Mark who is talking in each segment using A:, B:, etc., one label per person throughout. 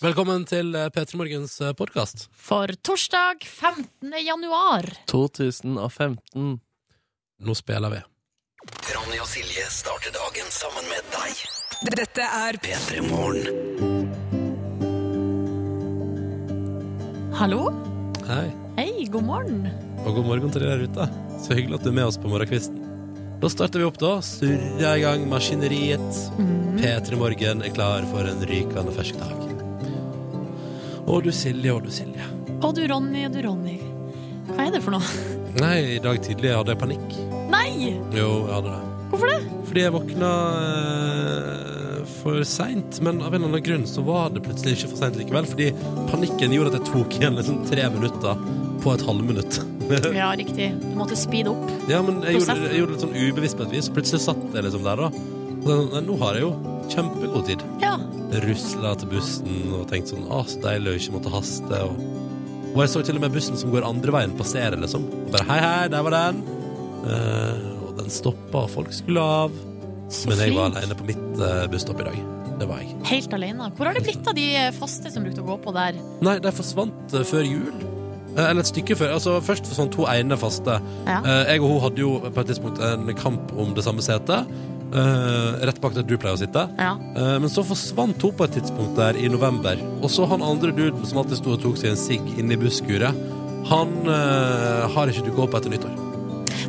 A: Velkommen til eh, P3 Morgens podkast.
B: For torsdag 15. januar.
C: 2015.
A: Nå spiller vi.
D: Ronny og Silje starter dagen sammen med deg.
E: Dette er
D: P3 Morgen.
B: Hallo?
A: Hei,
B: Hei, god morgen.
A: og god morgen til dere der ute. Så hyggelig at du er med oss på morgenkvisten. Da starter vi opp, da. Surrer i gang maskineriet.
E: Mhm.
A: P3 Morgen er klar for en rykende fersk dag. Å du Silje, å du Silje.
B: Og du Ronny, og du Ronny. Hva er det for noe?
A: Nei, i dag tidlig hadde jeg panikk.
B: Nei!
A: Jo, jeg hadde det.
B: Hvorfor det?
A: Fordi jeg våkna eh, for seint, men av en eller annen grunn så var det plutselig ikke for seint likevel. Fordi panikken gjorde at jeg tok igjen liksom tre minutter på et halvminutt.
B: Ja, riktig. Du måtte speede opp.
A: Ja, men jeg gjorde,
B: Prosessen.
A: jeg gjorde det litt sånn ubevisst på et vis. Plutselig satt jeg liksom der, da. Og så, Nei, nå har jeg jo kjempegod tid.
B: Ja.
A: Rusla til bussen og tenkte sånn Å, så deilig å ikke måtte haste. Og, og jeg så til og med bussen som går andre veien, passere, liksom. Og bare hei, hei, der var den. Eh, og den stoppa, og folk skulle av.
B: Så
A: Men jeg var
B: flink.
A: alene på mitt eh, busstopp i dag. Det var jeg.
B: Helt alene. Hvor har det blitt av de faste som brukte å gå på der?
A: Nei, de forsvant eh, før jul. Eh, Eller et stykke før. Altså, først forsvant to ene faste.
B: Ja.
A: Eh, Jeg og hun hadde jo på et tidspunkt en kamp om det samme setet. eh, rett bak der du pleier å sitte.
B: Ja.
A: Eh, men så forsvant hun på et tidspunkt der i november. Og så han andre duden som alltid sto og tok seg en sigg inne i busskuret, han eh, har ikke dukka opp etter nyttår.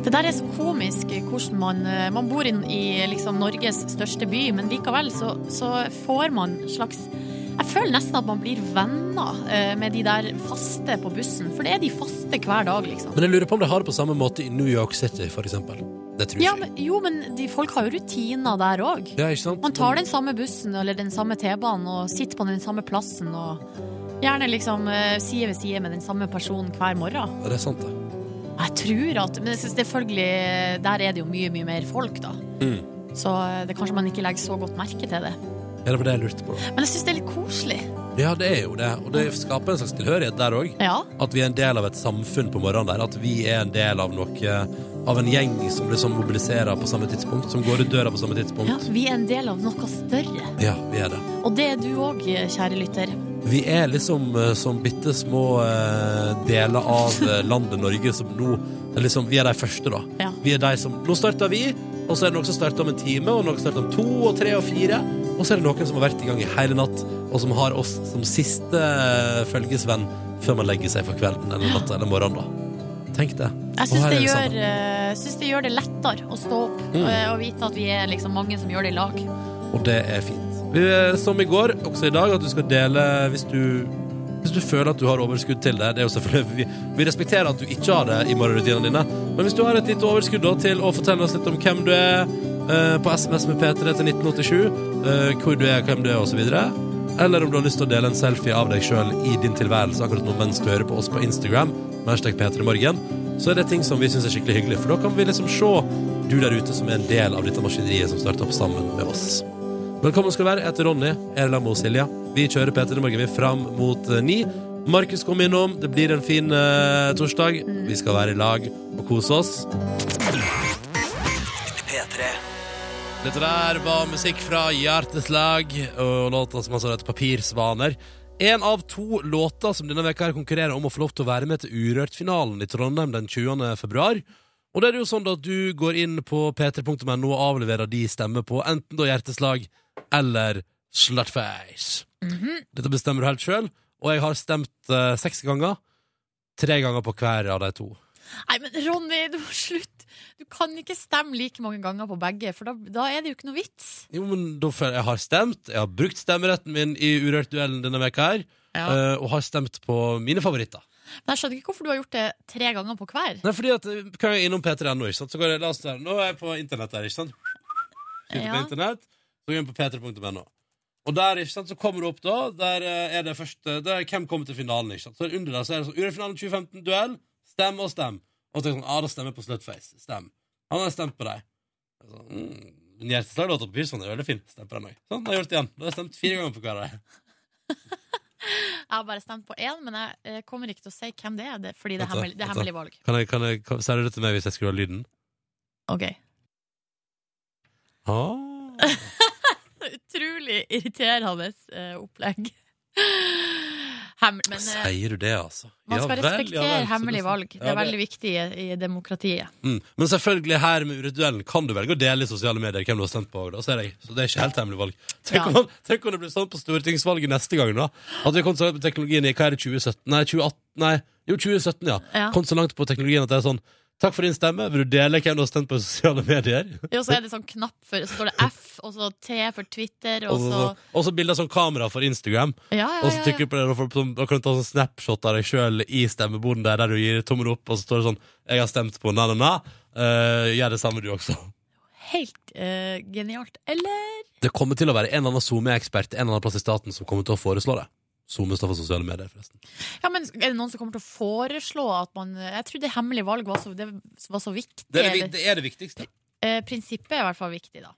B: Det der er så komisk hvordan man eh, Man bor inn i liksom Norges største by, men likevel så, så får man slags jeg føler nesten at man blir venner eh, med de der faste på bussen. For det er de faste hver dag, liksom.
A: Men jeg lurer på om de har det på samme måte i New York City, for eksempel. Det tror
B: Ja,
A: jeg.
B: men, jo, men de, folk har jo rutiner der òg.
A: Ja, ikke sant?
B: Man tar den samme bussen eller den samme T-banen og sitter på den samme plassen og gjerne liksom eh, side ved side med den samme personen hver morgen.
A: Ja, Det er sant, det.
B: Jeg tror at Men jeg synes selvfølgelig, eh, der er det jo mye, mye mer folk, da.
A: Mm.
B: Så eh, det kanskje man ikke legger så godt merke til det.
A: Ja, det var det jeg lurte på.
B: Men jeg syns det er litt koselig.
A: Ja, det er jo det. Og det skaper en slags tilhørighet der òg.
B: Ja.
A: At vi er en del av et samfunn på morgenen der. At vi er en del av noe Av en gjeng som liksom mobiliserer på samme tidspunkt. Som går ut døra på samme
B: ja.
A: tidspunkt.
B: Vi er en del av noe større.
A: Ja, vi er det.
B: Og det er du òg, kjære lytter.
A: Vi er liksom eh, som bitte små eh, deler av eh, landet Norge som nå liksom, Vi er de første, da.
B: Ja.
A: Vi er de som Nå starter vi, og så er det noen som starter om en time, og noen som starter om to og tre og fire. Og så er det noen som har vært i gang i hele natt, og som har oss som siste eh, følgesvenn før man legger seg for kvelden eller natta eller morgenen, da. Tenk det.
B: Jeg
A: Og
B: syns
A: her
B: det,
A: er vi
B: gjør,
A: sammen.
B: eh, syns det gjør det lettere å stå opp
A: Mm.
B: eh, og vite at vi er liksom mange som gjør det i lag.
A: Og det er fint. Vi, eh, som i går, også i dag, at du skal dele hvis du hvis du føler at du har overskudd til det, det er jo selvfølgelig Vi, vi respekterer at du ikke har det i morgenrutinene dine, men hvis du har et lite overskudd da, til å fortelle oss litt om hvem du er, eh, på SMS med P3 til 1987, eh, hvor du er, hvem du er, osv., eller om du har lyst til å dele en selfie av deg sjøl i din tilværelse akkurat nå mens du hører på oss på Instagram, med hashtag P3morgen, så er det ting som vi syns er skikkelig hyggelig, for da kan vi liksom se du der ute som er en del av dette maskineriet som starter opp sammen med oss. Velkommen skal du være. Jeg heter Ronny. Jeg er sammen med Silja. Vi kjører P3 Morgen vi er fram mot eh, ni. Markus kom innom. Det blir en fin eh, torsdag. Vi skal være i lag og kose oss.
D: P3.
A: Dette der var musikk fra Hjerteslag og låta som altså heter Papirsvaner. En av to låter som denne veka her konkurrerer om å få lov til å være med til Urørt-finalen i Trondheim den 20. februar. Og det er det jo sånn at du går inn på p3.no og avleverer de stemme på enten da Hjerteslag eller Slutface. Dette bestemmer du helt sjøl, og jeg har stemt eh, seks ganger. Tre ganger på hver av de to.
B: Nei, men Ronny, du må slutte! Du kan ikke stemme like mange ganger på begge, for da, da er det jo ikke noe vits.
A: Jo, men da føler jeg jeg har stemt. Jeg har brukt stemmeretten min i Urørt-duellen denne veka her.
B: Ja.
A: eh, og har stemt på mine favoritter.
B: Men jeg skjønner ikke hvorfor du har gjort det tre ganger på hver.
A: Nei, fordi at eh, kan jeg innom P3.no, ikke sant? Så går jeg, la oss der. Nå er jeg på internett der, ikke sant? Sitter
B: Ja.
A: på internett, så går jeg inn på p3.no. Og der, ikke sant, så kommer du opp da, der eh, er det første, der er hvem kommer til finalen, ikke sant? Så under der så er det sånn, Urørt-finalen 2015, duell, stem og stem. Og så tenker jeg sånn, ah, da stemmer jeg på Slutface, stem. Han har stemt på deg. Jeg er Sånn, mm. Men hjerteslaglåta på Pilsvann er veldig fin, stem på den også. Sånn, da har jeg gjort det igjen. Da har jeg stemt fire ganger på hver av deg.
B: Jeg har bare stemt på én, men jeg eh, kommer ikke til å si hvem det er, det- fordi det er
A: Vent da,
B: hemmelig, det
A: vent
B: er
A: da.
B: hemmelig valg.
A: Kan jeg, kan jeg, kan, Sier du det til meg hvis jeg skrur av lyden?
B: Ok.
A: Ah.
B: Så utrolig irriterende eh, opplegg. Hemmel, men eh,
A: Sier du det, altså?
B: man
A: Ja
B: skal
A: vel, ja
B: respektere
A: vel, så
B: hemmelig
A: det-
B: valg. Det
A: Ja,
B: er veldig viktig i, i demokratiet.
A: Mm. Men selvfølgelig her med Urituell kan du velge å dele i sosiale medier hvem du har stemt på. Da, ser jeg. Så det er ikke helt hemmelig valg. Tenk,
B: Ja.
A: om, tenk om det blir sånn på stortingsvalget neste gang, da. At vi kom så langt på teknologien i hva er det, 2017? Nei, 2018? Nei, jo, 2017, ja.
B: Ja.
A: Kom så langt på teknologien at det er sånn Takk for din stemme. Vil du dele hvem du har stemt på i sosiale medier?
B: Og så er det sånn knapp for Så står det F, og så T for Twitter,
A: Og
B: og så
A: så- og så bilder som kamera for Instagram.
B: Ja, ja,
A: Og så
B: ja,
A: trykker du på det, og får, sånn, da kan du ta sånn snapshot av deg sjøl i stemmeboden der, der du gir tommel opp, og så står det sånn 'Jeg har stemt på na-na-na'. Eh, gjør det samme, du også.
B: ja. Helt eh, genialt. Eller
A: Det kommer til å være en eller annen SoMe-ekspert en eller annen plass i staten som kommer til å foreslå det. SoMe står for sosiale medier, forresten.
B: Ja, men Er det noen som kommer til å foreslå at man Jeg trodde hemmelig valg var så, det var så viktig.
A: Det Mm. er det,
B: eller-
A: vi- det, er det viktigste.
B: eh, prinsippet er i hvert fall viktig, da.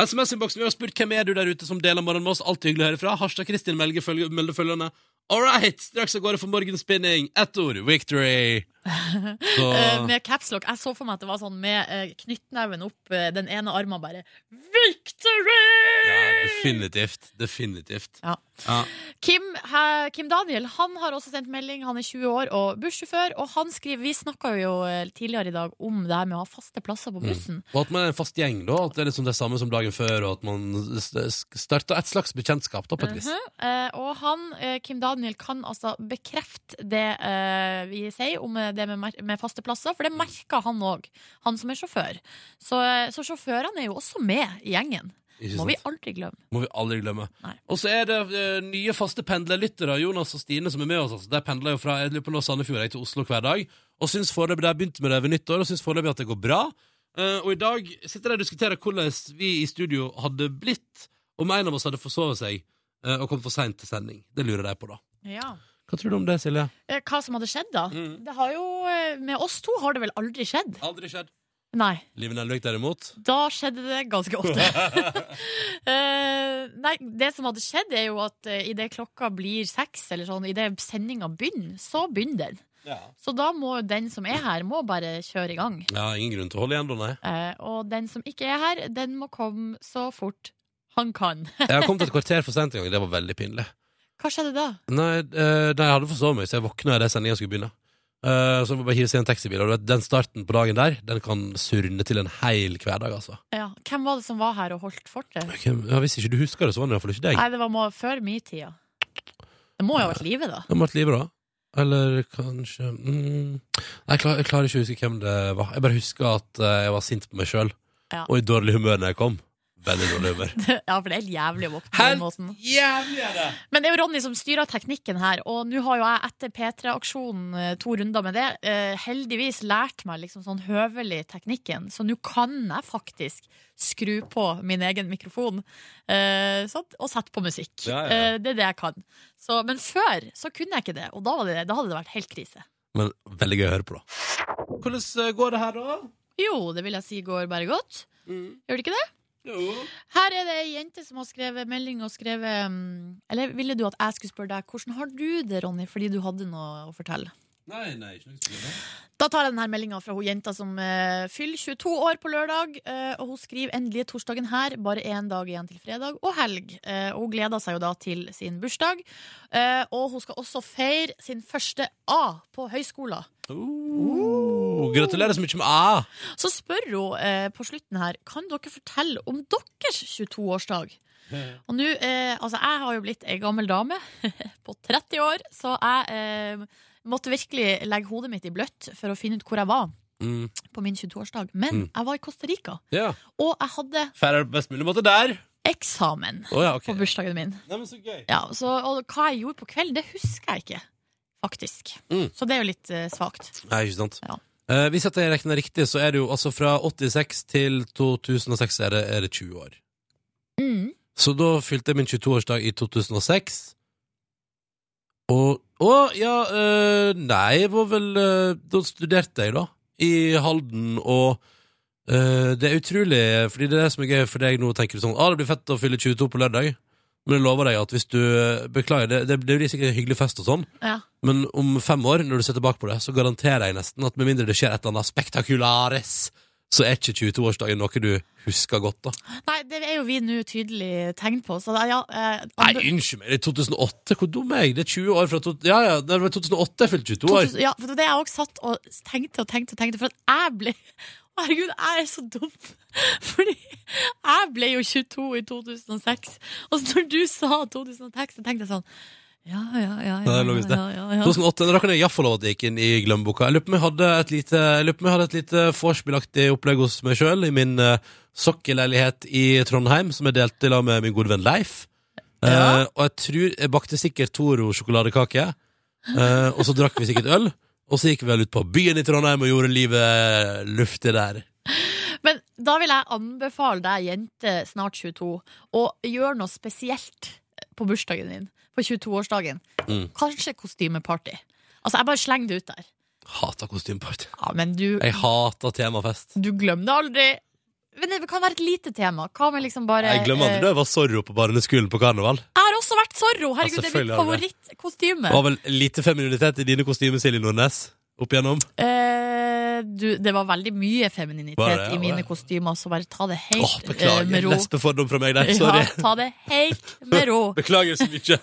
A: SMS-innboksen, vi har spurt hvem er du der ute som deler morgenen med oss. Alltid hyggelig å høre fra. Harstad Kristin melder følge, melder følgende. All right! Straks av gårde for morgenspinning. Ett ord. Victory! Så,
B: Eh, med capslock. Jeg så for meg at det var sånn med eh, knyttneven opp, eh, den ene armen bare
A: ja,
B: Victory!
A: definitivt. Definitivt.
B: Ja.
A: Ja.
B: Kim, he, Kim Daniel han har også sendt melding. Han er 20 år og bussjåfør. Og han skriver Vi snakka jo eh, tidligere i dag om det her med å ha faste plasser
A: Mm.
B: på bussen.
A: Og at man er en fast gjeng, da. At det er liksom det samme som dagen før, og at man st- starter et slags bekjentskap, da, på et vis.
B: Mhm. Eh, og han, eh, Kim Daniel, kan altså bekrefte det eh, vi sier om eh, det med, mer- med faste plasser, for det merker han òg, han som er sjåfør. Så, eh, så sjåførene er jo også med i gjengen.
A: Ikke
B: Må
A: sant?
B: vi aldri glemme.
A: Må vi aldri glemme.
B: Nei.
A: Og så er det eh, nye faste pendlerlyttere, Jonas og Stine, som er med oss. Altså. De pendler jo fra jeg lurer på nå Sandefjord jeg, til Oslo hver dag. Og syns foreløpig de har begynt med det ved nyttår, og syns foreløpig at det går bra. Eh, og i dag sitter de og diskuterer hvordan vi i studio hadde blitt om en av oss hadde forsovet seg eh, og kommet for seint til sending. Det lurer de på, da.
B: Ja.
A: Hva tror du om det, Silje?
B: Eh, Hva som hadde skjedd, da?
A: Mhm.
B: Det har jo, eh, med oss to har det vel aldri skjedd?
A: Aldri skjedd.
B: Nei.
A: Liv Nelvik, derimot.
B: Da skjedde det ganske ofte. Eh, nei, det som hadde skjedd, er jo at eh, idet klokka blir seks, eller sånn, idet sendinga begynner, så begynner den.
A: Ja.
B: Så da må jo den som er her, må bare kjøre i gang.
A: Ingen grunn til å holde igjen, da, nei.
B: Eh, og den som ikke er her, den må komme så fort han kan.
A: Jeg har kommet et kvarter for seint en gang. Det var veldig pinlig.
B: Hva skjedde da?
A: Nei, eh, nei, jeg hadde forsovet meg, så jeg våkna da sendinga skulle begynne. Eh, så må jeg bare hive seg i en taxibil. Og du vet, den starten på dagen der Den kan surne til en hel hverdag, altså.
B: Ja, hvem var det som var her og holdt fortet?
A: Ok, ja, hvis ikke du husker det, så var det iallfall ikke deg.
B: Nei, det var må før min tida. Det må jo ha vært livet, da.
A: Det må ha vært livet, da. Eller kanskje mm, Nei, jeg, klar, jeg klarer ikke å huske hvem det var. Jeg bare husker at eh, jeg var sint på meg sjøl,
B: Ja.
A: og i dårlig humør når jeg kom. Veldig dårlig humør.
B: Ja, for det er helt jævlig å våkne på den måten.
A: jævlig er det!
B: Men det er jo Ronny som styrer teknikken her, og nå har jo jeg etter P3-aksjonen eh, to runder med det, eh, heldigvis lært meg liksom sånn høvelig teknikken, så nå kan jeg faktisk skru på min egen mikrofon eh, sånn, og sette på musikk.
A: Ja, ja, ja.
B: Eh, det er det jeg kan. Så, men før så kunne jeg ikke det, og da, var det, da hadde det vært helt krise.
A: Men veldig gøy å høre på, da. Hvordan eh, går det her, da?
B: Jo, det vil jeg si går bare godt.
A: Mm.
B: Gjør det ikke det?
A: Jo.
B: Her er det ei jente som har skrevet melding og skrevet mm, Eller ville du at jeg skulle spørre deg hvordan har du det, Ronny, fordi du hadde noe å fortelle?
A: Nei, nei, ikke noe spennende.
B: Da tar jeg denne meldinga fra hun jenta som eh, fyller 22 år på lørdag. eh, og hun skriver endelig er torsdagen her, bare én dag igjen til fredag og helg. Eh, og hun gleder seg jo da til sin bursdag. Eh, og hun skal også feire sin første A på høyskolen.
A: Oh, gratulerer så mye med A!
B: Så spør hun eh, på slutten her Kan dere fortelle om deres 22-årsdag? Og nå, eh, altså jeg har jo blitt ei gammel dame på 30 år, så jeg eh, måtte virkelig legge hodet mitt i bløtt for å finne ut hvor jeg var
A: Mm.
B: på min 22-årsdag. Men
A: Mm.
B: jeg var i Costa Rica,
A: Ja.
B: og jeg hadde
A: Feirer på best mulig måte der.
B: eksamen
A: Å ja, ok.
B: på bursdagen min.
A: Nei, men så gøy.
B: Ja, så, og hva jeg gjorde på kvelden, det husker jeg ikke, faktisk.
A: Mm.
B: Så det er jo litt eh, svakt.
A: Nei, ikke sant.
B: Ja.
A: Eh, hvis jeg regner riktig, så er det jo altså fra 86 til 2006 er det, er det 20 år.
B: Mm.
A: Så da fylte jeg min 22-årsdag i 2006. Og Å, ja eh, Nei, jeg var vel eh, Da studerte jeg, da. I Halden, og eh, det er utrolig Fordi det er det som er gøy for deg nå, tenker du sånn ah, det blir fett å fylle 22 på lørdag. Men jeg lover deg at hvis du eh, Beklager, det, det blir sikkert en hyggelig fest og sånn,
B: Ja.
A: men om fem år, når du ser tilbake på det, så garanterer jeg nesten at med mindre det skjer et eller annet spektakulares, så er ikke 22-årsdagen noe du husker godt, da.
B: Nei, det er jo vi nå tydelig tegn på, så da, ja eh,
A: Nei,
B: andre-
A: unnskyld meg, det er 2008. Hvor dum er jeg? Det er 20 år fra to... Ja, ja, det var 2008 jeg fylte 22 år.
B: Ja, for det har jeg også satt og tenkte og tenkte og tenkte, for at jeg ble Å, Herregud, jeg er så dum. Fordi jeg ble jo 22 i 2006, og så når du sa 2006, så tenkte jeg sånn Ja, ja, ja. ja,
A: Ja, det er logisk, det.
B: ja, ja, ja.
A: 2008, Da kan jeg iallfall love at jeg gikk inn i glemmeboka. Jeg lurer på om jeg hadde et lite, jeg lurer på om jeg hadde et lite vorspielaktig opplegg hos meg sjøl i min uh, sokkelleilighet i Trondheim, som jeg delte i lag med min gode venn Leif. Eh,
B: Ja.
A: og jeg tror jeg bakte sikkert Toro-sjokoladekake, eh, og så drakk vi sikkert øl. Og så gikk vi vel ut på byen i Trondheim og gjorde livet luftig der.
B: Men da vil jeg anbefale deg, jente snart 22, å gjøre noe spesielt på bursdagen din. På 22-årsdagen.
A: Mm.
B: Kanskje kostymeparty. Altså, jeg bare slenger det ut der.
A: Hata kostymeparty.
B: Ja, men du,
A: Jeg hata temafest.
B: du glemmer det aldri. Men det kan være et lite tema. Hva med liksom bare
A: Jeg glemmer
B: eh,
A: aldri da jeg var Zorro på barneskolen på karneval.
B: Jeg har også vært Zorro!
A: Ja,
B: Herregud, det er mitt
A: selvfølgelig har du
B: favorittkostyme.
A: Det var vel lite femininitet i dine kostymer, Silje Nordnes. Opp igjennom.
B: Eh, du, det var veldig mye femininitet
A: Var det?
B: i
A: Var
B: mine
A: det?
B: kostymer, så bare ta det helt
A: Åh,
B: eh,
A: beklager.
B: med ro.
A: Lesbefordom fra meg der.
B: Ja,
A: Sorry.
B: ta det helt med ro.
A: Beklager så mye.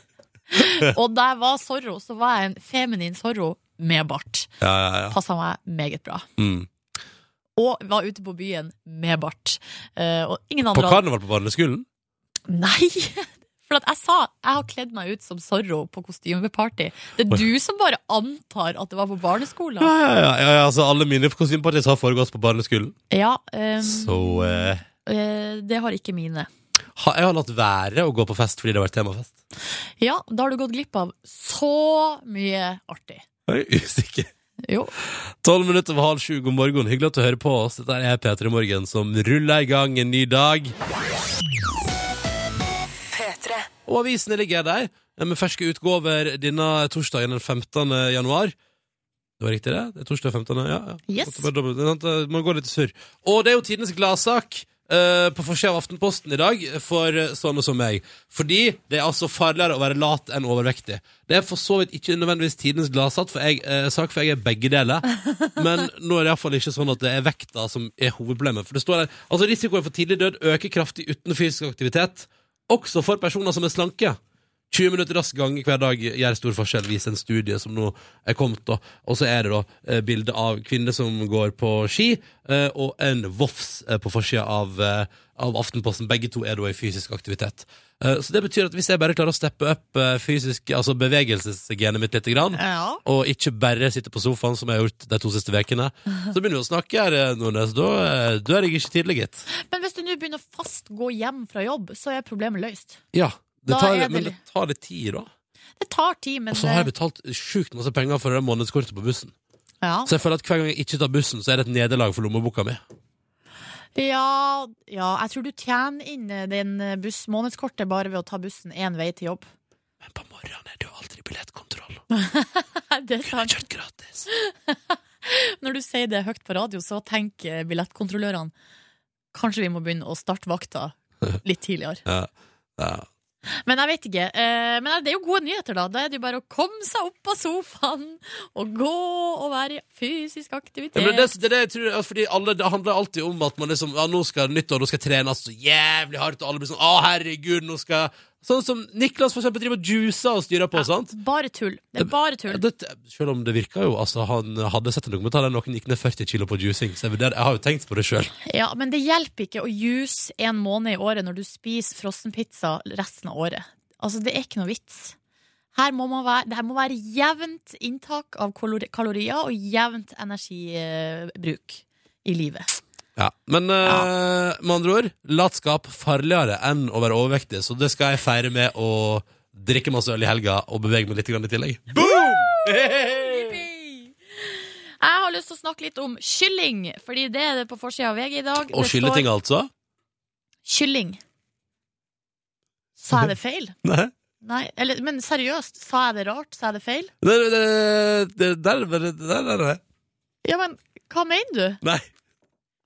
B: Og da jeg var Zorro, så var jeg en feminin Zorro med bart.
A: Ja, ja, ja.
B: Passa meg meget bra.
A: Mm.
B: Og var ute på byen med bart. Eh, og ingen
A: På
B: andre
A: karneval på barneskolen?
B: Nei! For at jeg sa jeg har kledd meg ut som Zorro på kostymeparty. Det er du som bare antar at det var på
A: Ja,
B: barneskolen.
A: ja, ja. ja, ja altså, alle mine kostymepartier har foregått på barneskolen.
B: Ja, eh,
A: Så eh,
B: eh, det har ikke mine.
A: ha, jeg har latt være å gå på fest fordi det har vært temafest.
B: Ja, da har du gått glipp av så mye artig.
A: Jeg er usikker.
B: Jo.
A: Tolv minutter over halv sju, god morgen. Hyggelig at du hører på oss. Dette er P3 Morgen som ruller i gang en ny dag. Og avisene ligger der eh, med ferske utgåver denne torsdagen den 15. januar. Det var riktig, det? Det er torsdag 15. Ja, ja.
B: Yes.
A: Måtte bare dobbelt- det er sant, eh, Man går litt surr. Og det er jo tidenes gladsak eh, på forsida av Aftenposten i dag for eh, sånne som meg. Fordi det er altså farligere å være lat enn overvektig. Det er for så vidt ikke nødvendigvis tidenes gladsak, for jeg, eh, sak, for jeg er begge deler. Men nå er det iallfall ikke sånn at det er vekta som er hovedproblemet. For det står der, altså Risikoen for tidlig død øker kraftig uten fysisk aktivitet, også for personer som er slanke. 20 minutter rask gang hver dag gjør stor forskjell, viser en studie som nå er kommet. da. Og så er det da eh, bilde av kvinner som går på ski, eh, og en vofs eh, på forsida av, eh, av Aftenposten. Begge to er da i fysisk aktivitet. Eh, så det betyr at hvis jeg bare klarer å steppe opp eh, fysisk, altså bevegelsesgenet mitt litt, grann,
B: Ja.
A: og ikke bare sitte på sofaen, som jeg har gjort de to siste ukene, så begynner vi å snakke her, eh, Nordnes. Da, eh, da er jeg ikke tidlig, gitt.
B: Men hvis du nå begynner å fast gå hjem fra jobb, så er problemet løst.
A: Ja, det
B: Da
A: tar,
B: er det
A: men
B: litt-
A: det tar litt tid, da.
B: Det tar tid, men
A: Og så har jeg
B: det-
A: betalt sjukt masse penger for det månedskortet på bussen.
B: ja.
A: Så jeg føler at hver gang jeg ikke tar bussen, så er det et nederlag for lommeboka mi.
B: Ja, ja, jeg tror du tjener inn eh, den eh, buss månedskortet bare ved å ta bussen én vei til jobb.
A: Men på morgenen er det jo aldri billettkontroll.
B: Det
A: Kunne
B: er
A: jeg
B: sant.
A: kjørt gratis?
B: Når du sier det høyt på radio, så tenker billettkontrollørene kanskje vi må begynne å starte vakta litt tidligere.
A: Ja. Ja.
B: Men jeg vet ikke. eh, Men det er jo gode nyheter, da. Da er det jo bare å komme seg opp av sofaen og gå og være i fysisk aktivitet.
A: Ja, men det, det, er det, jeg tror, altså, fordi alle, det handler alltid om at man liksom, ja, nå skal nyttår, nå skal jeg trene så jævlig hardt, og alle blir sånn, å herregud, nå skal jeg... Sånn som Niklas for eksempel driver og juicer og styrer på, sant?
B: Bare tull. Det er bare tull.
A: Det, selv om det virker jo, altså, han hadde sett en dokumentar der noen gikk ned 40 kilo på juicing, så jeg, vurderer- jeg har jo tenkt på det selv.
B: Ja, Men det hjelper ikke å juice en måned i året når du spiser frossenpizza resten av året. Altså, det er ikke noe vits. Her må man være, det her må være jevnt inntak av kalori- kalorier og jevnt energibruk i livet.
A: Ja, men eh, med andre ord, latskap farligere enn å være overvektig, så det skal jeg feire med å drikke masse øl i helga og bevege meg litt grann i tillegg. Boom!
B: Jeg har lyst til å snakke litt om kylling, fordi det er det på forsida av VG i dag.
A: Og
B: Det
A: skyldeting
B: står
A: altså?
B: Kylling. Sa jeg det feil?
A: Nei.
B: Nei, eller, men seriøst, sa jeg det rart? Sa jeg det feil?
A: Det, det, det, der, der, der, der, der.
B: Ja, men hva mener du?
A: Nei.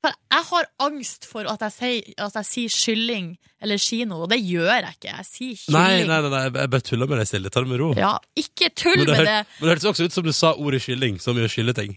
B: For jeg har angst for at jeg sier, at jeg sier kylling eller kino, og det gjør jeg ikke. Jeg sier
A: Nei,
B: kylling.
A: nei, nei, nei, jeg bare tuller med deg, Silje. Ta det med ro.
B: Ja, ikke tull
A: Men det,
B: med
A: hør-
B: det.
A: men det hørtes også ut som du sa ordet kylling, som gjør skyldeting.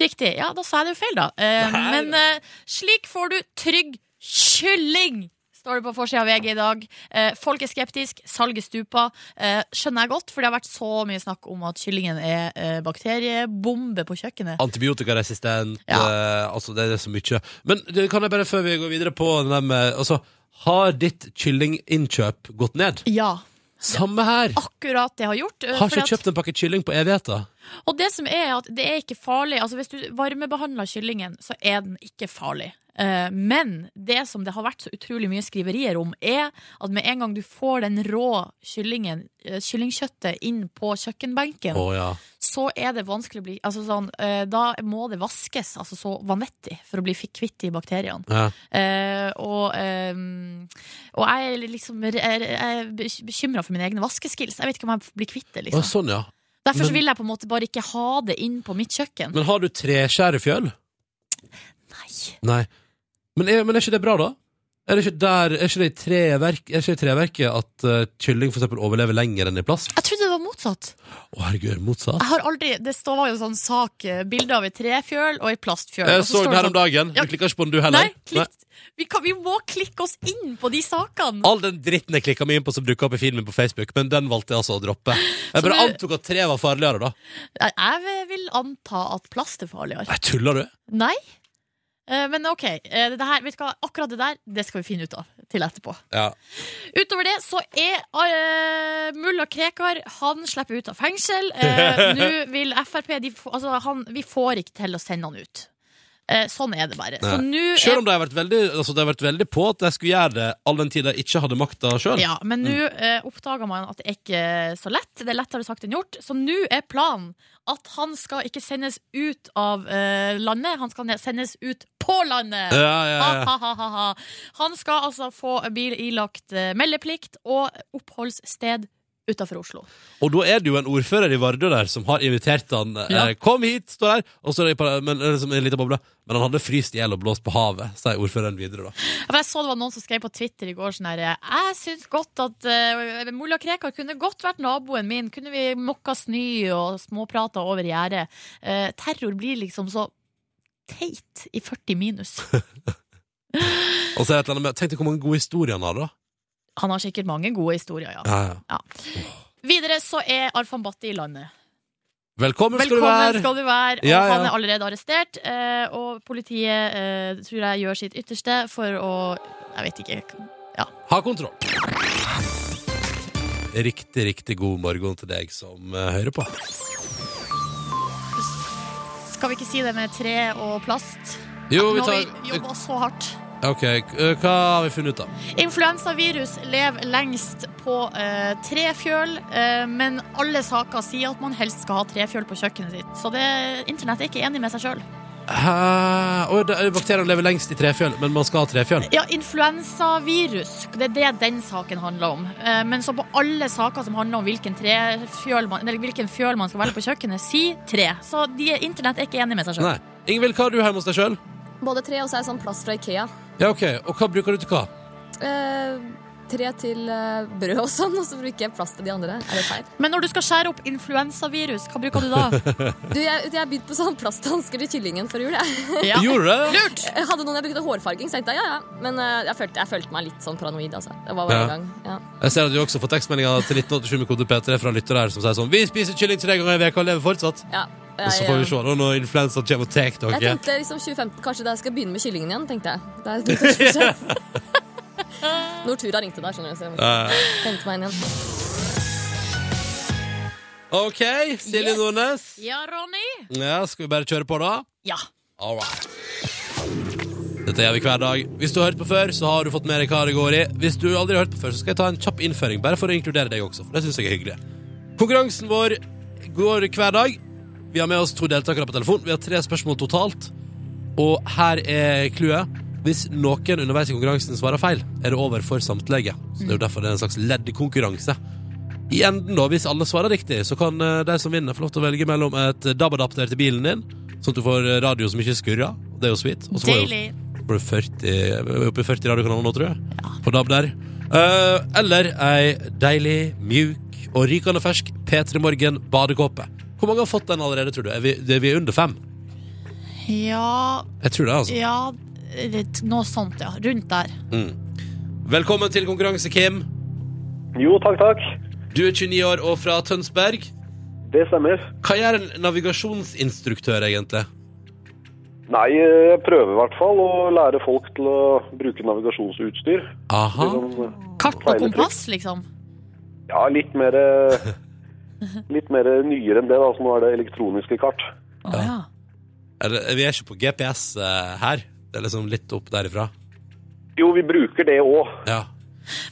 B: Riktig. Ja, da sa jeg det jo feil, da. Eh,
A: Nei.
B: men eh, slik får du trygg kylling! Står det på forsida av VG i dag. Eh, folk er skeptiske, salget stuper. Eh, skjønner jeg godt, for det har vært så mye snakk om at kyllingen er eh, bakteriebombe på
A: Ah.
B: kjøkkenet.
A: Antibiotikaresistent,
B: Ja.
A: eh, altså det er så mye. Men det kan jeg bare, før vi går videre på den der med Altså, har ditt kyllinginnkjøp gått ned?
B: Ja,
A: Samme her!
B: akkurat det jeg har gjort. eh,
A: Har
B: fordi
A: ikke
B: at-
A: kjøpt en pakke kylling på evigheter.
B: Og det som er at det er ikke farlig Altså Hvis du varmebehandler kyllingen, så er den ikke farlig. Eh, Men det som det har vært så utrolig mye skriverier om, er at med en gang du får den rå kyllingen, eh, kyllingkjøttet inn på kjøkkenbenken,
A: Å ja.
B: så er det vanskelig å bli altså sånn, eh, Da må det vaskes altså så vanvittig for å bli fikk kvitt de bakteriene.
A: ja.
B: Eh, og, eh, og jeg er liksom jeg er bekymra for mine egne vaskeskills. Jeg vet ikke om jeg blir kvitt det.
A: Å,
B: liksom
A: sånn, ja.
B: Derfor så
A: Men-
B: vil jeg på en måte bare ikke ha det inn på mitt kjøkken.
A: Men har du treskjærefjøl?
B: Nei.
A: Nei. Men er, men er ikke det bra, da? Er det ikke, der, er ikke det i treverk, er ikke det i treverket at eh, kylling for eksempel overlever lenger enn i plast?
B: Jeg trodde det var motsatt.
A: Å, herregud, motsatt.
B: Jeg har aldri, Det står- var jo sånn sak eh, bilde av ei trefjøl og ei plastfjøl. og
A: Jeg så
B: så står
A: den
B: det
A: her om
B: sånn-
A: dagen.
B: Ja.
A: Du klikker ikke på den, du heller?
B: Nei, klikk, vi, kan, vi må klikke oss inn på de sakene.
A: All den dritten jeg klikka meg inn på som dukka opp i filmen på Facebook, men den valgte jeg altså å droppe. Jeg
B: Så
A: bare
B: du-
A: antok at tre var farligere, da.
B: Jeg, jeg vil anta at plast er farligere.
A: Nei, tuller du?
B: Nei. Eh, Men OK, eh, det her, vet du hva? akkurat det der Det skal vi finne ut av til etterpå.
A: Ja.
B: Utover det så er eh, mulla Krekar Han slipper ut av fengsel. Eh, Nå vil Frp de, f- altså, han, Vi får ikke til å sende han ut. Eh, sånn er det bare. Så
A: Nei.
B: nå er
A: Sjøl om de har vært veldig, altså, de har vært veldig på at de skulle gjøre det all den tid de ikke hadde makta sjøl.
B: Ja, men nå eh, oppdager man at det er ikke så lett. Det er lettere sagt enn gjort. Så nå er planen at han skal ikke sendes ut av eh, landet, han skal ne- sendes ut på landet!
A: Ja, ja, ja.
B: Ha, ha, ha, ha. Han skal altså få bil ilagt eh, meldeplikt og oppholdssted utafor Oslo.
A: Og da er det jo en ordfører i Vardø der som har invitert han eh,
B: Ja.
A: 'Kom hit, stå her!' Og så er det i par- men, eh, som en liten boble. Men han hadde fryst i hjel og blåst på havet, sier ordføreren videre, da.
B: Ja, For jeg så det var noen som skrev på Twitter i går sånn her Jeg syns godt at uh, Mulla Krekar kunne godt vært naboen min. Kunne vi mokka snø og småprata over gjerdet? Eh, terror blir liksom så teit i 40 minus.
A: Og så er det et eller annet med Tenk deg hvor mange gode historier han har, da.
B: Han har sikkert mange gode historier, ja.
A: Ja, ja.
B: Videre så er Arfan Bhatti i landet.
A: Velkommen, skal
B: Velkommen
A: du være!
B: skal du være. Og
A: Ja, ja.
B: han er allerede arrestert. eh, og politiet eh, tror jeg gjør sitt ytterste for å Jeg vet ikke.
A: Ha kontroll! Riktig, riktig god morgen til deg som eh, hører på.
B: Skal vi ikke si det med tre og plast?
A: Jo, vi
B: Nå har
A: tar
B: vi jobba så hardt.
A: Ok, eh, hva har vi funnet ut, da?
B: Influensavirus lever lengst på eh, trefjøl, eh, men alle saker sier at man helst skal ha trefjøl på kjøkkenet sitt. Så det, internett er ikke enig med seg sjøl.
A: Hæ? Å, det er- Bakteriene lever lengst i trefjøl, men man skal ha trefjøl.
B: Ja, influensavirus, det er det den saken handler om. Eh, men så på alle saker som handler om hvilken, trefjøl man, eller hvilken fjøl man skal velge på kjøkkenet, si tre. Så de, internett er ikke enig med seg sjøl.
A: Nei. Ingvild, hva har du hjemme hos deg sjøl?
E: Både tre og så er det sånn plast fra Ikea.
A: Ja, ok, Og hva bruker du til hva?
E: Eh, tre til eh, brød og sånn, og så bruker jeg plast til de andre. Er det feil?
B: Men når du skal skjære opp influensavirus, hva bruker du da?
E: Du, jeg, jeg begynte på sånn plasthansker til kyllingen før jul. Jeg.
B: Ja.
A: Gjorde du det?
B: Lurt!
E: jeg hadde noen jeg brukte hårfarging, så jeg tenkte jeg ja, ja. Men eh, jeg, følte, jeg følte meg litt sånn paranoid, altså. Det var
A: Ja.
E: bare en gang. Ja.
A: Jeg ser at du også får tekstmeldinger til 1987 med kode P3 fra lyttere her som sier sånn Vi spiser kylling tre ganger i veka og lever fortsatt.
E: ja.
A: Og så får vi se da når influensaen kommer og tar
E: Jeg
A: dere.
E: tenkte liksom 2015, kanskje da jeg skal begynne med kyllingen igjen, tenkte jeg. Da jeg begynte å skjønne. Nortura ringte der, skjønner du. Så jeg
A: Eh,
E: hentet meg inn igjen.
A: OK, Silje
B: Yes.
A: Nordnes.
B: Ja, Ronny?
A: Ja, skal vi bare kjøre på, da?
B: Ja.
A: All right. Dette gjør vi hver dag. Hvis du har hørt på før, så har du fått med deg hva det går i. Hvis du aldri har hørt på før, så skal jeg ta en kjapp innføring, bare for å inkludere deg også. For det synes jeg er hyggelig. Konkurransen vår går hver dag. Vi har med oss to deltakere på telefon. Vi har tre spørsmål totalt. Og her er clouet. Hvis noen underveis i konkurransen svarer feil, er det over for samtlige. Så det er jo derfor det er en slags leddkonkurranse. I enden, da, hvis alle svarer riktig, så kan eh, de som vinner, få lov til å velge mellom et DAB-adapter til bilen din, sånn at du får radio som ikke skurrer. Det er jo sweet. Og så får du-
B: Deilig.
A: får du 40, vi er oppe i 40 radiokanaler nå, tror jeg. På DAB der. Eh, eller ei deilig, mjuk og rykende fersk P3 Morgen badekåpe. Hvor mange har fått den allerede, tror du? Er vi, det, vi er under fem.
B: Ja,
A: Jeg tror det, altså.
B: ja litt- Noe sånt, ja. Rundt der.
A: Velkommen til konkurranse, Kim.
F: Jo, takk, takk.
A: Du er 29 år og fra Tønsberg.
F: Det stemmer.
A: Hva gjør en navigasjonsinstruktør, egentlig?
F: Nei, jeg prøver i hvert fall å lære folk til å bruke navigasjonsutstyr.
A: Aha.
F: Liksom,
B: Kart og kompass, liksom.
F: ja, litt mer eh, Litt mer nyere enn det, da, så nå er det elektroniske kart.
B: Å, ja.
A: Er det- Vi er ikke på GPS eh, her. Det er liksom litt opp derifra.
F: Jo, vi bruker det òg.
A: Ja.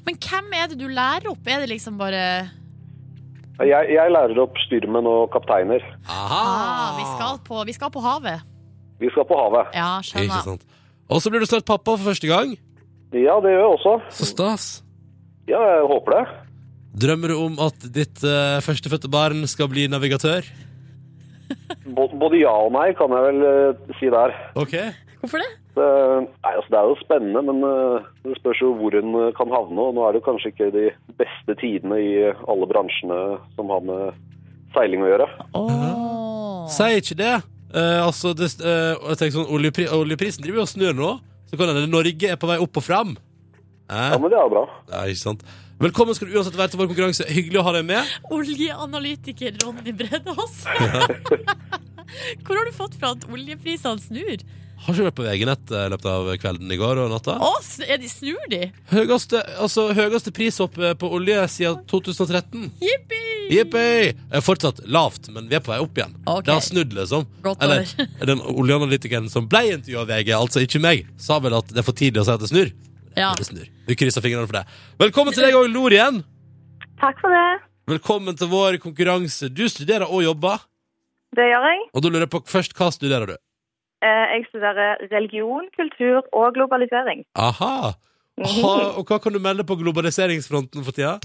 B: Men hvem er det du lærer opp? Er det liksom bare
F: Jeg, jeg lærer opp styrmenn og kapteiner.
B: ah,
A: Aha!
B: vi, skal på, vi skal på havet.
F: Vi skal på havet.
B: Ja,
A: Ikke
B: skjønner.
A: sant. Og så blir du snart pappa for første gang.
F: Ja, det gjør jeg også.
A: Så stas.
F: Ja, jeg håper det.
A: Drømmer du om at ditt eh, førstefødte barn skal bli navigatør?
F: Bo- Både ja og nei kan jeg vel eh, si der.
A: Ok.
E: Hvorfor det?
F: Det, nei, altså, det er jo spennende, men eh, det spørs jo hvor en eh, kan havne. og Nå er det jo kanskje ikke de beste tidene i alle bransjene som har med seiling å gjøre.
B: Åh.
A: Sier ikke det. Eh, altså, det eh, og jeg tenker sånn, oljepri, Oljeprisen driver jo og snur nå. Så kan hende Norge er på vei opp og fram. Eh,
F: Ja, men det er jo bra.
A: det er ikke sant. Velkommen skal du uansett være til vår konkurranse. Hyggelig å ha deg med.
B: Oljeanalytiker Ronny Bredås. Hvor har du fått fra at oljeprisene snur?
A: Har ikke vært på VG-nett eh, i løpet av kvelden i går og natta.
B: Å, sn- er de snur de?
A: Høyeste, altså, høyeste prishopp eh, på olje siden 2013.
B: Jippi!
A: Jippi! Det er fortsatt lavt, men vi er på vei opp igjen.
B: Ok.
A: Det har snudd, liksom.
B: Godt
A: Eller,
B: over.
A: den oljeanalytikeren som ble intervjua av VG, altså ikke meg, sa vel at det er for tidlig å si at det snur.
B: Ja.
A: Det snur. Vi krysser fingrene for det. Velkommen til deg òg, Lor igjen.
G: Takk for det.
A: Velkommen til vår konkurranse. Du studerer og jobber,
G: Det gjør jeg.
A: og da lurer jeg på først hva studerer du?
G: Eh, Jeg studerer religion, kultur og globalisering.
A: Aha. Aha. Og hva kan du melde på globaliseringsfronten for tida?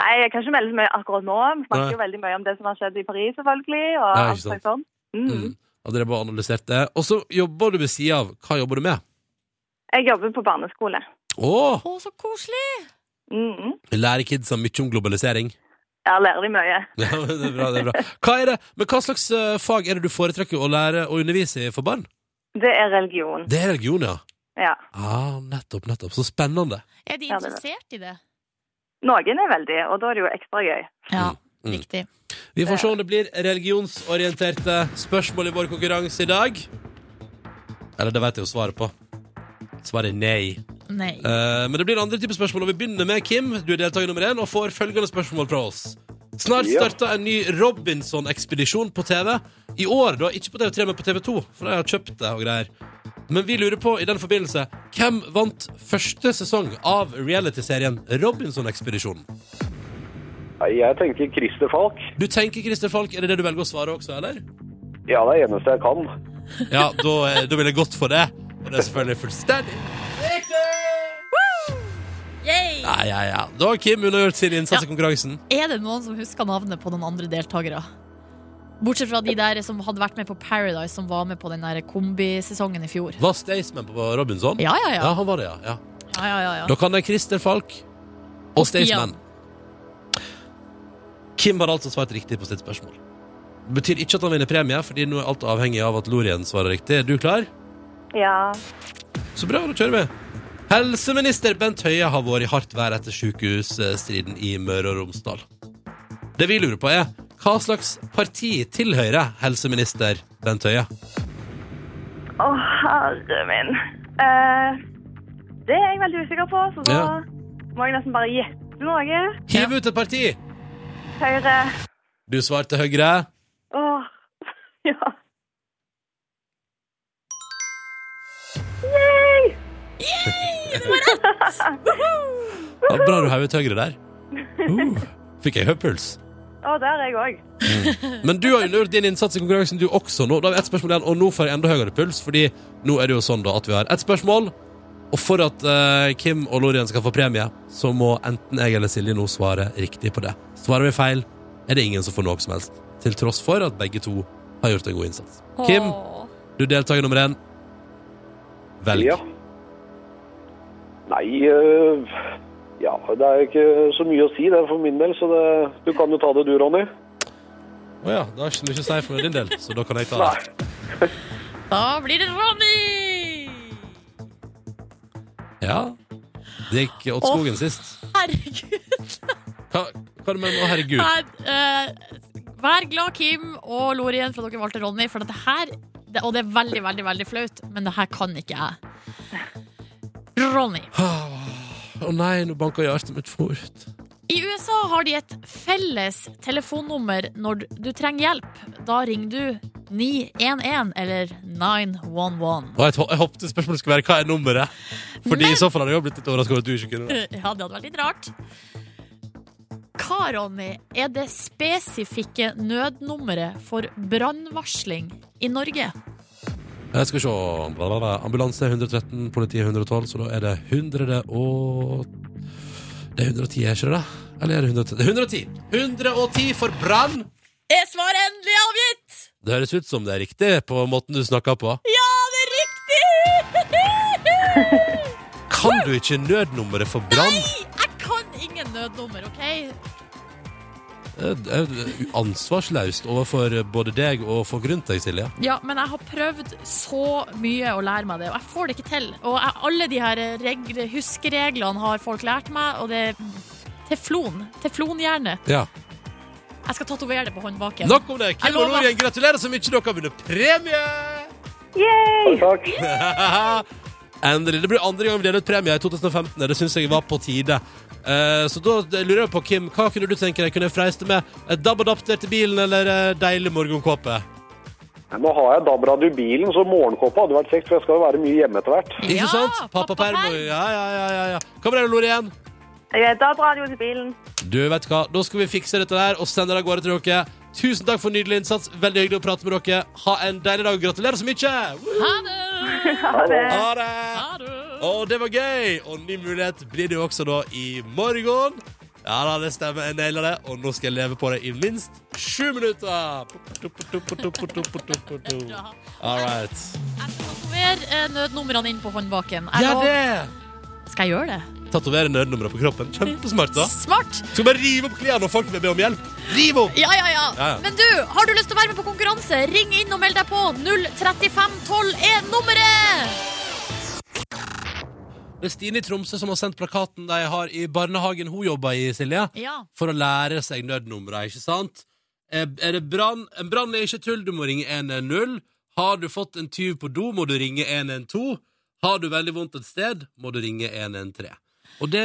G: Nei, jeg kan ikke melde så mye akkurat nå. Vi
A: Nei.
G: snakker jo veldig mye om det som har skjedd i Paris, selvfølgelig. og
A: Ja, ikke
G: alt
A: sant.
G: slags sånn. Mm.
A: Mm. Og dere bare analysert det. Og så jobber du ved sida av. Hva jobber du med?
G: Jeg jobber på barneskole.
A: Å!
B: Å, så koselig!
G: Mm.
A: Lærer kidsa mye om globalisering.
G: Jeg lærer de mye.
A: Ja, men det er bra, det er bra. Hva er det? Men hva slags eh, fag er det du foretrekker å lære å undervise i for barn?
G: Det er religion.
A: Det er religion, ja.
G: Ja.
A: Ah, nettopp, nettopp. Så spennende.
B: Er de
G: Ja, det er det.
B: interessert i det?
G: Noen er veldig, og da er det jo ekstra gøy.
B: Ja,
A: Mm.
B: riktig.
A: Vi får se om det blir religionsorienterte spørsmål i vår konkurranse i dag. Eller det vet jeg jo svaret på. Svaret er nei.
B: Nei.
A: Eh, men det blir andre typer spørsmål, og vi begynner med Kim. Du er deltaker nummer én og får følgende spørsmål fra oss. Snart
F: Ja.
A: starter en ny Robinson-ekspedisjon på TV. I år, da. Ikke på TV3, men på TV2, for de har kjøpt det og greier. Men vi lurer på i den forbindelse hvem vant første sesong av realityserien Robinson-ekspedisjonen?
F: Nei, jeg tenker Christer Falk.
A: Du tenker Christer Falk, er det det du velger å svare også, eller?
F: Ja, det er det eneste jeg kan.
A: Ja, da, eh, da ville jeg gått for det. Og det er selvfølgelig fullstendig.
B: Yay!
A: Ja, ja, ja. Da har Kim unnagjort sin innsats i konkurransen.
B: Er det noen som husker navnet på noen andre deltakere? Bortsett fra de der som hadde vært med på Paradise, som var med på den der kombisesongen i fjor.
A: Var Staysman på Robinson?
B: Ja, ja, ja.
A: han var det, ja. ja.
B: Ja, ja, ja, ja.
A: Da kan det Christer Falk og Staysman. Kim har altså svart riktig på sitt spørsmål. Det betyr ikke at han vinner premie, fordi nå er alt avhengig av at Lorien svarer riktig. Er du klar?
G: Ja.
A: Så bra, da kjører vi. Helseminister Bent Høie har vært i hardt vær etter sykehusstriden i Møre og Romsdal. Det vi lurer på, er hva slags parti tilhører helseminister Bent Høie?
G: Å, herre min. Eh, det er jeg veldig usikker på, så da
A: Ja.
G: må jeg nesten bare gjette noe.
A: Hiv ut et parti!
G: Høyre.
A: Du svarte Høyre.
G: Åh, ja.
A: Ja, bra du heiv ut Høyre der. Uh, fikk jeg høy puls.
G: Å, der er jeg òg.
A: Men du har jo gjort din innsats i konkurransen, du også nå. Da har vi ett spørsmål igjen, og nå får jeg enda høyere puls, fordi nå er det jo sånn da at vi har ett spørsmål. Og for at eh, Kim og Lorien skal få premie, så må enten jeg eller Silje nå svare riktig på det. Svarer vi feil, er det ingen som får noe som helst. Til tross for at begge to har gjort en god innsats. Kim, du er deltaker nummer én. Velg.
F: Ja. Nei, øh, ja, det er jo ikke så mye å si det for min del, så det, du kan jo ta det du, Ronny.
A: Å ja, da har ikke mye å si for din del, så da kan jeg ta
F: Nei.
A: det.
B: Da blir det Ronny!
A: Ja. Det gikk åt
B: Å.
A: skogen sist.
B: Herregud.
A: Hva, hva er det med Å, herregud.
B: Her, eh, vær glad, Kim og Lorien, for at dere valgte Ronny. For at det her, det, og det er veldig, veldig veldig flaut, men det her kan ikke jeg. Ronny.
A: Å nei, nå banka hjertet mitt fort.
B: I USA har de et felles telefonnummer når du trenger hjelp. Da ringer du 911 eller 911.
A: Og jeg, t- jeg håpte spørsmålet skulle være hva er nummeret? Fordi
B: Men-
A: i så fall hadde jeg jo blitt litt overraska over at du ikke kunne det.
B: Ja, det hadde vært litt rart. Hva, Ronny, er det spesifikke nødnummeret for brannvarsling i Norge?
A: Jeg skal se. Bla, bla, bla. Ambulanse 113, politiet 112, så da er det 100 og Det er 110, er ikke det? Eller er det 110? 110 110 for brann!
B: Er svaret endelig avgitt?
A: Det høres ut som det er riktig på måten du snakker på.
B: Ja, det er riktig!
A: Kan du ikke nødnummeret for brann?
B: Jeg kan ingen nødnummer, OK?
A: Det er Eh, ansvarsløst overfor både deg og folk rundt deg, Silje.
B: Ja, men jeg har prøvd så mye å lære meg det, og jeg får det ikke til. Og jeg, alle de her regler, huskereglene har folk lært meg, og det er teflon. Teflonhjerne.
A: Ja.
B: Jeg skal tatovere det på håndbaken.
A: Nok om det.
B: Jeg
A: Kim og
B: lover.
A: Lorien, gratulerer så mye. Dere har vunnet premie!
G: Yay!
F: Takk.
A: Endelig. Det blir andre gang vi deler ut premie i 2015. og Det syns jeg var på tide. Eh, så da lurer jeg på, Kim, hva kunne du tenke deg? Kunne jeg freiste med et DAB-adapter til bilen eller eh, deilig morgenkåpe?
F: Nå har jeg DAB-radio i bilen, så morgenkåpa hadde vært kjekt, for jeg skal jo være mye hjemme etter hvert.
A: Ikke
B: Ja,
A: sant? Pappaperm.
B: pappaperm.
A: og- Ja, ja, ja, ja, ja. Hva med deg, Lorien?
G: Jeg er DAB-radio til bilen.
A: Du vet hva, da skal vi fikse dette der og sende det av gårde til dere. Tusen takk for nydelig innsats. Veldig hyggelig å prate med dere. Ha en deilig dag. og Gratulerer så mye! Woo!
B: Ha det!
G: Ha det.
A: Ha det!
B: Ha det!
A: Og det var gøy! Og ny mulighet blir det jo også da i morgen. Ja da, det stemmer. Jeg naila det. Og nå skal jeg leve på det i minst sju minutter!
B: Bra.
A: All right.
B: Jeg skal tatovere eh, nødnumrene inn på håndbaken. Jeg
A: Ja,
B: lov-
A: det!
B: Skal jeg gjøre det?
A: Tatovere nødnummeret på kroppen. Kjempesmart, da.
B: Smart!
A: Skal bare rive opp klærne når folk vil be om hjelp. Riv opp!
B: Ja, ja, ja.
A: Ja, ja.
B: Men du, har du lyst til å være med på konkurranse? Ring inn og meld deg på. 03512 er nummeret!
A: Det er Stine i Tromsø som har sendt plakaten de har i barnehagen hun jobber i, Silje,
B: Ja.
A: for å lære seg nødnumra, ikke sant? Er er det brann? En brann er ikke tull, du må ringe 110. Har du fått en tyv på do, må du ringe 112. Har du veldig vondt et sted, må du ringe 113. Og det,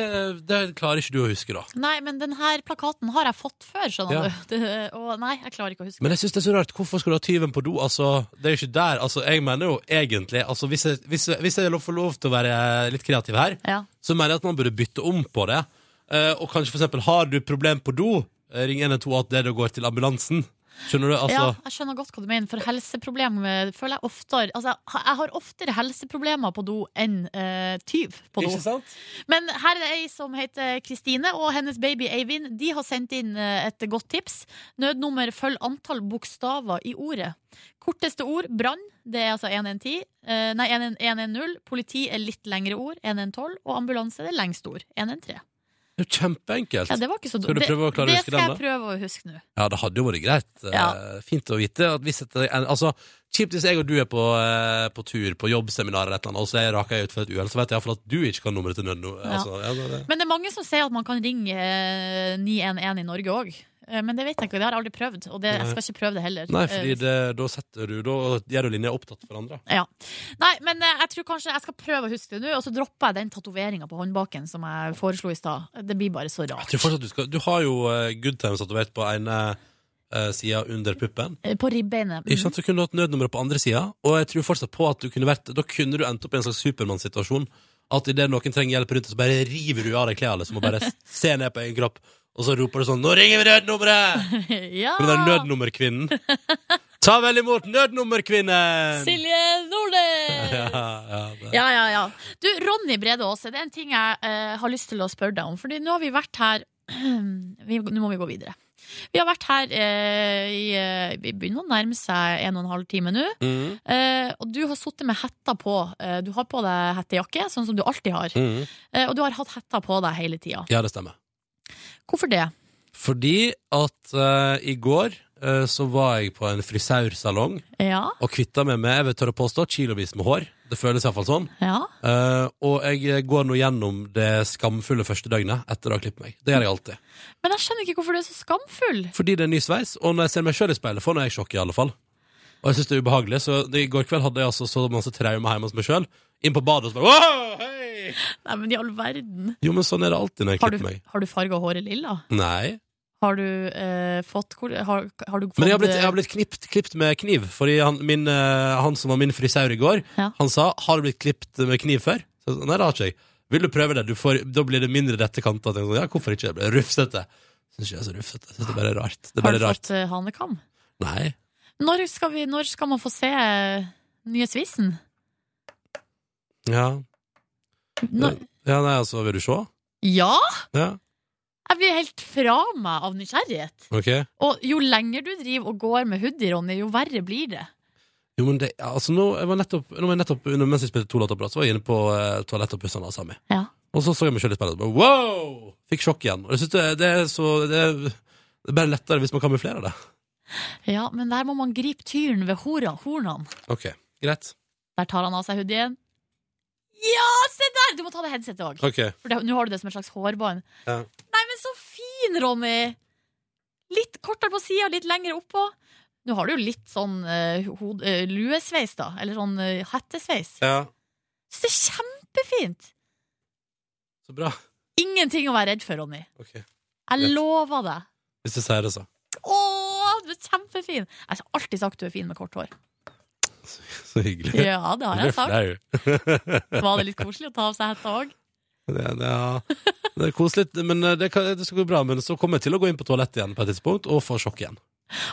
A: det klarer ikke du å huske, da.
B: Nei, men denne plakaten har jeg fått før, skjønner
A: Ja.
B: du. Det, og nei, jeg klarer ikke å huske.
A: Men jeg synes det er så rart. Hvorfor skal du ha tyven på do? Altså, det er jo ikke der. Altså, jeg mener jo egentlig altså, hvis, jeg, hvis, jeg, hvis jeg lov- får lov til å være litt kreativ her,
B: Ja.
A: så mener jeg at man burde bytte om på det. Eh, og kanskje for eksempel, har du problem på do, eh, ring 112 at det da går til ambulansen. Skjønner du? Altså,
B: ja, jeg skjønner godt hva du mener, for helseproblem eh, føler jeg oftere Altså, jeg har- jeg har oftere helseproblemer på do enn eh, tyv på do.
A: Ikke sant?
B: Men her er det ei som heter Kristine, og hennes baby Eivind. De har sendt inn eh, et godt tips. Nødnummer følg antall bokstaver i ordet. Korteste ord brann, det er altså 110. eh, Nei, 110. Politi er litt lengre ord, 112. Og ambulanse er det lengste ord, 113.
A: Det er jo kjempeenkelt.
B: Ja, det var ikke så dumt.
A: Skal du prøve å klare å
B: det,
A: huske
B: det skal
A: den,
B: jeg prøve å huske nå.
A: Ja, det hadde jo vært greit. Eh,
B: Ja.
A: Fint å vite. At hvis et, en, altså, kjipt hvis jeg og du er på, eh, på tur på jobbseminar eller et eller annet, og så er- raker jeg ut for et uhell, så vet jeg iallfall at du ikke kan nummeret til nødno.
B: Ja.
A: Altså, ja, det- det-
B: Men det er mange som sier at man kan ringe eh, 911 i Norge òg. Men det vet jeg ikke, det har jeg aldri prøvd. Og det, jeg skal ikke prøve det heller.
A: Nei,
B: Eh,
A: fordi det, da setter du Da gjør du linja opptatt for hverandre.
B: Ja. Nei, men eh, jeg tror kanskje jeg skal prøve å huske det nå, og så dropper jeg den tatoveringa på håndbaken som jeg foreslo i stad. Det blir bare så
A: Jeg
B: rart.
A: tror fortsatt du skal Du har jo eh, good times tatovert på ene uh, sida under puppen.
B: Eh, På ribbeinet.
A: Ikke sant, så kunne du hatt nødnummeret på andre sida, og jeg tror fortsatt på at du kunne vært Da kunne du endt opp i en slags Supermann-situasjon. At idet noen trenger hjelp rundt, så bare river du av deg klærne liksom, og bare ser ned på egen kropp, og så roper du sånn 'Nå ringer vi nødnummeret!'
B: Ja!
A: For det er nødnummerkvinnen. Ta vel imot nødnummerkvinnen!
B: Silje Nordnes!
A: Ja, ja, det.
B: Ja, ja, ja. Du, Ronny Brede Aase, det er en ting jeg eh, har lyst til å spørre deg om. Fordi nå har vi vært her vi, Nå må vi gå videre. Vi har vært her eh, i eh, Vi begynner å nærme seg en og en halv time nå.
A: Mm,
B: Eh, og du har sittet med hetta på. Eh, du har på deg hettejakke, sånn som du alltid har.
A: mm.
B: Eh, og du har hatt hetta på deg hele tida.
A: ja, det stemmer.
B: Hvorfor det?
A: Fordi at eh, i går eh, så var jeg på en frisørsalong
B: Ja,
A: og kvitta meg med jeg vil tørre å påstå, kilovis med hår. Det føles iallfall sånn.
B: ja.
A: Eh, og jeg går nå gjennom det skamfulle første døgnet etter å ha klippet meg. Det gjør jeg alltid.
B: Men jeg skjønner ikke hvorfor du er så skamfull.
A: Fordi det er ny sveis, og når jeg ser meg sjøl i speilet, får jeg sjokk i alle fall. Og jeg syns det er ubehagelig, så i går kveld hadde jeg altså så masse traumer hjemme hos meg sjøl. Inn på badet og så bare «Wow, hei!»
B: Nei, men i all verden.
A: Jo, men sånn er det alltid når jeg
B: Har du,
A: klipper meg.
B: har du farga håret lilla?
A: Nei.
B: Har du eh, fått hvor- har, har du fått
A: Men jeg har blitt, jeg har blitt knipt, klipt med kniv, fordi han, min, eh, han som var min frisør i går,
B: Ja.
A: han sa 'Har du blitt klipt med kniv før?' Så, jeg sa, Nei, det har ikke jeg. Vil du prøve det? Du får, da blir det mindre rette kanter. Jeg tenkte, Ja, hvorfor ikke? Det blir rufsete. Syns ikke jeg er så rufsete. Synes det er bare rart. Det er
B: har
A: bare
B: du
A: rart.
B: fått eh, hanekam?
A: Nei.
B: Når skal, vi, når skal man få se eh, nye svisen?
A: Ja.
B: Når,
A: ja, nei, altså, vil du se?
B: ja!
A: Ja,
B: Jeg blir helt fra meg av nysgjerrighet.
A: ok.
B: Og jo lenger du driver og går med hoodie, Ronny, jo verre blir det.
A: Jo, men det, ja, altså, nå, jeg var nettopp, nå var jeg nettopp, under- mens jeg spilte to låter på rad, så var jeg inne på eh, toalettet og pussa nesa mi.
B: Ja.
A: Og så så jeg meg sjøl i speilet og bare wow! Fikk sjokk igjen. Og jeg synes det, det er så det er, det er bare lettere hvis man kamuflerer det.
B: Ja, men der må man gripe tyren ved hora- hornene.
A: Ok, greit.
B: Der tar han av seg hoodien. Ja, se der! Du må ta av deg headsetet òg.
A: Ok.
B: For det- nå har du det som et slags hårbånd.
A: Ja.
B: Nei, men så fin, Ronny! Litt kortere på sida, litt lengre oppå. Nå har du jo litt sånn eh, hod, eh, luesveis, da. Eller sånn eh, hettesveis.
A: Ja,
B: Så det er kjempefint!
A: så bra.
B: Ingenting å være redd for, Ronny.
A: Ok.
B: Jeg
A: Greit.
B: lover deg.
A: Hvis jeg sier det, så.
B: Å, du er kjempefin! Jeg har alltid sagt du er fin med kort hår.
A: Så hyggelig.
B: Ja, det har
A: Jeg blir
B: jeg sagt.
A: flau.
B: Var det litt koselig å ta av seg hetta òg?
A: Det, det, ja. det er koselig, men eh, det, kan, det skal gå bra. Men så kommer jeg til å gå inn på toalettet igjen på et tidspunkt og få sjokk igjen.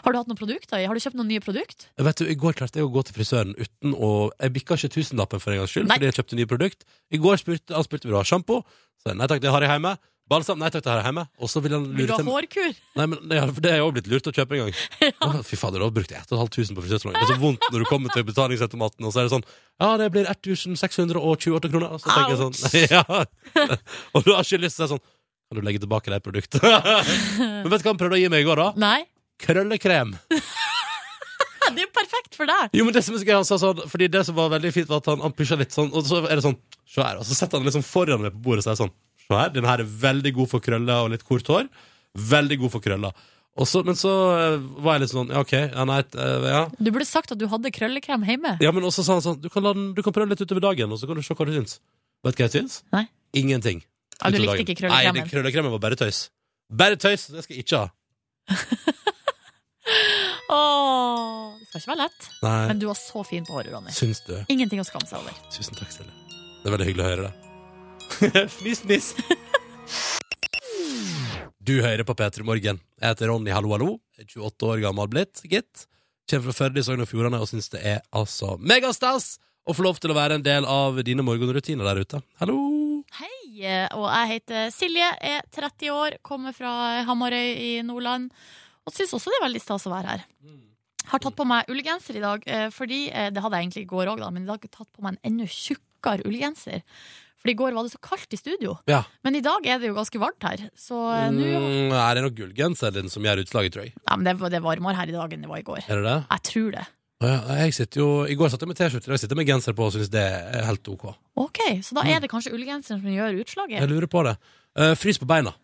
B: Har du hatt noen produkter? i? Har du kjøpt noen nye produkt?
A: Vet du, I går klarte jeg å gå til frisøren uten å Jeg bikka ikke tusenlappen for en gangs skyld,
B: Nei.
A: fordi jeg kjøpte nye produkt. I går spurte han spurte vil du ha sjampo. Så jeg, nei takk, det har jeg hjemme. Balsam, nei takk, det har jeg hjemme. Og så ville han
B: Vil du
A: lure
B: ha
A: til
B: hårkur?
A: Nei, men det, for det er jo også blitt lurt å kjøpe en gang. Å, Fy fader, da brukte jeg 1500 på frisørsalongen. Det er så vondt når du kommer til betalingsautomaten, og så er det sånn Ja, det blir 1628 kroner. Og så tenker jeg sånn ja. Og du har ikke lyst til å si sånn Kan du legge tilbake det produktet? men vet du hva han prøvde å gi meg i går, da?
B: Nei.
A: Krøllekrem.
B: Ja, Det er jo perfekt for deg!
A: Jo, men det som er så gøy, han sa sånn Fordi det som var veldig fint, var at han, han pusha litt sånn, og så er det sånn Se her. Og så setter han liksom foran meg på bordet og sier sånn Se her, den her er veldig god for krøller og litt kort hår. Veldig god for krøller. Og så, men så eh, var jeg litt sånn Ja, OK. Ja, nei, eh, ja.
B: Du burde sagt at du hadde krøllekrem hjemme.
A: ja men også sa han sånn du kan, la den, du kan prøve litt utover dagen, og så kan du se hva du syns. Vet du hva jeg syns?
B: Nei.
A: Ingenting.
B: Ja, du
A: Utover
B: likte
A: dagen.
B: ikke
A: Nei, det
B: krøllekremen.
A: krøllekremen var bare tøys. Bare tøys! Det skal jeg ikke ha.
B: Åh, det skal ikke være lett.
A: Nei.
B: Men du var så fin på håret, Ronny.
A: Syns du?
B: Ingenting å skamme seg over.
A: Tusen takk, Silje. Det er veldig hyggelig å høre det. fnis, fnis. Du hører på P3 Morgen. Jeg heter Ronny Hallo Hallo. er 28 år gammel blitt, gitt. Kommer fra Førde i Sogn og Fjordane og syns det er altså megastas å få lov til å være en del av dine morgenrutiner der ute. Hallo!
B: Hei, og jeg heter Silje, er 30 år, kommer fra Hamarøy i Nordland. Og syns også det er veldig stas å være her.
A: Mm.
B: Har tatt på meg ullgenser i dag, eh, fordi eh, det hadde jeg egentlig i går òg, men i dag har jeg tatt på meg en enda tjukkere ullgenser. For i går var det så kaldt i studio.
A: Ja.
B: Men i dag er det jo ganske varmt her, så eh, nå
A: Mm, er det nok gullgenseren din som gjør utslaget, tror jeg.
B: Nei, men det, var- det er varmere her i dag enn det var i går.
A: Er det det?
B: Jeg tror det.
A: Å ja, Jeg sitter jo, I går satt jeg med T-skjorte, i dag sitter jeg med genser på og syns det er helt OK.
B: Ok, Så
A: Mm.
B: da er det kanskje ullgenseren som gjør utslaget?
A: Jeg lurer på det. Eh, frys på beina.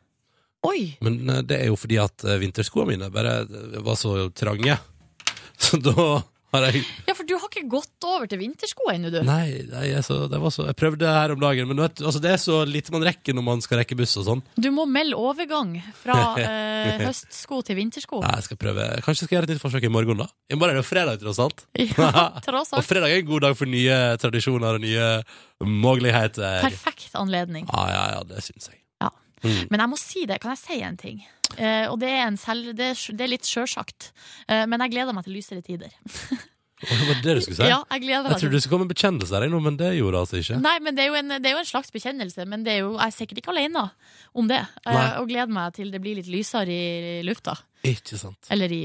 B: Oi!
A: Men eh, det er jo fordi at eh, vinterskoene mine bare eh, var så trange. Så da har jeg
B: Ja, for du har ikke gått over til vintersko ennå, du.
A: Nei, nei jeg, så, det var så, jeg prøvde det her om dagen, men du vet, altså, det er så lite man rekker når man skal rekke buss og sånn.
B: Du må melde overgang fra eh, høstsko til vintersko.
A: Nei, jeg skal prøve. Kanskje jeg skal gjøre et nytt forsøk i morgen, da. I morgen er det jo fredag, tross alt.
B: Ja, tross
A: Og
B: alt.
A: fredag er en god dag for nye tradisjoner og nye muligheter.
B: Perfekt anledning.
A: Ja, Mm. ja, ja, det syns jeg.
B: Men jeg må si det. Kan jeg si en ting? Eh, og det er, en selv, det, er, det er litt sjølsagt. Eh, men jeg gleder meg til lysere tider.
A: Å, det var det du skulle si?
B: Ja, jeg
A: jeg
B: gleder meg til
A: trodde du skulle komme med bekjennelser, jeg, nå, men det gjorde altså ikke.
B: Nei, men det er, jo en, det er jo en slags bekjennelse, men det er jo, jeg er sikkert ikke alene om det. Eh,
A: Nei.
B: og gleder meg til det blir litt lysere i lufta.
A: Ikke sant.
B: Eller i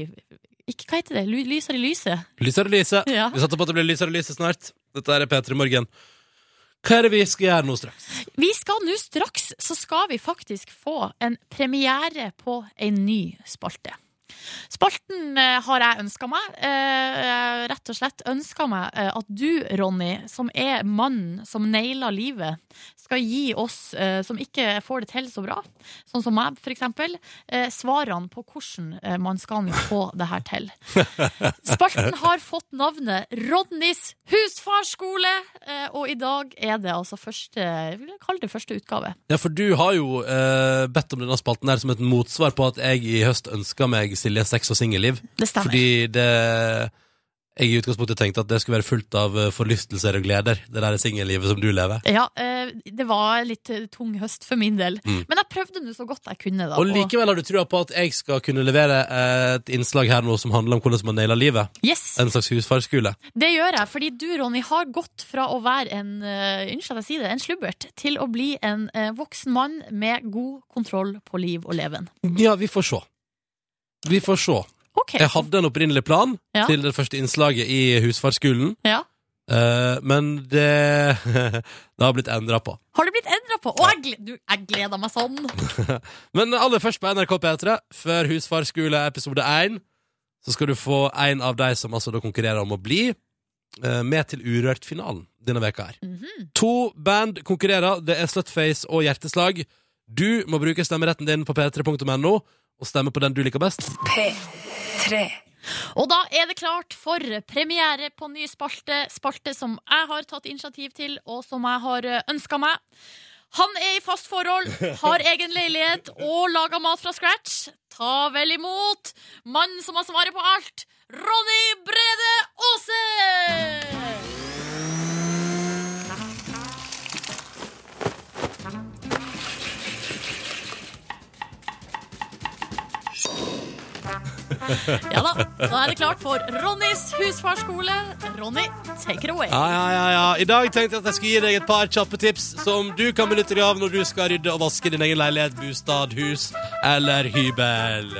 B: ikke, Hva heter det? Ly- Lysere i lyset.
A: Lysere lyset.
B: Ja.
A: Vi satser på at det blir lysere lyset snart. Dette er P3 Morgen. Hva er det vi skal gjøre nå straks?
B: Vi skal nå straks, så skal vi faktisk få en premiere på ei ny spalte. Spalten eh, har jeg ønska meg. Eh, rett og slett ønska meg eh, at du, Ronny, som er mannen som nailer livet, skal gi oss eh, som ikke får det til så bra, sånn som meg f.eks., eh, svarene på hvordan eh, man skal få det her til. Spalten har fått navnet Ronnys husfarskole, eh, og i dag er det altså første, jeg vil kalle det første utgave.
A: Ja, for du har jo eh, bedt om denne spalten her som et motsvar på at jeg i høst ønska meg Silje sex og singelliv.
B: Det stemmer.
A: Fordi det Jeg i utgangspunktet tenkte at det skulle være fullt av eh, forlystelser og gleder, det der singellivet som du lever.
B: Ja, eh, det var litt eh, tung høst for min del. Men jeg prøvde nå så godt jeg kunne, da.
A: Mm. Og likevel har du trua på at jeg skal kunne levere eh, et innslag her nå som handler om hvordan man nailer livet.
B: yes,
A: En slags husfarskule.
B: det gjør jeg, fordi du, Ronny, har gått fra å være en eh, unnskyld at jeg sier det, en slubbert, til å bli en eh, voksen mann med god kontroll på liv og leven.
A: Ja, vi får se. Vi får se.
B: Ok.
A: Jeg hadde en opprinnelig plan
B: Ja.
A: til det første innslaget i husfarskolen,
B: Ja.
A: eh, men det Det har blitt endra på.
B: Har det blitt endra på? Å, jeg, gle- du, jeg gleder meg sånn!
A: Men aller først på NRK P3, før Husfarskole episode 1, så skal du få en av de som altså da konkurrerer om å bli eh, med til Urørt-finalen denne veka her. To band konkurrerer. Det er Slutface og Hjerteslag. Du må bruke stemmeretten din på p3.no og stemme på den du liker best.
B: Og da er det klart for premiere på ny spalte, spalte som jeg har tatt initiativ til, og som jeg har ønska meg. Han er i fast forhold, har egen leilighet og lager mat fra scratch. Ta vel imot mannen som har svaret på alt, Ronny Brede Aase! Ja da, da er det klart for Ronnys husfarskole. Ronny, take it away.
A: Ja, ja, ja, ja. I dag tenkte jeg at jeg skulle gi deg et par kjappe tips som du kan benytte deg av når du skal rydde og vaske din egen leilighet, bostad, hus eller hybel.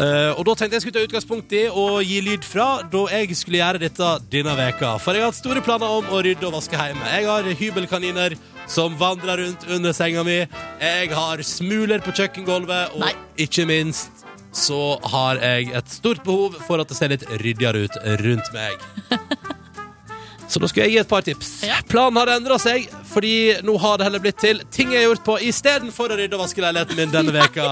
A: Eh, og da tenkte jeg skulle ta utgangspunkt i å gi lyd fra da jeg skulle gjøre dette denne veka. For jeg har hatt store planer om å rydde og vaske hjemme. Jeg har hybelkaniner som vandrer rundt under senga mi. Jeg har smuler på kjøkkengulvet, og
B: Nei.
A: ikke minst så har jeg et stort behov for at det ser litt ryddigere ut rundt meg. Så da skal jeg gi et par tips.
B: Ja.
A: Planen har endra seg, fordi nå har det heller blitt til ting jeg har gjort på istedenfor å rydde og vaske leiligheten min denne veka.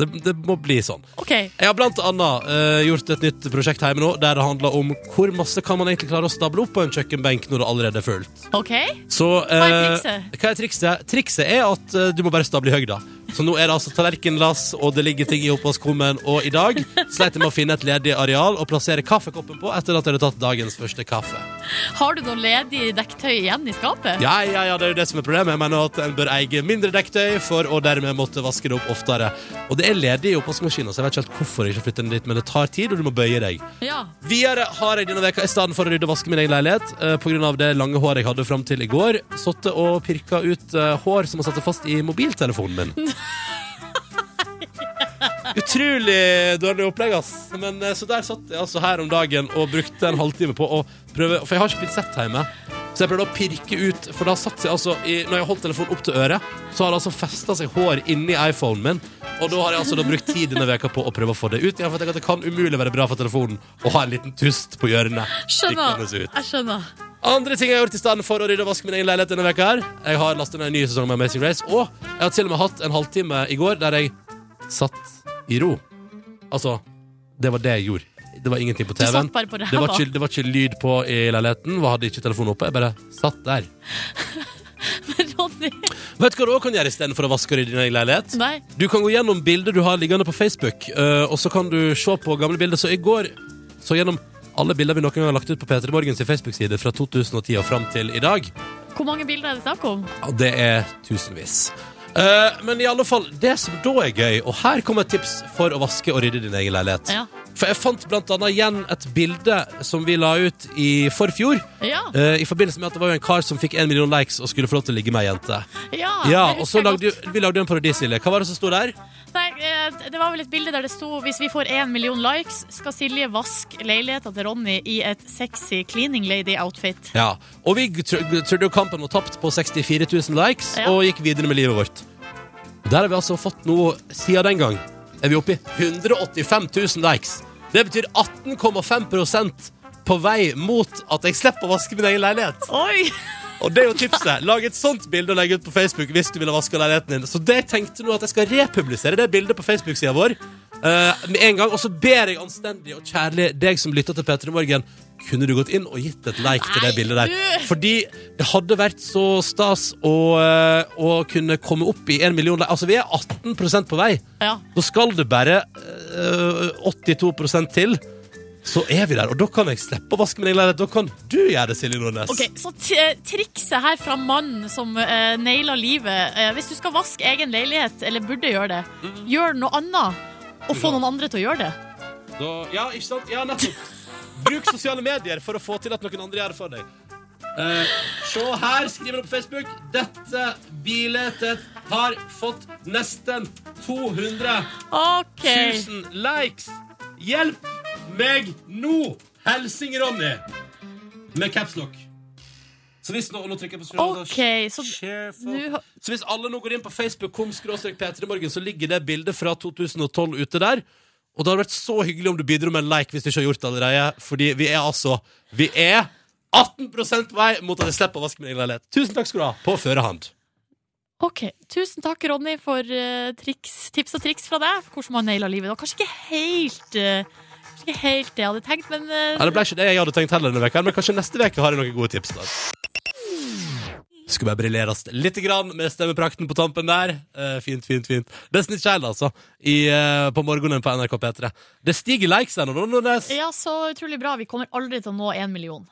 A: Det, det må bli sånn.
B: Ok,
A: Jeg har blant annet eh, gjort et nytt prosjekt hjemme nå, der det handler om hvor masse kan man egentlig klare å stable opp på en kjøkkenbenk når det allerede er fullt.
B: ok.
A: Så,
B: Hva er
A: eh,
B: trikset?
A: hva er trikset? Trikset er at eh, du må bare stable i høyda. Så nå er det altså tallerkenlass, og det ligger ting i oppvaskkummen, og i dag sleit jeg med å finne et ledig areal å plassere kaffekoppen på etter at jeg hadde tatt dagens første kaffe.
B: Har du noe ledig dekktøy igjen i skapet?
A: Ja, ja, ja, det er jo det som er problemet. Jeg mener at en bør eie mindre dekktøy for å dermed måtte vaske det opp oftere. Og det er ledig i oppvaskmaskinen, så jeg vet ikke helt hvorfor jeg ikke flytter den dit, men det tar tid, og du må bøye deg.
B: Ja.
A: Videre har jeg denne veka i stedet for å rydde og vaske min egen leilighet, eh, på grunn av det lange håret jeg hadde fram til i går, satt og pirka ut eh, hår som har satt seg fast i mobiltelefonen min. Utrolig dårlig opplegg, ass. Men, eh, så der satt jeg altså her om dagen og brukte en halvtime på å prøve For jeg har ikke pinsett hjemme. Så jeg prøvde å pirke ut, for da satt seg altså i, Når jeg holdt telefonen opp til øret, så har det altså festa seg hår inni iPhonen min. Og da har jeg altså da brukt tid denne veka på å prøve å få det ut. Jeg har fått tenkt at det kan umulig være bra for telefonen å ha en liten tust på hjørnet.
B: Skjønner.
A: stikkende ut.
B: Jeg skjønner.
A: Andre ting jeg har gjort i stedet for å rydde og vaske min egen leilighet denne veka her Jeg har lastet ned en ny sesong med Amazing Race, og jeg har til og med hatt en halvtime i går der jeg satt i ro. Altså, det var det jeg gjorde. Det var ingenting på
B: Du
A: TV-en.
B: satt bare på
A: Det var,
B: ræva.
A: ikke, det var ikke lyd på i leiligheten. og Hadde ikke telefonen oppe. Jeg bare satt der.
B: Ronny.
A: Vet du hva du også kan gjøre istedenfor å vaske og rydde din egen leilighet?
B: Nei.
A: Du kan gå gjennom bilder du har liggende på Facebook, eh, og så kan du se på gamle bilder. Så i går så gjennom alle bilder vi noen gang har lagt ut på P3 Morgens Facebook-side fra 2010 og fram til i dag.
B: Hvor mange bilder er det snakk om?
A: Ja, det er tusenvis. Eh, men i alle fall, det som da er gøy, og her kommer et tips for å vaske og rydde din egen leilighet.
B: Ja.
A: For jeg fant blant annet igjen et bilde som vi la ut i forfjor.
B: Ja,
A: eh, I forbindelse med at det var jo en kar som fikk en million likes og skulle få lov til å ligge med ei jente.
B: ja,
A: Ja,
B: Ah, det
A: og
B: husker
A: så
B: jeg
A: lagde
B: godt.
A: jo- vi lagde jo en parodi, Silje. Hva var det som sto der?
B: Nei, eh, Det var vel et bilde der det sto hvis vi får én million likes, skal Silje vaske leiligheta til Ronny i et sexy cleaning lady-outfit.
A: Ja, Og vi tro- trodde jo kampen var tapt på 64 000 likes,
B: Ja.
A: og gikk videre med livet vårt. Der har vi altså fått noe siden den gang. er vi oppe i 185 000 likes. Det betyr 18,5 på vei mot at jeg slipper å vaske min egen leilighet.
B: Oi!
A: Og det er jo tipset. Lag et sånt bilde og legg ut på Facebook hvis du vil ha vaska leiligheten din. Så det jeg tenkte nå at jeg skal republisere det bildet på Facebook-sida vår eh, med en gang. Og så ber jeg anstendig og kjærlig deg som lytter til P3 Morgen, kunne du gått inn og gitt et like til det
B: Nei,
A: bildet der?
B: du!
A: Fordi det hadde vært så stas å, eh, å kunne komme opp i en million like. Altså, vi er 18 på vei.
B: Ja.
A: Da skal det bare eh, 82 til. Så er vi der, og da kan jeg slippe å vaske min egen leilighet. Da kan du gjøre det, Silje Nordnes.
B: Ok, Så t eh, trikset her fra mannen som uh, naila livet eh, Hvis du skal vaske egen leilighet, eller burde gjøre det,
A: Mm.
B: gjør noe annet. Og få noen andre til å gjøre det.
A: Da, ja, ikke sant? Ja, nettopp. Bruk sosiale medier for å få til at noen andre gjør det for deg. Eh, se her, skriver han på Facebook. Dette biletet har fått nesten 200
B: OK.
A: 000 likes. Hjelp meg nå! Helsing Ronny. Med capslock. Så hvis nå, og nå trykker jeg på scrollen, da.
B: Ok, så
A: Share for-
B: nå har-
A: så hvis alle nå går inn på Facebook.com P3morgen, så ligger det bildet fra 2012 ute der. Og det hadde vært så hyggelig om du bidro med en like hvis du ikke har gjort det allerede. Fordi vi er altså Vi er 18 på vei mot at jeg slipper å vaske min egen leilighet. Tusen takk skal du ha. På førehånd.
B: Ok, Tusen takk, Ronny, for eh, triks, tips og triks fra deg. For hvordan man naila livet. Det var kanskje ikke helt eh, Kanskje ikke helt det jeg hadde tenkt, men eh,
A: Nei, det ble ikke det jeg hadde tenkt heller denne veka, men kanskje neste veke har jeg noen gode tips. da. Skulle bare briljeres litt grann med stemmeprakten på tampen der. Eh, fint, fint, fint. Destiny's Child, altså, i, eh, på morgenen på NRK P3. Det stiger likes ennå, nå, Nordnes.
B: ja, så utrolig bra. Vi kommer aldri til å nå én million.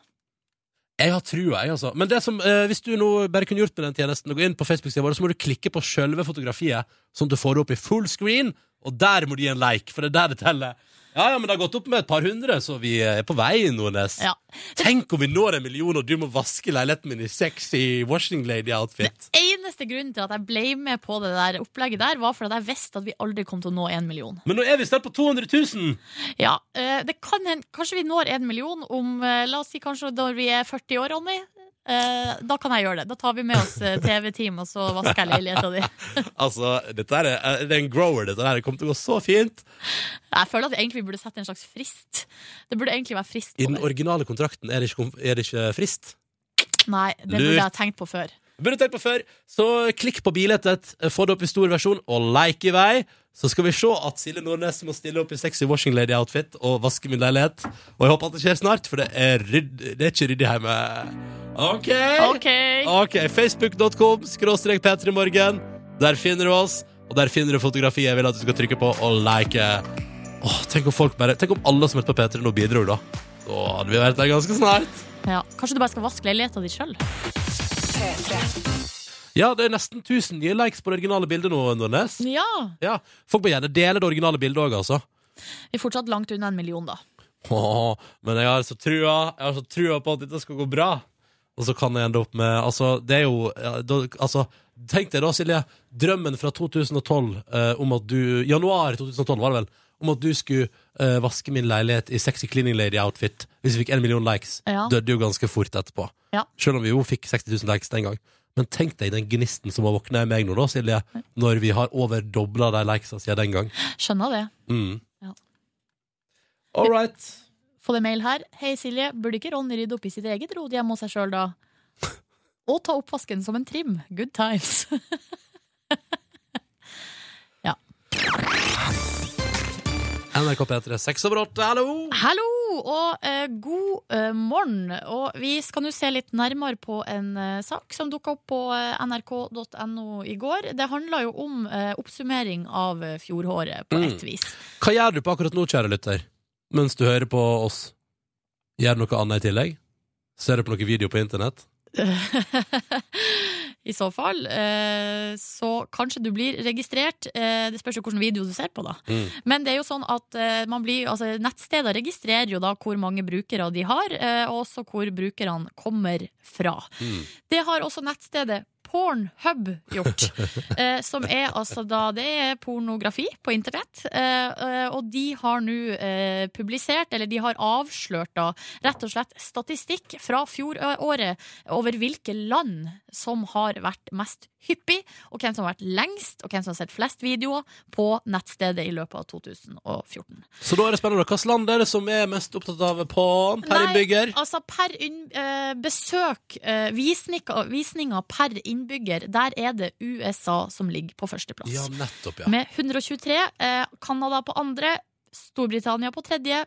A: Jeg har trua, jeg, altså. Men det som, eh, hvis du nå bare kunne gjort med den tjenesten, og gå inn på Facebook-sida vår, så må du klikke på sjølve fotografiet, sånn at du får det opp i full screen, og der må du gi en like, for det er der det teller. Ja, ja, men det har gått opp med et par hundre, så vi eh, er på vei, Nordnes.
B: Ja.
A: Tenk om vi når en million, og du må vaske leiligheten min i sexy washing lady-outfit.
B: Eneste grunnen til at jeg ble med på det der opplegget der, var fordi at jeg visste at vi aldri kom til å nå én million.
A: Men nå er vi snart på 200 000!
B: Ja, eh, det kan hende Kanskje vi når en million om eh, La oss si kanskje når vi er 40 år, Ronny. Eh, da kan jeg gjøre det. Da tar vi med oss eh, TV-team, og så vasker jeg leiligheta di.
A: Altså, dette her er, det er en grower, dette her. Det kommer til å gå så fint.
B: Jeg føler at vi egentlig burde sette en slags frist. Det burde egentlig være frist.
A: I
B: På
A: den
B: det.
A: originale kontrakten er det ikke, konf- er det ikke frist.
B: Nei, det
A: Lurt.
B: burde jeg ha tenkt på før.
A: Burde tenkt på før, så klikk på bilettet, få det opp i stor versjon, og like i vei. Så skal vi se at Silje Nordnes må stille opp i sexy washing lady-outfit og vaske min leilighet. Og jeg håper at det skjer snart, for det er, rydd, det er ikke ryddig hjemme. OK!
B: OK!
A: Ok, Facebook.com skråstrek P3morgen. Der finner du oss, og der finner du fotografiet jeg vil at du skal trykke på og like. Åh, tenk om folk bare Tenk om alle som hørte på P3 nå bidro, da. Da hadde vi vært der ganske snart.
B: Ja, kanskje du bare skal vaske leiligheta di sjøl?
A: Ja, det er nesten 1000 nye likes på det originale bildet nå, Nordnes.
B: Ja!
A: Ja, Folk må gjerne dele det originale bildet òg, altså.
B: Vi er fortsatt langt unna en million, da.
A: Åh, men jeg har så trua Jeg har så trua på at dette skal gå bra. Og så kan jeg ende opp med Altså, det er jo ja, da, altså, Tenk deg da, Silje, drømmen fra 2012 eh, om at du Januar 2012, var det vel? Om at du skulle eh, vaske min leilighet i sexy cleaning lady-outfit hvis vi fikk en million likes.
B: Ja.
A: Døde jo ganske fort etterpå.
B: Ja.
A: Selv om vi jo fikk 60 000 likes den gang. Men tenk deg den gnisten som har våkna i meg nå, da, Silje, når vi har overdobla de likesa siden den gang.
B: Skjønner det.
A: Mm.
B: Ja.
A: All right.
B: Få det mail her. Hei, Silje. Burde ikke Ronny rydde opp i sitt eget rot hjemme hos seg sjøl, da? Og ta oppvasken som en trim. Good times.
A: NRK P3, seks over åtte, hallo!
B: Hallo og eh, god eh, morgen. Og vi skal nå se litt nærmere på en eh, sak som dukka opp på eh, nrk.no i går. Det handla jo om eh, oppsummering av eh, fjoråret, på
A: Mm.
B: et vis.
A: Hva gjør du på akkurat nå, kjære lytter? Mens du hører på oss, gjør du noe annet i tillegg? Ser du på noen video på internett?
B: I så fall eh, så kanskje du blir registrert. Eh, det spørs jo hvilken video du ser på, da.
A: Mm.
B: Men det er jo sånn at eh, man blir, altså, nettsteder registrerer jo da hvor mange brukere de har, eh, og også hvor brukerne kommer fra.
A: Mm.
B: Det har også nettstedet Pornhub gjort, eh, som er altså da Det er pornografi på internett, eh, eh, og de har nå eh, publisert, eller de har avslørt da, rett og slett statistikk fra fjoråret over hvilke land som har vært mest hyppig, og hvem som har vært lengst, og hvem som har sett flest videoer på nettstedet i løpet av 2014.
A: Så da er det spennende. Hvilket land er det som er mest opptatt av porn per
B: Nei,
A: innbygger?
B: Altså per inn, eh, besøk, eh, visninger, visninger per innbygger, der er det USA som ligger på førsteplass.
A: Ja, nettopp, ja.
B: Med 123. Eh, Canada på andre, Storbritannia på tredje,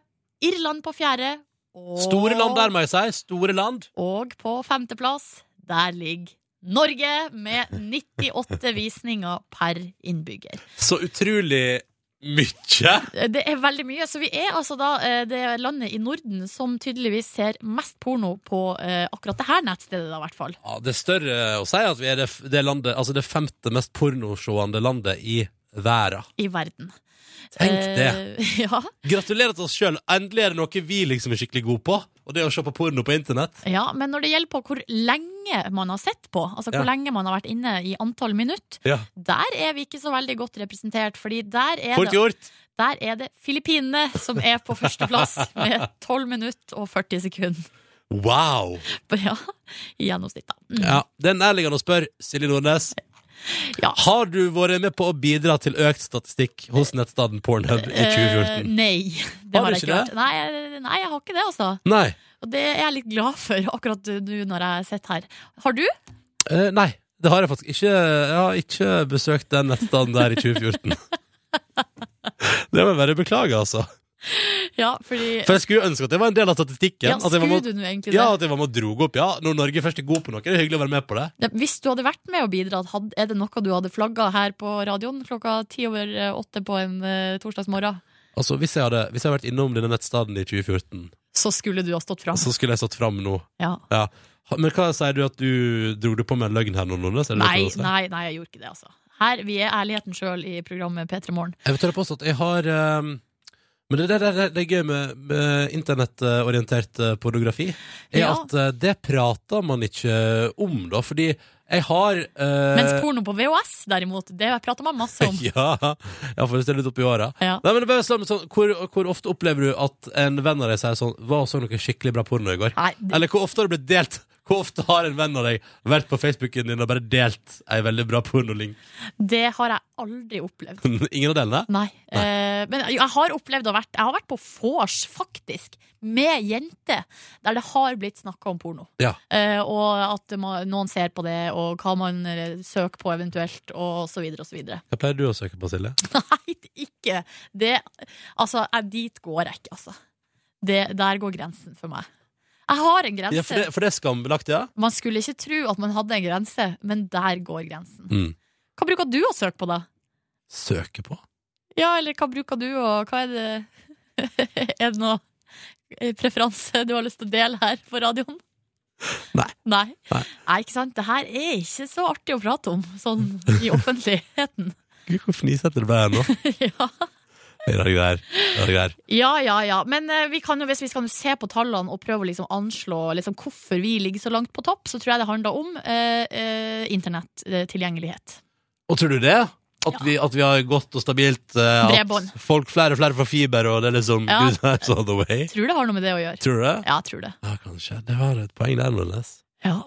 B: Irland på fjerde. Og,
A: Store land der, må jeg si. Store land.
B: Og på femteplass, der ligger Norge med 98 visninger per innbygger.
A: Så utrolig mye.
B: Eh, Det er veldig mye. Så vi er altså da eh, det landet i Norden som tydeligvis ser mest porno på eh, akkurat det her nettstedet, da, i hvert fall.
A: Ja, det er større å si at vi er det, det landet, altså det femte mest pornoseende landet i verden.
B: I verden.
A: Tenk det.
B: Eh, ja.
A: Gratulerer til oss sjøl. Endelig er det noe vi liksom er skikkelig gode på, og det er å se på porno på internett.
B: Ja, men når det gjelder på hvor lenge man har sett på, altså hvor
A: Ja.
B: lenge man har vært inne i antall minutt,
A: Ja.
B: der er vi ikke så veldig godt representert, fordi der er,
A: Fort
B: det,
A: gjort.
B: der er det Filippinene som er på førsteplass med 12 minutter og 40 sekunder.
A: Wow.
B: Ja, i gjennomsnitt, da. Mm.
A: Ja, Det er nærliggende å spørre, Silje Nordnes.
B: Ja.
A: Har du vært med på å bidra til økt statistikk hos nettstedet Pornhub i
B: Eh,
A: 2014?
B: nei, det
A: Har du
B: har jeg ikke
A: ikke det?
B: gjort. Nei, jeg- nei, jeg har ikke det, altså.
A: Nei.
B: Og det er jeg litt glad for akkurat nå når jeg sitter her. Har du?
A: Eh, nei. Det har jeg faktisk ikke. Jeg har ikke besøkt den nettstedet der i 2014. det må jeg bare beklage, altså.
B: Ja, fordi
A: For jeg skulle ønske at det var en del av statistikken.
B: ja,
A: at jeg var
B: Skulle
A: med,
B: du nå egentlig det?
A: ja, at jeg var med og drog opp. Ja, når Norge først er god på noe, er det hyggelig å være med på det.
B: Ja, Hvis du hadde vært med og bidratt, had- er det noe du hadde flagga her på radioen klokka ti over eh, åtte på en uh, torsdagsmorgen?
A: Altså, Hvis jeg hadde, hvis jeg hadde vært innom denne nettstedet i 2014,
B: Så skulle du ha stått fram.
A: så skulle jeg satt fram nå.
B: Ja.
A: Ja. Ha- Men hva sier du at du dro det på med en løgn her nå, Nordnes? Er det
B: Nei,
A: det du sier?
B: nei, nei, jeg gjorde ikke det, altså. Her, Vi er ærligheten sjøl i programmet P3 Morgen.
A: Jeg vil tørre påstå at jeg har ehm, Men det, det, det, det er gøy med, med internettorientert eh, pornografi. Er
B: Ja.
A: at eh, det prater man ikke om, da. Fordi jeg har eh,
B: Mens porno på VHS, derimot, det prater man masse om.
A: Ja, ja for det står litt opp i åra.
B: Ja.
A: Nei, men det er bare sånn, sånn, hvor, hvor ofte opplever du at en venn av deg sier sånn Hva så noe skikkelig bra porno i går?
B: Nei, det,
A: Eller hvor ofte har det blitt delt? Hvor ofte har en venn av deg vært på Facebooken din og bare delt ei veldig bra pornolink?
B: det har jeg aldri opplevd.
A: Ingen av delene?
B: Nei. Eh, men jeg har opplevd å vært Jeg har vært på vors, faktisk, med jenter, der det har blitt snakka om porno.
A: Ja.
B: Eh, og at det må- noen ser på det, og hva man eh, søker på eventuelt, og så videre og så videre.
A: Hva pleier du å søke på, Silje?
B: Nei, ikke det Altså, jeg, dit går jeg ikke, altså. Det, der går grensen for meg. Jeg har en grense.
A: Ja, for, det, for det er skambelagt, ja?
B: Man skulle ikke tro at man hadde en grense, men der går grensen.
A: Mm.
B: Hva bruker du å søke på, da?
A: Søke på?
B: Ja, eller hva bruker du, og hva er det Er det noe eh, preferanse du har lyst til å dele her på radioen?
A: Nei.
B: Nei,
A: Nei.
B: Nei, ikke sant? Det her er ikke så artig å prate om, sånn i offentligheten.
A: Gud, hvor fnisete det ble her nå.
B: ja.
A: Rare greier. Rare greier.
B: ja, ja, ja. Men eh, vi kan jo, hvis vi skal nå se på tallene og prøve å liksom anslå liksom, hvorfor vi ligger så langt på topp, så tror jeg det handler om eh, eh, internettilgjengelighet.
A: Og tror du det? At, vi, at vi har godt og stabilt eh,
B: Bredbånd.
A: At folk, flere og flere får fiber, og det er liksom
B: Ja.
A: Gud, that's all the way?
B: Tror det har noe med det å gjøre.
A: Tror du det?
B: Ja, jeg tror det.
A: Ja, kanskje. Det var et poeng der, Nordnes.
B: Ja.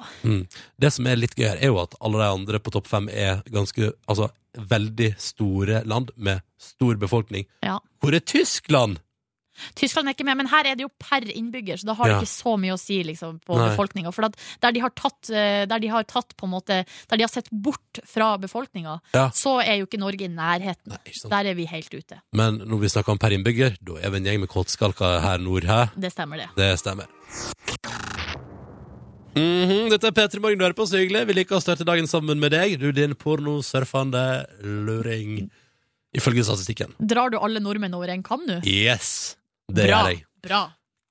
A: Det som er litt gøy her, er jo at alle de andre på topp fem er ganske Altså veldig store land med stor befolkning.
B: Ja.
A: Hvor er Tyskland?
B: Tyskland er ikke med, men her er det jo per innbygger, så da har
A: Ja.
B: det ikke så mye å si liksom, på
A: Nei.
B: befolkninga. For at der de har tatt, eh, der de har tatt på en måte Der de har sett bort fra befolkninga,
A: Ja.
B: så er jo ikke Norge i nærheten.
A: Nei, ikke sant.
B: Der er vi helt ute.
A: Men når vi snakker om per innbygger, da er vi en gjeng med kåtskalker her nord, hæ?
B: Det stemmer, det.
A: Det stemmer. Mhm, Dette er P3 Morgen du hører på, så hyggelig. Vi liker å starte dagen sammen med deg, du din pornosurfende luring. Ifølge statistikken.
B: Drar du alle nordmenn over en kam nå?
A: Yes! Det
B: Bra.
A: gjør jeg.
B: Bra.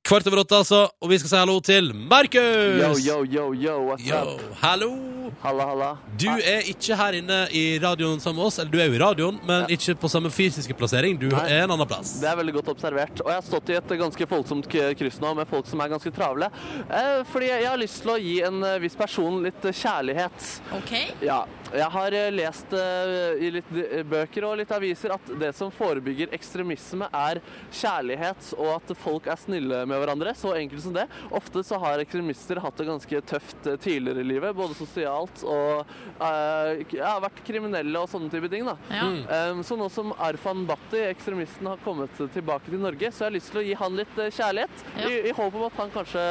A: Kvart over åtte, altså, og vi skal si hallo til Markus!
H: Yo, yo, yo, yo, what's
A: Yo,
H: up?
A: hallo!
H: Halla, halla.
A: Du er ikke her inne i radioen sammen med oss, eller du er jo i radioen, men ikke på samme fysiske plassering. Du
H: Nei.
A: er en annen plass.
H: Det er veldig godt observert. Og jeg har stått i et ganske folksomt k- kryss nå med folk som er ganske travle. Eh, fordi jeg har lyst til å gi en eh, viss person litt eh, kjærlighet.
B: OK?
H: Ja. Jeg har eh, lest eh, i litt eh, bøker og litt aviser at det som forebygger ekstremisme, er kjærlighet, og at folk er snille med hverandre. Så enkelt som det. Ofte så har ekstremister hatt det ganske tøft eh, tidligere i livet, både sosialt
C: sosialt og eh, k- ja, vært kriminelle og sånne type ting. da.
B: Ja.
C: Eh, så nå som Arfan Bhatti, ekstremisten, har kommet tilbake til Norge, så jeg har lyst til å gi han litt eh, kjærlighet.
B: Ja.
C: I, I håp om at han kanskje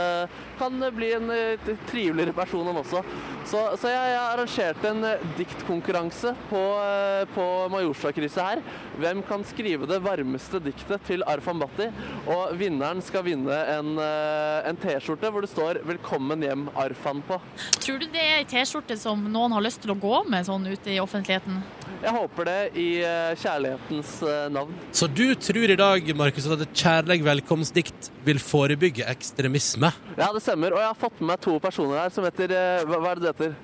C: kan eh, bli en eh, t- triveligere person, han også. Så, så jeg, jeg arrangerte en eh, diktkonkurranse på, eh, på Majorstua-krysset her. Hvem kan skrive det varmeste diktet til Arfan Bhatti? Og vinneren skal vinne en, eh, en T-skjorte hvor det står 'Velkommen hjem, Arfan' på.
B: Tror du det er ei T-skjorte som noen har lyst til å gå med sånn ute i offentligheten?
C: Jeg håper det i eh, kjærlighetens eh, navn.
A: Så du tror i dag, Markus, at et kjærlig velkomstdikt vil forebygge ekstremisme?
C: Ja, det stemmer. Og jeg har fått med meg to personer her som heter eh, Hva, hva er det du heter?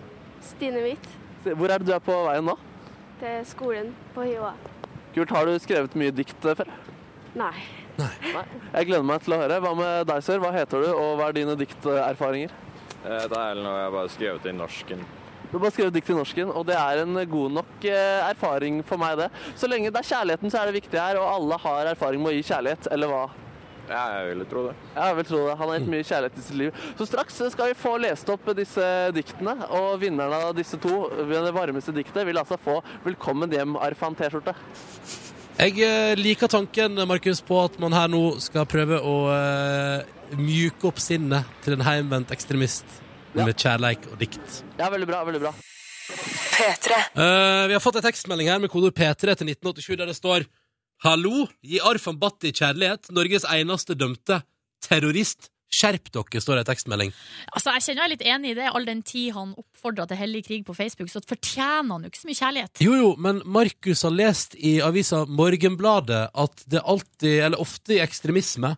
I: Stine Hvitt
C: Hvor er det du er på veien nå?
I: til skolen på Hioa.
C: Kult. Har du skrevet mye dikt eh, før?
I: Nei.
C: Nei. Jeg gleder meg til å høre. Hva med deg, sør? Hva heter du, og hva er dine dikterfaringer?
J: Jeg heter Erlend, og jeg har bare skrevet inn norsken.
C: Du har bare skrevet dikt i norsken, og det er en god nok eh, erfaring for meg, det. Så lenge det er kjærligheten, så er det viktig her, og alle har erfaring med å gi kjærlighet, eller hva?
J: Ja, jeg ville tro det.
C: Jeg vil tro det. Han har gitt mye kjærlighet i sitt liv. Så straks skal vi få lest opp disse diktene, og vinneren av disse to, ved det varmeste diktet, vil altså få 'Velkommen hjem, Arfan' T-skjorte.
A: Jeg eh, liker tanken, Markus, på at man her nå skal prøve å eh, mjuke opp sinnet til en heimvendt ekstremist
C: Ja.
A: med kjærleik og dikt.
C: Ja, veldig bra, veldig bra.
A: Eh, vi har fått en tekstmelding her med kodord P3 til 1987 der det står Hallo, gi Arfan Bhatti kjærlighet, Norges eneste dømte terrorist. Skjerp dere, står det i tekstmelding.
B: Altså, Jeg kjenner jeg er litt enig i det. All den tid han oppfordra til hellig krig på Facebook, så fortjener han jo ikke så mye kjærlighet.
A: Jo, jo, men Markus har lest i avisa Morgenbladet at det alltid, eller ofte i ekstremisme,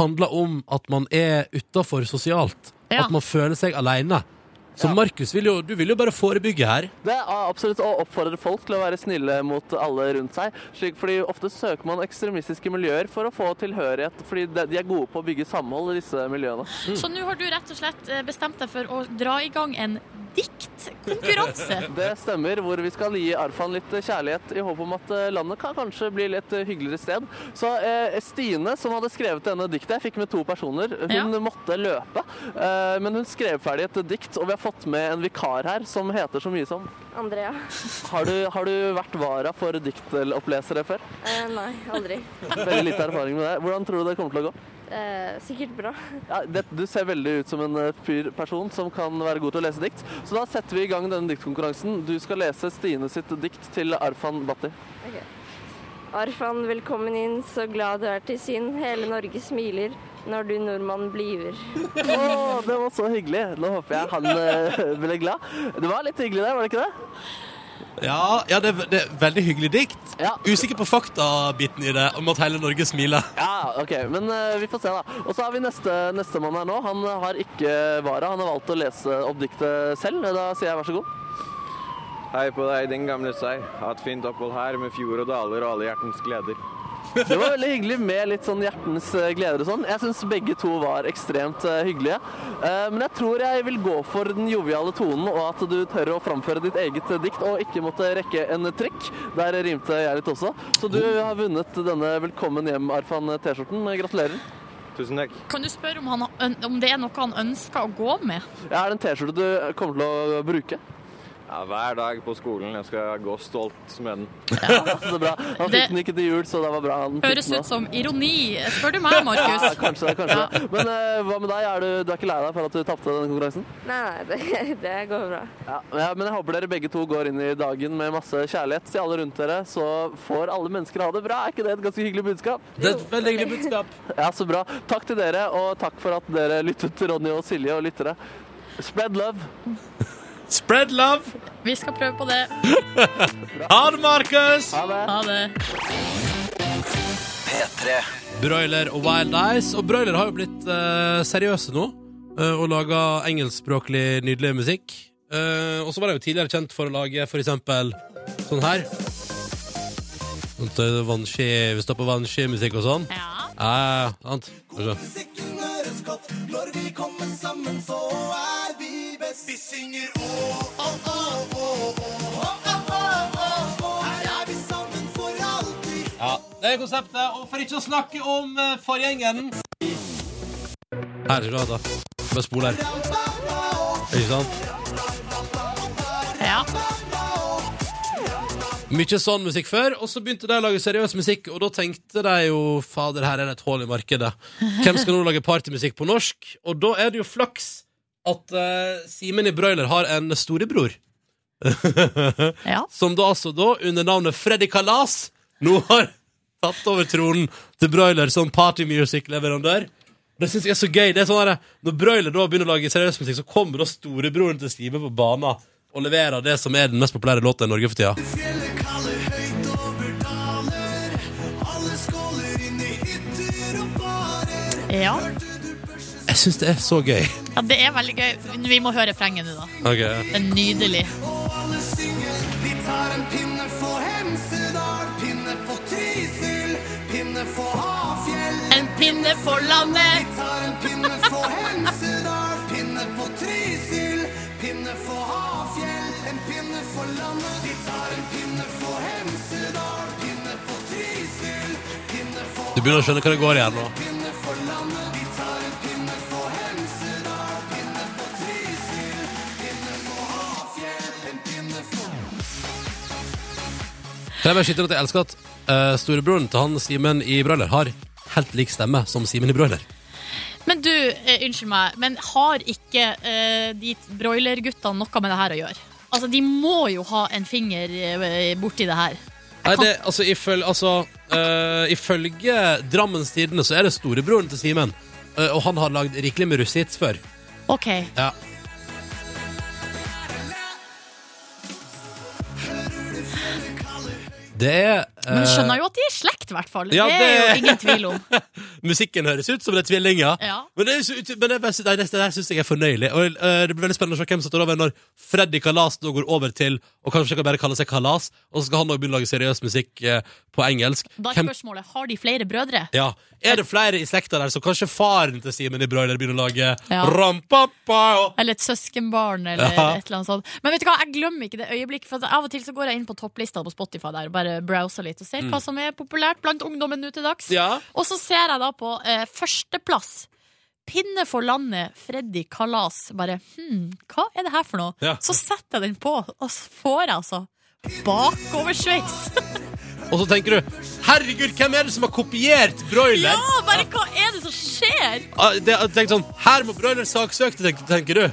A: handler om at man er utafor sosialt.
B: Ja.
A: At man føler seg aleine. Så Markus, vil jo, du vil jo bare forebygge her.
C: Det er absolutt å oppfordre folk til å være snille mot alle rundt seg. Slik, fordi ofte søker man ekstremistiske miljøer for å få tilhørighet, fordi de- de er gode på å bygge samhold i disse miljøene.
B: Så nå har du rett og slett eh, bestemt deg for å dra i gang en diktkonkurranse.
C: Det stemmer, hvor vi skal gi Arfan litt kjærlighet i håp om at eh, landet kan kanskje bli litt eh, hyggeligere sted. Så eh, Stine, som hadde skrevet denne diktet, jeg fikk med to personer, hun
B: Ja.
C: måtte løpe. Eh, men hun skrev ferdig et dikt, og vi har fått med en vikar her som heter så mye som
I: Andrea.
C: Har du, har du vært vara for diktopplesere før?
I: Eh, nei, aldri.
C: Veldig lite erfaring med det. Hvordan tror du det kommer til å gå?
I: Eh, sikkert bra.
C: Ja, det, du ser veldig ut som en eh, fyr person som kan være god til å lese dikt. Så da setter vi i gang denne diktkonkurransen. Du skal lese Stine sitt dikt til Arfan Bhatti.
I: Arfan, velkommen inn. Så glad du er til syn. Hele Norge smiler når du nordmann bliver.
C: Å, det var så hyggelig. Nå håper jeg han eh, ble glad. Det var litt hyggelig der, var det ikke det?
A: Ja, ja det, er ve- det er veldig hyggelig dikt.
C: Ja.
A: Usikker på faktabiten i det, om at hele Norge smiler.
C: Ja, OK. Men eh, vi får se, da. Og så har vi neste nestemann her nå. Han har ikke vara. Han har valgt å lese opp diktet selv. Da sier jeg vær så god.
J: Hei på deg, din gamle sei. Ha et fint opphold her med fjord og daler og alle hjertens gleder.
C: Det var veldig hyggelig med litt sånn hjertens eh, gleder og sånn. Jeg syns begge to var ekstremt eh, hyggelige. Eh, Men jeg tror jeg vil gå for den joviale tonen, og at du tør å framføre ditt eget eh, dikt og ikke måtte rekke en trikk. Der rimte jeg litt også. Så du har vunnet denne Velkommen hjem, Arfan T-skjorten. Gratulerer.
J: Tusen takk.
B: Kan du spørre om, han, har øn- om det er noe han ønsker å gå med?
C: Ja, er det en T-skjorte du kommer til å bruke?
J: Ja, hver dag på skolen. Jeg skal gå stolt med den.
C: Så det er bra. Han
B: Det-
C: fikk den ikke til jul, så det var bra. Han fikk
B: Høres ut
C: den også.
B: som ironi, spør du meg,
C: ja,
B: Markus.
C: kanskje det. kanskje det. Men eh, hva med deg? Er du, du er ikke lei deg for at du tapte denne konkurransen?
I: Nei, nei, det, det går bra.
C: Ja, ja, men jeg håper dere begge to går inn i dagen med masse kjærlighet til alle rundt dere, så får alle mennesker ha det bra. Er ikke det et ganske hyggelig budskap?
A: Det er et veldig hyggelig budskap.
C: Ja, så bra. Takk til dere, og takk for at dere lyttet til Ronny og Silje og lyttere. Spread love.
A: Spread love!
B: Vi skal prøve på det.
A: Ha det, Markus!
C: Ha det.
B: Ha det.
K: P3.
A: Broiler og Wild Eyes. Og Broiler har jo blitt eh, seriøse nå eh, og laga engelskspråklig nydelig musikk. Eh, og så var de jo tidligere kjent for å lage for eksempel sånn her. Sånt, eh, Vannski, vi står på vannskimusikk og sånn.
B: Ja.
A: Ja, ja, ja, sant. Skal vi se. Ja, det er konseptet. Og for ikke å snakke om eh, forgjengeren Her, skal du ha da. Bare spol her. Ikke sant? Mye sånn musikk før, og så begynte de å lage seriøs musikk, og da tenkte de jo fader, her er det et hull i markedet. Hvem skal nå lage partymusikk på norsk? Og da er det jo flaks at eh, Simen i Broiler har en storebror. Som da altså da, under navnet Freddy Kalas, nå har tatt over tronen til Broiler som partymusikkleverandør. Det syns jeg er så gøy. Det er sånn her, når Broiler da begynner å lage seriøs musikk, så kommer da storebroren til Simen på banen og leverer det som er den mest populære låta i Norge for tida.
B: Ja.
A: Jeg syns det er så gøy.
B: ja, det er veldig gøy. Vi må høre refrenget nå, da.
A: Ok.
B: Det er nydelig. En pinne for landet!
L: Vi tar en pinne for Hemsedal, pinne for Trysil, pinne for Hafjell, en pinne for landet. Vi tar en pinne for Hemsedal, pinne for Trysil, pinne for
A: Du begynner å skjønne hva det går i her nå.
L: pinne for landet. Vi tar en pinne for Hemsedal, pinne for Trysil, pinne for Hafjell, en pinne for
A: Kan jeg bare skyte inn at jeg elsker at eh, storebroren til han Simen i Broiler har helt lik stemme som Simen i Broiler.
B: Men du, eh, unnskyld meg, men har ikke eh, de broilerguttene noe med det her å gjøre? Altså, De må jo ha en finger eh, borti det her.
A: Nei, det, altså, ifølge, altså, eh, ifølge Drammens Tidende så er det storebroren til Simen. eh, og han har lagd rikelig med russehits før.
B: OK.
A: Ja. Det er eh,
B: Men du skjønner jo at de er i slekt, i hvert fall.
A: ja,
B: det er jo
A: det-
B: ingen tvil om.
A: Musikken høres ut som det er tvillinger.
B: Ja.
A: Men det, er så ut- men det, er best- nei, det, det her synes jeg er fornøyelig. Og, eh, det blir veldig spennende å se hvem som står over når Freddy Kalas nå går over til og kanskje kan bare kalle seg Kalas, og så skal han også begynne å lage seriøs musikk eh, på engelsk.
B: Da er
A: Hvem-
B: spørsmålet har de flere brødre.
A: ja. Er det flere i slekta der, så kanskje faren til Simen i Broiler begynner å lage
B: Ja.
A: rampappa?
B: Eller et søskenbarn, eller
A: Ja.
B: et eller annet sånt. Men vet du hva, jeg glemmer ikke det øyeblikket. For at Av og til så går jeg inn på topplista på Spotify der og bare browser litt og ser
M: Mm.
B: hva som er populært blant ungdommen nå til dags.
M: Ja.
B: Og så ser jeg da på eh, førsteplass. Pinne for landet, Freddy Kalas. Bare hm, hva er det her for noe?
A: Ja.
B: Så setter jeg den på, og så får jeg altså bakoversveis.
A: Og så tenker du Herregud, hvem er det som har kopiert Broiler?
B: ja, bare hva er det som skjer?
A: Ah, det- Jeg tenkte sånn Her må Broiler saksøke, tenker, tenker du.
B: Ja.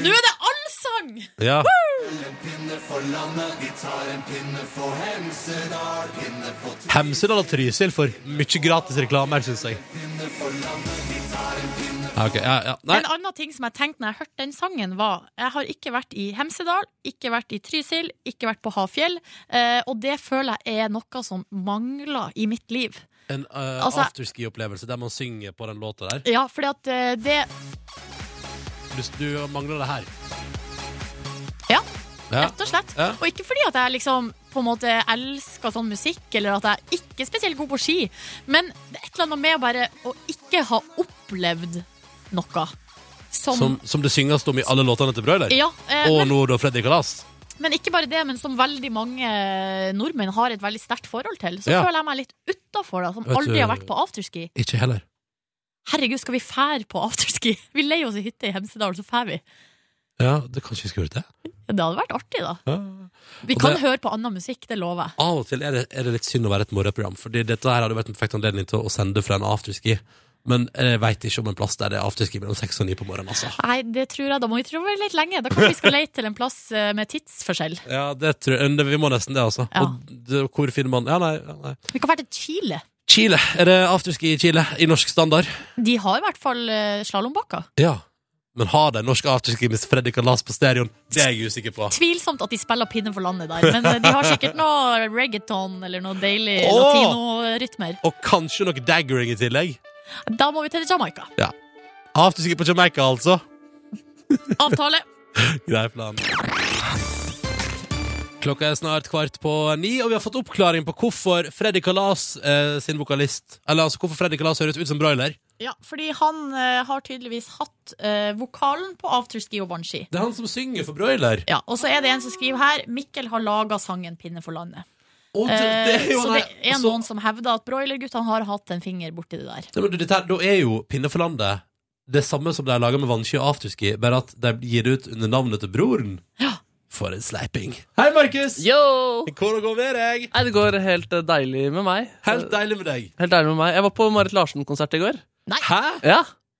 B: Nå er det allsang!
A: Ja.
L: En pinne for landet, vi tar en pinne for Hemsedal, pinne for
A: Hemsedal og Trysil får mye gratis reklame her, syns jeg.
L: pinne for landet, vi tar en pinne
A: Ja, ok, ja, ja. Nei.
B: En annen ting som jeg tenkte når jeg hørte den sangen, var Jeg har ikke vært i Hemsedal, ikke vært i Trysil, ikke vært på Hafjell. eh, Og det føler jeg er noe som mangler i mitt liv.
A: En eh,
B: Altså-
A: afterski-opplevelse der man synger på den låta der.
B: Ja, fordi at eh, det
A: Du, du mangler det her.
B: Ja,
A: Ja.
B: rett og slett.
A: Ja.
B: Og ikke fordi at jeg liksom på en måte elsker sånn musikk, eller at jeg ikke er spesielt god på ski, men det er et eller annet med å bare å ikke ha opplevd noe som,
A: Som, som det synges om i alle låtene til Broiler.
B: Ja, eh,
A: og
B: men-
A: nå da Freddy Kalas.
B: Men ikke bare det, men som veldig mange nordmenn har et veldig sterkt forhold til. Så
A: Ja.
B: føler jeg meg litt utafor, da, som
A: Vet
B: aldri
A: du-
B: har vært på afterski.
A: Ikke heller.
B: Herregud, skal vi fære på afterski? Vi leier oss i hytte i Hemsedal, så fær vi.
A: Ja, det kanskje vi skulle gjort det.
B: Ja, Det hadde vært artig, da.
A: Ja.
B: Vi
A: Og
B: kan
A: det-
B: høre på annen musikk, det lover jeg.
A: Av og til er det, er det litt synd å være et morgenprogram, Fordi dette her hadde vært en perfekt anledning til å sende fra en afterski. Men jeg veit ikke om en plass der det er afterski mellom seks og ni på morgenen, altså.
B: Nei, det tror jeg. Da må vi trove litt lenge. Da kan vi skal leie til en plass eh, med tidsforskjell.
A: Ja, det tror jeg. det- Vi må nesten det, altså. Og det, hvor finner man Ja, nei. Ja, nei.
B: Vi kan være til Chile.
A: Chile. Er det afterski i Chile? I norsk standard?
B: De har i hvert fall eh, slalåmbakker.
A: Ja. Men har de norsk afterski med Freddy Kalas på stereoen? Det er jeg usikker på.
B: Tvilsomt at de spiller pinne for landet der, men eh, de har sikkert noe reggaeton eller noe deilig
A: Åh!
B: latinorytmer.
A: Og kanskje noe daggering i tillegg?
B: Da må vi til Jamaica.
A: Ja. Afterski på Jamaica, altså.
B: Avtale.
A: Grei plan. Klokka er snart kvart på ni, og vi har fått oppklaring på hvorfor Freddy Kalas eh, sin vokalist Eller altså hvorfor Freddy Kalas høres ut som broiler.
B: Ja, fordi han eh, har tydeligvis hatt eh, vokalen på afterski og vannski.
A: Det er han som synger for broiler.
B: Ja, og så er det en som skriver her Mikkel har laga sangen 'Pinne for landet'.
A: Å, det- det er jo
B: Eh, så
A: han
B: det
A: her-
B: er
A: så-
B: noen som hevder at broilerguttene har hatt en finger borti det der.
A: Nei, men du, dette her, da er jo Pinne for landet det samme som de har laga med vannski og afterski, bare at de gir det ut under navnet til broren. For en sleiping. Hei, Markus! Hvordan går det med deg?
C: Nei, Det går helt eh, deilig med meg. Eh,
A: Helt deilig med deg?
C: Helt deilig med meg. Jeg var på Marit Larsen-konsert i går.
A: Hæ?
C: Ja.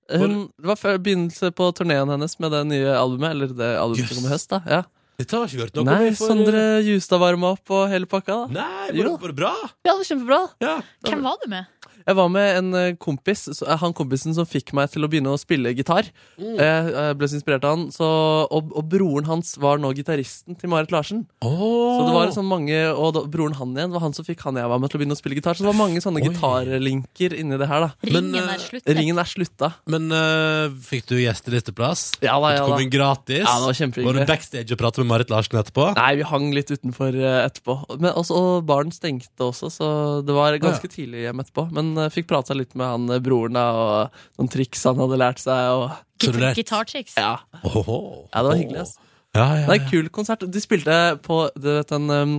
C: Hun, det var før begynnelse på turneen hennes med det nye albumet. Eller det albumet som kom i høst, da. Ja.
A: Dette har ikke vi hørt noe om.
C: Nei,
A: Vi eh, får-
C: Sondre Justad varma opp og hele pakka, da.
A: Nei, var
C: Jo.
A: det- var det bra?
C: Ja, det var kjempebra.
B: Hvem var du med?
C: Jeg var med en eh, kompis, så- eh, han kompisen som fikk meg til å begynne å spille gitar.
B: Mm.
C: Eh, Jeg ble så inspirert av han, så, og, og broren hans var nå gitaristen til Marit Larsen. Så det var sånn mange, og da, broren han igjen var han som fikk han jeg var med til å begynne å spille gitar. Så det var mange sånne gitarlinker inni det her, da.
A: Ringen Men, er eh, sluttet.
C: Ringen er slutta.
A: Men eh, fikk du gjestelisteplass?
C: Ja da,
A: Du
C: ja da.
A: kom inn gratis?
C: Ja, det var
A: Var
C: kjempehyggelig.
A: du backstage og pratet med Marit Larsen etterpå?
C: Nei, vi hang litt utenfor eh, etterpå. Men også, og baren stengte også, så det var ganske tidlig hjem etterpå. Men eh, fikk prata litt med han eh, broren da, og noen triks han hadde lært seg. Og...
B: Gita- Gitartriks?
C: Ja. ja, det var hyggelig. ass.
A: ja,
C: Det er en kul konsert. De spilte på du vet, den um,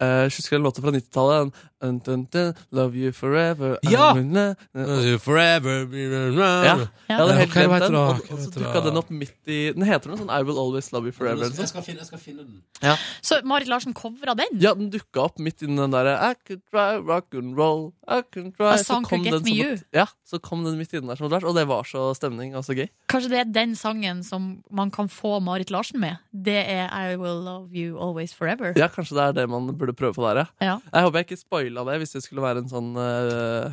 C: eh, Husker du låta fra 90-tallet? Den, dun, dun, dun, Love you forever I
A: Ja!
C: will ne-
A: Forever
C: Ja. Jeg hadde helt
A: Hva
C: glemt
A: heter
C: den.
A: det?
C: Og,
A: Hva
C: og så
A: heter det?
C: dukka den opp midt i Den heter noe sånn I Will Always Love You Forever. eller noe sånt.
A: den.
C: Ja.
B: Så Marit Larsen covra den?
C: Ja, den dukka opp midt inni den derre I could try rock and roll, I could try
B: A song could get
C: den
B: me
C: som-
B: you.
C: Ja, så kom den midt inni der som et vers, og det var så stemning og så gøy.
B: Kanskje det er den sangen som man kan få Marit Larsen med? Det er I Will Love You Always Forever.
C: Ja, kanskje det er det man burde prøve på der, ja.
B: Ja.
C: Jeg håper jeg ikke spoila det hvis det skulle være en sånn eh,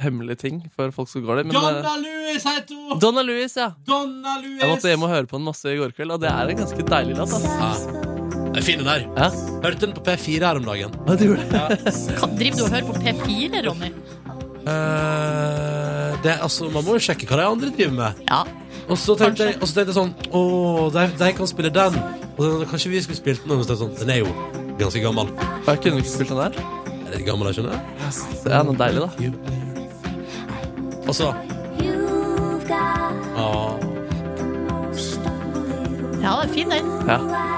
C: hemmelig ting for folk som går der. Men, eh,
A: Louis heter hun!
C: Donna Louis, ja.
A: Donna Louis!
C: jeg måtte hjem og høre på den masse i går kveld, og det er en ganske deilig altså. låt. ass.
A: Jeg finner den der. Hørte den på P4 her om dagen.
C: Hva du gjorde?
B: Kan- Driver du og hører på P4, Ronny?
A: Eh, det, er- altså, man må jo sjekke hva de andre driver med.
B: Ja.
A: Og så tenkte, jeg, og så tenkte jeg sånn Å, de, de kan spille den. Og den, kanskje vi skulle spilt den. Og så tenkte jeg sånn, den er jo ganske gammel.
C: Jeg kunne ikke spilt den der.
A: Er litt gammel, jeg skjønner.
C: Det er noe deilig, da.
A: Og så Åh.
B: Ja, det er fin den.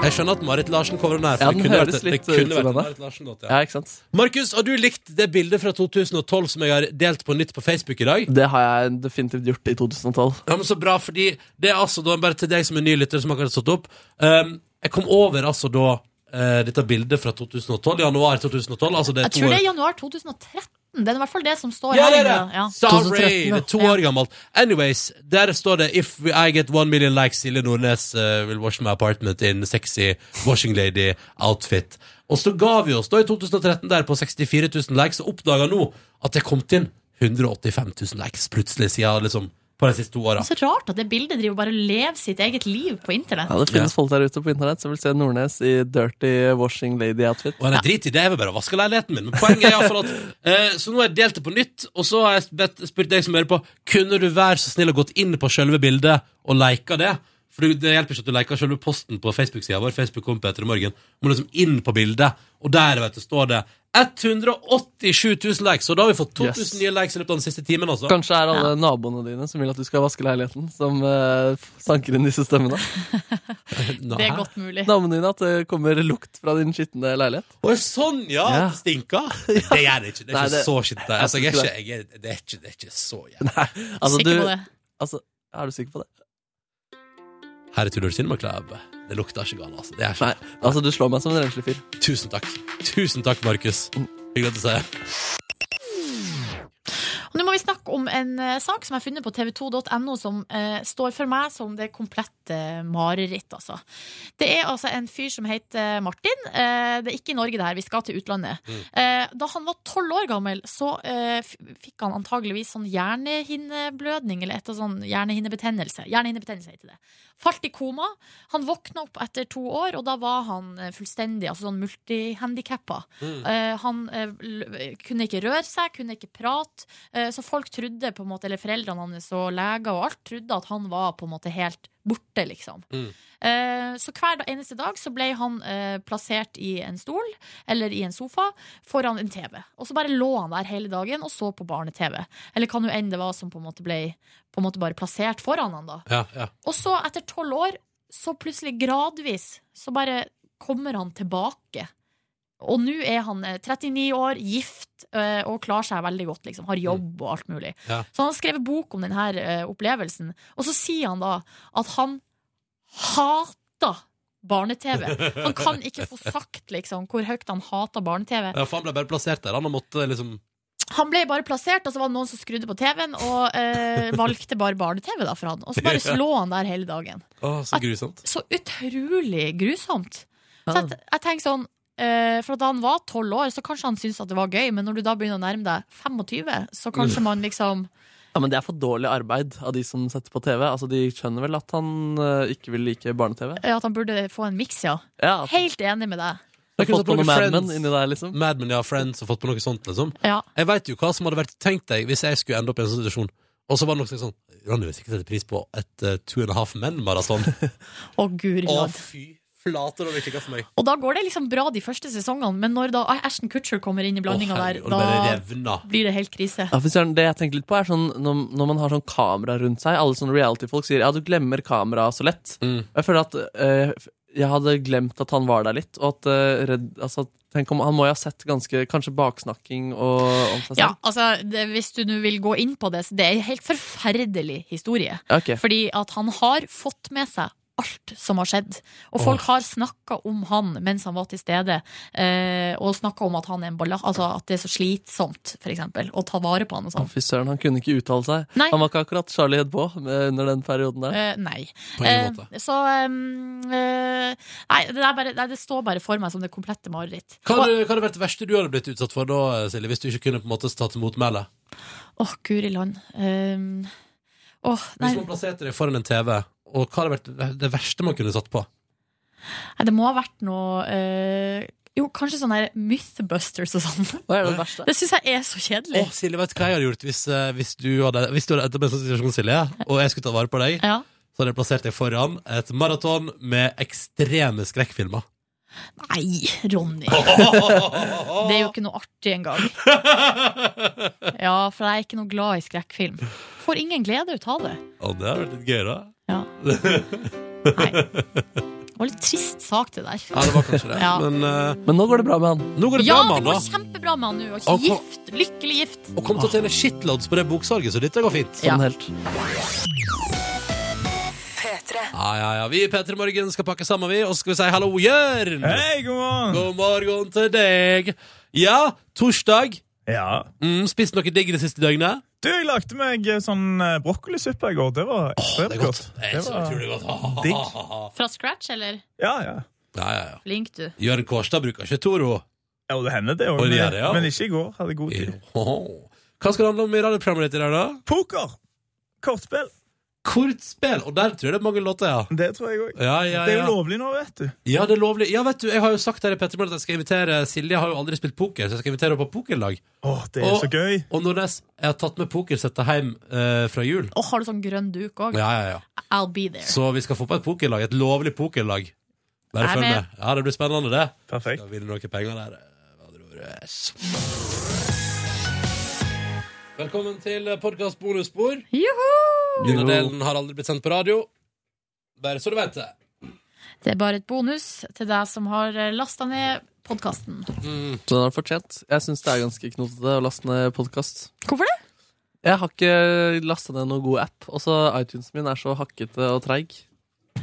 A: Jeg skjønner at Marit Larsen kommer den her. For
C: Ja,
A: det
C: den
A: kunne vært,
C: høres
A: det
C: litt ut
A: kunne
C: som
A: vært en
C: den
A: Marit
C: der.
A: Larsen-låt.
C: Ja, ikke sant?
A: Markus, har du likt det bildet fra 2012 som jeg har delt på nytt på Facebook i dag?
C: Det har jeg definitivt gjort i 2012.
A: Ja, men Så bra, fordi det er altså da bare til deg som er ny lytter, som akkurat har stått opp. Um, jeg kom over altså da eh, dette bildet fra 2012, januar 2012. Altså det er
B: Jeg
A: to
B: tror det er
A: år.
B: januar 2013. Det er i hvert fall det som står
A: Ja,
B: her.
A: det er
B: inne.
A: det!
B: Ja.
A: Sorry! Det er to år gammelt. Anyways, der står det 'If we- I get one million likes, Silje Nordnes eh, will wash my apartment in sexy washing lady outfit'. Og så ga vi oss da i 2013 der på 64 000 likes, og oppdaga nå at det kom til 185 000 likes plutselig siden liksom på de siste to åra.
B: Så rart at det bildet driver bare og lever sitt eget liv på internett.
C: Ja, det finnes folk der ute på internett som vil se Nordnes i dirty washing lady-outfit.
A: Og nei, drit i det, jeg vil bare vaske leiligheten min. Men poenget er i hvert fall at eh, Så nå har jeg delt det på nytt, og så har jeg bedt, spurt deg som hører på, kunne du være så snill og gått inn på selve bildet og lika det? For det- det hjelper ikke at du liker selve posten på Facebook-sida vår. Facebook kommer på etter i morgen. Du må liksom inn på bildet, og der vet du, står det 187 000 likes, og da har vi fått 2000
C: Yes.
A: nye likes i løpet av den siste timen, altså.
C: Kanskje er alle naboene dine som vil at du skal vaske leiligheten, som eh, sanker inn disse stemmene.
B: Det er godt mulig.
C: Naboene dine at det kommer lukt fra din skitne leilighet.
A: Å, sånn, ja!
C: Ja.
A: Det stinker. Det gjør det ikke. Det er
C: Nei,
A: ikke
C: det-
A: så skitt. der.
C: jeg
A: Altså, jeg
C: tror
A: er
C: ikke
A: ikke, jeg er, det, er ikke, det er ikke så jævlig.
C: Altså,
B: Sikker
C: du-
B: på det.
C: Altså, er du sikker på det?
A: Her er Tudor Cinema Club. Det lukter ikke galt, altså. Det er ikke.
C: Nei, altså Du slår meg som en renslig fyr.
A: Tusen takk. Tusen takk, Markus. Hyggelig å se.
B: Og nå må vi snakke om en eh, sak som jeg har funnet på tv2.no, som eh, står for meg som det komplette mareritt, altså. Det er altså en fyr som heter Martin. Eh, det er ikke i Norge, det her. Vi skal til utlandet.
M: Mm.
B: Eh, da han var tolv år gammel, så eh, f- fikk han antageligvis sånn hjernehinneblødning, eller et sånn hjernehinnebetennelse. Hjernehinnebetennelse heter det. Falt i koma. Han våkna opp etter to år, og da var han eh, fullstendig altså sånn multihandikappa.
M: Mm.
B: Eh, han eh, l- kunne ikke røre seg, kunne ikke prate. Eh, så folk trodde, på en måte, eller foreldrene hans og leger og alt, trodde at han var på en måte helt borte, liksom. Eh, Så hver da- eneste dag så ble han eh, plassert i en stol eller i en sofa foran en TV. Og så bare lå han der hele dagen og så på barne-TV. Eller hva nå enn det var som på en måte ble på en måte bare plassert foran han, da.
A: Ja, ja.
B: Og så etter tolv år, så plutselig gradvis, så bare kommer han tilbake. Og nå er han eh, 39 år, gift eh, og klarer seg veldig godt, liksom. Har jobb og alt mulig.
A: Ja.
B: Så han har skrevet bok om eh, denne opplevelsen. Og så sier han da at han hater barne-TV. Han kan ikke få sagt liksom, hvor høyt han hater barne-TV.
A: Ja, for han ble bare plassert der. Han og måtte liksom
B: Han ble bare plassert, og så var det noen som skrudde på TV-en og eh, valgte bare barne-TV da for han. Og så bare
A: Ja.
B: lå han der hele dagen.
A: Å, så grusomt.
B: Så utrolig grusomt. Så jeg, jeg tenker sånn eh, For at han var tolv år, så kanskje han syntes at det var gøy, men når du da begynner å nærme deg 25, så kanskje man liksom
C: Ja, men Det er for dårlig arbeid av de som setter på TV. Altså, De skjønner vel at han eh, ikke vil like barne-TV.
B: Ja, eh, at han burde få en miks, ja.
C: Ja,
B: Helt enig med deg.
C: Har fått på noe Mad Men inni der, liksom.
A: Mad Men, ja, Friends og fått på noe sånt, liksom.
B: Ja.
A: Jeg veit jo hva som hadde vært tenkt deg hvis jeg skulle ende opp i en sånn situasjon. Og så var det noe sånn Ronny vil sikkert sette pris på et eh, Two and a Half Men-maraton.
B: Å, guri
A: Å,
B: land.
A: fy flate, det klikka for meg.
B: Og da går det liksom bra de første sesongene, men når da Ashton Kutcher kommer inn i blandinga der,
C: herregud, og det bare
B: da
C: revner.
B: blir det helt krise.
C: Ja, for søren, det jeg tenker litt på er sånn når, når man har sånn kamera rundt seg Alle sånne reality-folk sier ja, du glemmer kamera så lett.
A: Mm,
C: Og jeg føler at eh, jeg hadde glemt at han var der litt. Og at eh, redd, altså, tenk om, Han må jo ha sett ganske kanskje baksnakking og, om seg
B: Ja,
C: selv.
B: altså, det, hvis du nå vil gå inn på det, så det er en helt forferdelig historie.
C: Ja, ok.
B: Fordi at han har fått med seg alt som har skjedd. Og folk
C: Åh.
B: har snakka om han mens han var til stede, eh, og snakka om at han er en balla, altså at det er så slitsomt, for eksempel, å ta vare på han og
C: Å,
B: sånn.
C: Fy søren, han kunne ikke uttale seg.
B: Nei.
C: Han var ikke akkurat Charlie Hedbå eh, under den perioden der.
B: Eh, nei.
C: På ingen
B: Eh, så ehm, eh, Nei, det, er bare, nei, det står bare for meg som det komplette mareritt.
A: Hva hadde, hva hadde vært det verste du hadde blitt utsatt for da, Silje, hvis du ikke kunne på en måte tatt imot mailet?
B: Åh, guri land. Ehm, åh, nei,
A: Hvis man plasserte deg foran en TV, og hva hadde vært det verste man kunne satt på?
B: nei, det må ha vært noe eh, Jo, kanskje sånn her Mythbusters og sånn.
C: Hva er det verste?
B: Det syns jeg er så kjedelig.
A: Å, Silje, vet du hva jeg hadde gjort hvis, eh, hvis du hadde Hvis du hadde endt opp i en sånn situasjon, Silje, og jeg skulle ta vare på deg,
B: Ja.
A: så hadde jeg plassert deg foran et maraton med ekstreme skrekkfilmer.
B: Nei, Ronny. Det er jo ikke noe artig engang. Ja, for jeg er ikke noe glad i skrekkfilm. Får ingen glede ut av det.
A: Å, det hadde vært litt gøy, da.
B: Ja. Det var litt trist sak, det der.
A: Ja, det var kanskje det.
B: Ja.
A: Men, eh,
C: nå går det bra med han.
A: Nå går det
B: ja,
A: bra
B: det
A: med
B: går
A: han, da.
B: kjempebra med han nå.
A: Og
B: Og
A: kom-
B: gift. Lykkelig gift.
A: Og kom til å tjene shitloads på det boksalget, så dette går fint.
B: Sånn Ja.
C: helt.
A: Ja, ja, ja. Vi i P3 Morgen skal pakke sammen, vi, og så skal vi si hallo, Jørn!
M: Hei, god morgen!
A: God morgen til deg. Ja, torsdag.
M: Ja.
A: Mm, spist noe digg det siste døgnet?
M: Du, jeg lagde meg eh, sånn eh, brokkolisuppe i går. Det var ekstremt godt.
A: Det er så
M: var
A: utrolig godt. Ah,
M: Digg.
A: ah, ah, ah.
B: Fra scratch, eller?
M: Ja, ja.
A: Ja, ja, ja.
B: Flink, du.
A: Jørn Kårstad bruker ikke Toro.
M: Ja, det hender det
A: Og
M: òg,
A: det gjør
M: men,
A: det, ja.
M: men ikke i går. Hadde god tid.
A: Hva skal det handle om i radioprogrammet ditt i dag, da?
M: Poker! Kortspill.
A: Kortspill! Og der tror jeg det er mange låter, ja.
M: Det tror jeg òg.
A: Ja, ja,
M: Det er
A: ja.
M: jo lovlig nå, vet du.
A: Ja, det er lovlig. Ja, vet du, jeg har jo sagt her i Petter Morgen at jeg skal invitere Silje. har jo aldri spilt poker, så jeg skal invitere henne på pokerlag.
M: Åh, det er
A: og,
M: så gøy.
A: Og Nordnes, jeg har tatt med pokersettet hjem eh, fra jul.
B: Og har du sånn grønn duk òg?
A: Ja, ja, ja.
B: I'll be there.
A: Så vi skal få på et pokerlag. Et lovlig pokerlag. Bare
B: Jeg er
A: følg
B: med.
A: med. Ja, det blir spennende, det.
M: Perfekt.
A: Skal vinne noen penger der. eh, med andre ord. Yes. Velkommen til podkast bonusspor. Denne delen har aldri blitt sendt på radio. Bare så du vet det.
B: Det er bare et bonus til deg som har lasta ned podkasten.
C: Så den har fortjent. Jeg syns det er ganske knotete å laste ned podkast.
B: Hvorfor det?
C: Jeg har ikke lasta ned noen god app. Også iTunes min er så hakkete og treig.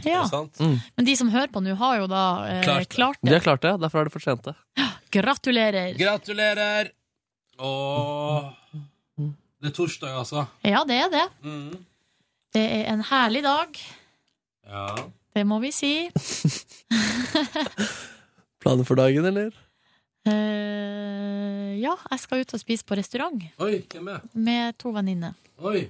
B: Ja.
C: Mm.
B: Men de som hører på nå, har jo da eh, klart,
C: De
B: det.
C: har klart det, derfor har de fortjent det.
B: Gratulerer.
A: Gratulerer! Åh. Det er torsdag, altså. Mm.
B: Ja, det er det. Det er en herlig dag.
A: Ja.
B: Det må vi si.
C: Planer for dagen, eller?
B: Eh, ja, jeg skal ut og spise på restaurant
A: Oi, hvem er
B: med to venninner.
A: Oi.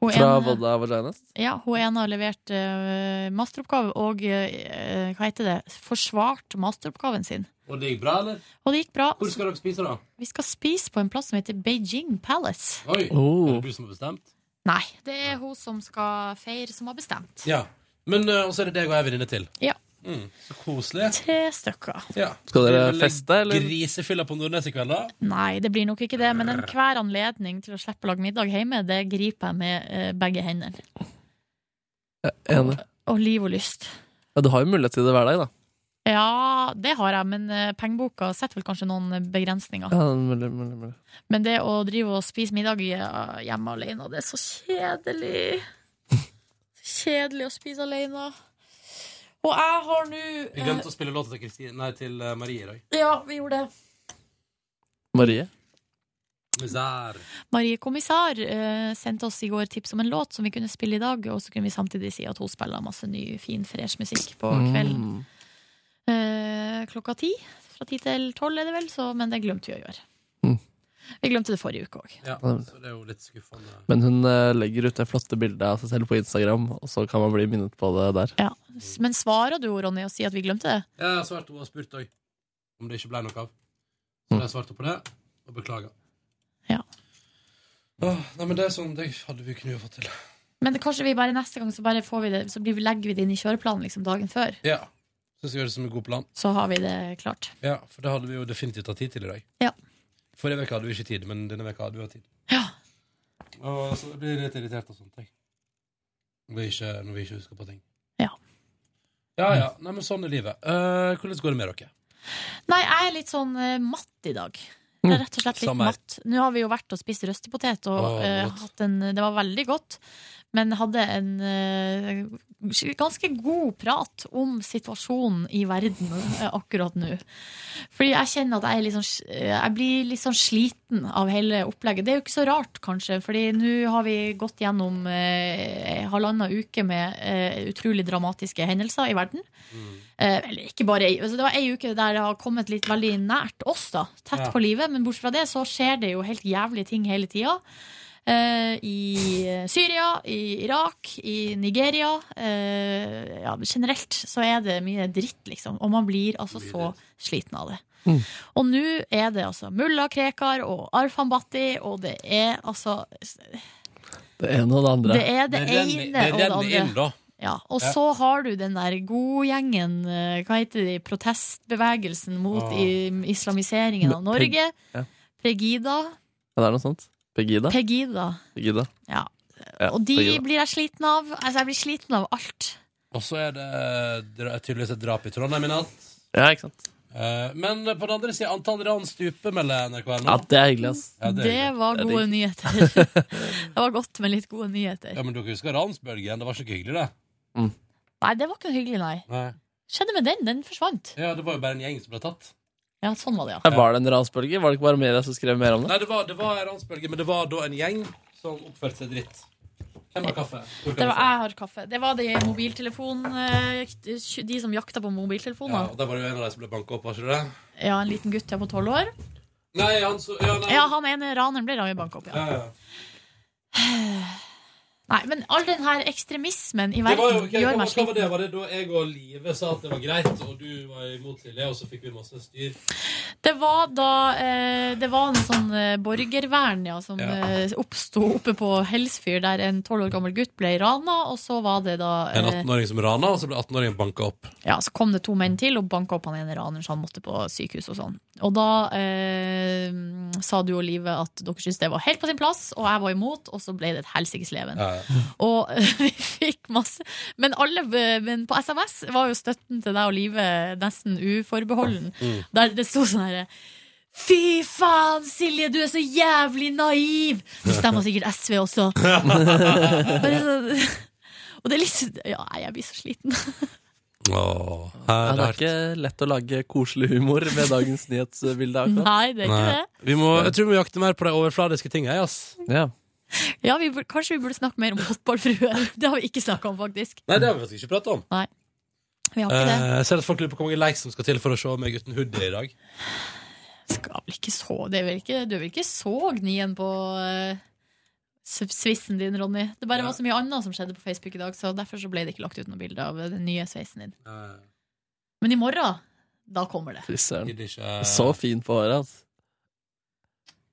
B: Hun
C: Fra
B: ene-
C: Vodda Vaginas?
B: Ja, hun ene har levert eh, masteroppgave og eh, hva heter det, forsvart masteroppgaven sin.
A: Og det gikk bra, eller?
B: Og det gikk bra.
A: Hvor skal dere spise, da?
B: Vi skal spise på en plass som heter Beijing Palace.
A: Oi,
B: Oh.
A: Er det du som har bestemt?
B: Nei, det er hun som skal feire, som har bestemt.
A: Ja. Men eh, og så er det deg og ei venninne til.
B: Ja.
A: Mm, så koselig.
B: Tre stykker.
A: Ja.
C: Skal dere
A: Vil du legge
C: feste, eller?
A: Grisefylla på Nordnes i kveld, da?
B: Nei, det blir nok ikke det, men enhver anledning til å slippe å lage middag hjemme, det griper jeg med eh, begge hendene.
C: Enig.
B: Og liv og lyst.
C: Ja, du har jo mulighet til det hver dag, da.
B: Ja, det har jeg, men eh, pengeboka setter vel kanskje noen eh, begrensninger.
C: Ja, mulig, mulig, mulig.
B: Men det å drive og spise middag eh, hjemme alene, det er så kjedelig. Kjedelig å spise alene.
N: Og jeg har nå
A: Vi
N: eh,
A: glemte å spille låta til, Kristine- nei, til eh, Marie i dag.
N: Ja, vi gjorde det.
C: Marie?
A: Misær.
B: Marie Kommissar eh, sendte oss i går tips om en låt som vi kunne spille i dag, og så kunne vi samtidig si at hun spiller masse ny, fin, fresh musikk på
C: Mm.
B: kvelden. Eh, klokka ti. Fra ti til tolv er det vel, så, men det glemte vi å gjøre. Vi glemte det forrige uke òg.
A: Ja, så det er jo litt skuffende.
C: Men hun eh, legger ut det flotte bildet av seg selv på Instagram, og så kan man bli minnet på det der.
B: Men svarer du, Ronny, og sier at vi glemte det?
A: Ja, Jeg har svart hun har spurt òg, om det ikke ble noe av. Så
C: Mm.
A: jeg svarte på det, og beklager.
B: Ja.
A: Åh, nei, men det er sånn, det hadde vi kunnet fått til.
B: Men det, kanskje vi bare neste gang så, bare får vi det, så blir, vi- legger vi det inn i kjøreplanen liksom dagen før.
A: Ja. Syns jeg gjør det som en god plan.
B: Så har vi det klart.
A: Ja, For det hadde vi jo definitivt hatt tid til i dag.
B: Ja.
A: Forrige uke hadde vi ikke tid, men denne uka hadde vi hatt tid. Ja. Og så blir jeg litt irritert og sånt, jeg. Når vi ikke, når vi ikke husker på ting.
B: Ja.
A: Ja, ja. Nei, men sånn er livet. Eh, hvordan går det med dere?
B: Nei, jeg er litt sånn eh, matt i dag. Jeg er rett og slett litt
A: Mm. Samme her.
B: matt. Nå har vi jo vært og spist røstepotet, og
A: Åh,
B: eh,
A: godt.
B: hatt en, det var veldig godt. Men hadde en eh, ganske god prat om situasjonen i verden eh, akkurat nå. Fordi jeg kjenner at jeg, er litt sånn, s- eh, jeg blir litt sånn sliten av hele opplegget. Det er jo ikke så rart, kanskje, fordi nå har vi gått gjennom eh, halvannen uke med eh, utrolig dramatiske hendelser i verden. Eh, eller ikke bare ei, altså Det var ei uke der det har kommet litt veldig nært oss, da. Tett
O: Ja.
B: på livet. Men bortsett fra det så skjer det jo helt jævlige ting hele tida. Eh, I Syria, i Irak, i Nigeria. Eh, ja, generelt så er det mye dritt, liksom. Og man blir altså så sliten av det.
C: Mm.
B: Og nå er det altså mulla Krekar og Arfan Bhatti, og det er altså
C: Det ene og det andre.
B: Det er det, ene og det andre. Ja, og
C: Ja.
B: så har du den der godgjengen, eh, hva heter de, protestbevegelsen mot
C: Ah.
B: i- islamiseringen av
C: Peg-
B: Norge.
C: Ja.
B: Pegida.
C: ja, det er noe sånt. Pegida.
B: Pegida.
C: Pegida.
B: Ja.
C: Ja,
B: Og de
C: Pegida.
B: blir jeg sliten av. Altså, jeg blir sliten av alt.
A: Og så er det dra- tydeligvis et drap i Trondheim i natt.
C: Ja, ikke sant?
A: Eh, men på den andre sida, antall ran stuper, melder NRK nå.
C: Ja, det er hyggelig, ass.
A: Ja, det er
B: Det
A: hyggelig.
B: var gode nyheter. Det var godt med litt gode
A: Ja,
B: nyheter.
A: men dere husker ransbølgen? Det var så ikke hyggelig, det.
B: Nei, det var ikke noe hyggelig, nei.
A: Nei.
B: Skjedde med den? Den forsvant.
A: Ja, det var jo bare en gjeng som ble tatt.
B: Ja, sånn var det, ja.
C: Nei, Var det en ransbølge? Var det ikke bare Meria som skrev mer om det?
A: Nei, det var, det var en ransbølge, men det var da en gjeng som oppførte seg dritt. Hvem har kaffe? Hvor
B: Det
A: kan jeg
B: var,
A: få?
B: jeg har kaffe. Det var de mobiltelefon... eh, De som jakta på
A: Ja,
B: mobiltelefoner.
A: og der var det jo en av de som ble banka opp, var ikke det?
B: Ja, en liten gutt ja, på tolv år.
A: Nei, han så Ja, nei.
B: Ja, han ene raneren ble ranet i bank opp, ja.
A: Ja, ja.
B: Nei, men all den her ekstremismen i
A: Det var jo,
B: verden
A: ok, hva,
B: gjør
A: hva
B: meg
A: var det?
B: sliten.
A: Var det da jeg og Live sa at det var greit, og du var imot Silje, og så fikk vi masse styr?
B: Det var da eh, Det var en sånn eh, borgervern ja, som
A: Ja.
B: eh, oppsto oppe på Helsfyr, der en tolv år gammel gutt ble rana, og så var det da
A: En
B: eh,
A: 18-åring som rana, og så ble 18-åringen banka opp.
B: ja, Så kom det to menn til og banka opp han ene raneren, så han måtte på sykehus og sånn. Og da eh, sa du og Live at dere syntes det var helt på sin plass, og jeg var imot, og så ble det et helsikes leven. Og eh, vi fikk masse Men alle men på SMS var jo støtten til deg og Live nesten uforbeholden.
L: Mm.
B: Der det sto sånn herre Fy faen, Silje, du er så jævlig naiv! Det stemmer sikkert SV også. Bare sånn Og det er litt Ja, nei, jeg blir så sliten.
A: Åh,
C: Ja, det er ikke lett å lage koselig humor med dagens nyhetsbilde. akkurat.
B: Nei, det er ikke det.
A: Vi må, jeg tror vi må jakte mer på de overfladiske tinga. Yes.
B: Ja, vi burde, Kanskje vi burde snakke mer om fotballfruer. Det har vi ikke snakka om, faktisk.
A: Nei, det har vi faktisk ikke pratet om.
B: Nei, vi har ikke det.
A: Eh, jeg ser at folk lurer på hvor mange likes som skal til for å se meg uten hoodie i dag.
B: Eh, Skal vel ikke så det er vel ikke, Du er vel ikke så gnien på eh, s- svissen din, Ronny? Det bare var så mye annet som skjedde på Facebook i dag, så derfor så ble det ikke lagt ut noe bilde av den nye sveisen din. Men i morgen, da kommer det.
C: Fy søren.
A: Eh, Gidder ikke-
C: Så fin på håret, altså.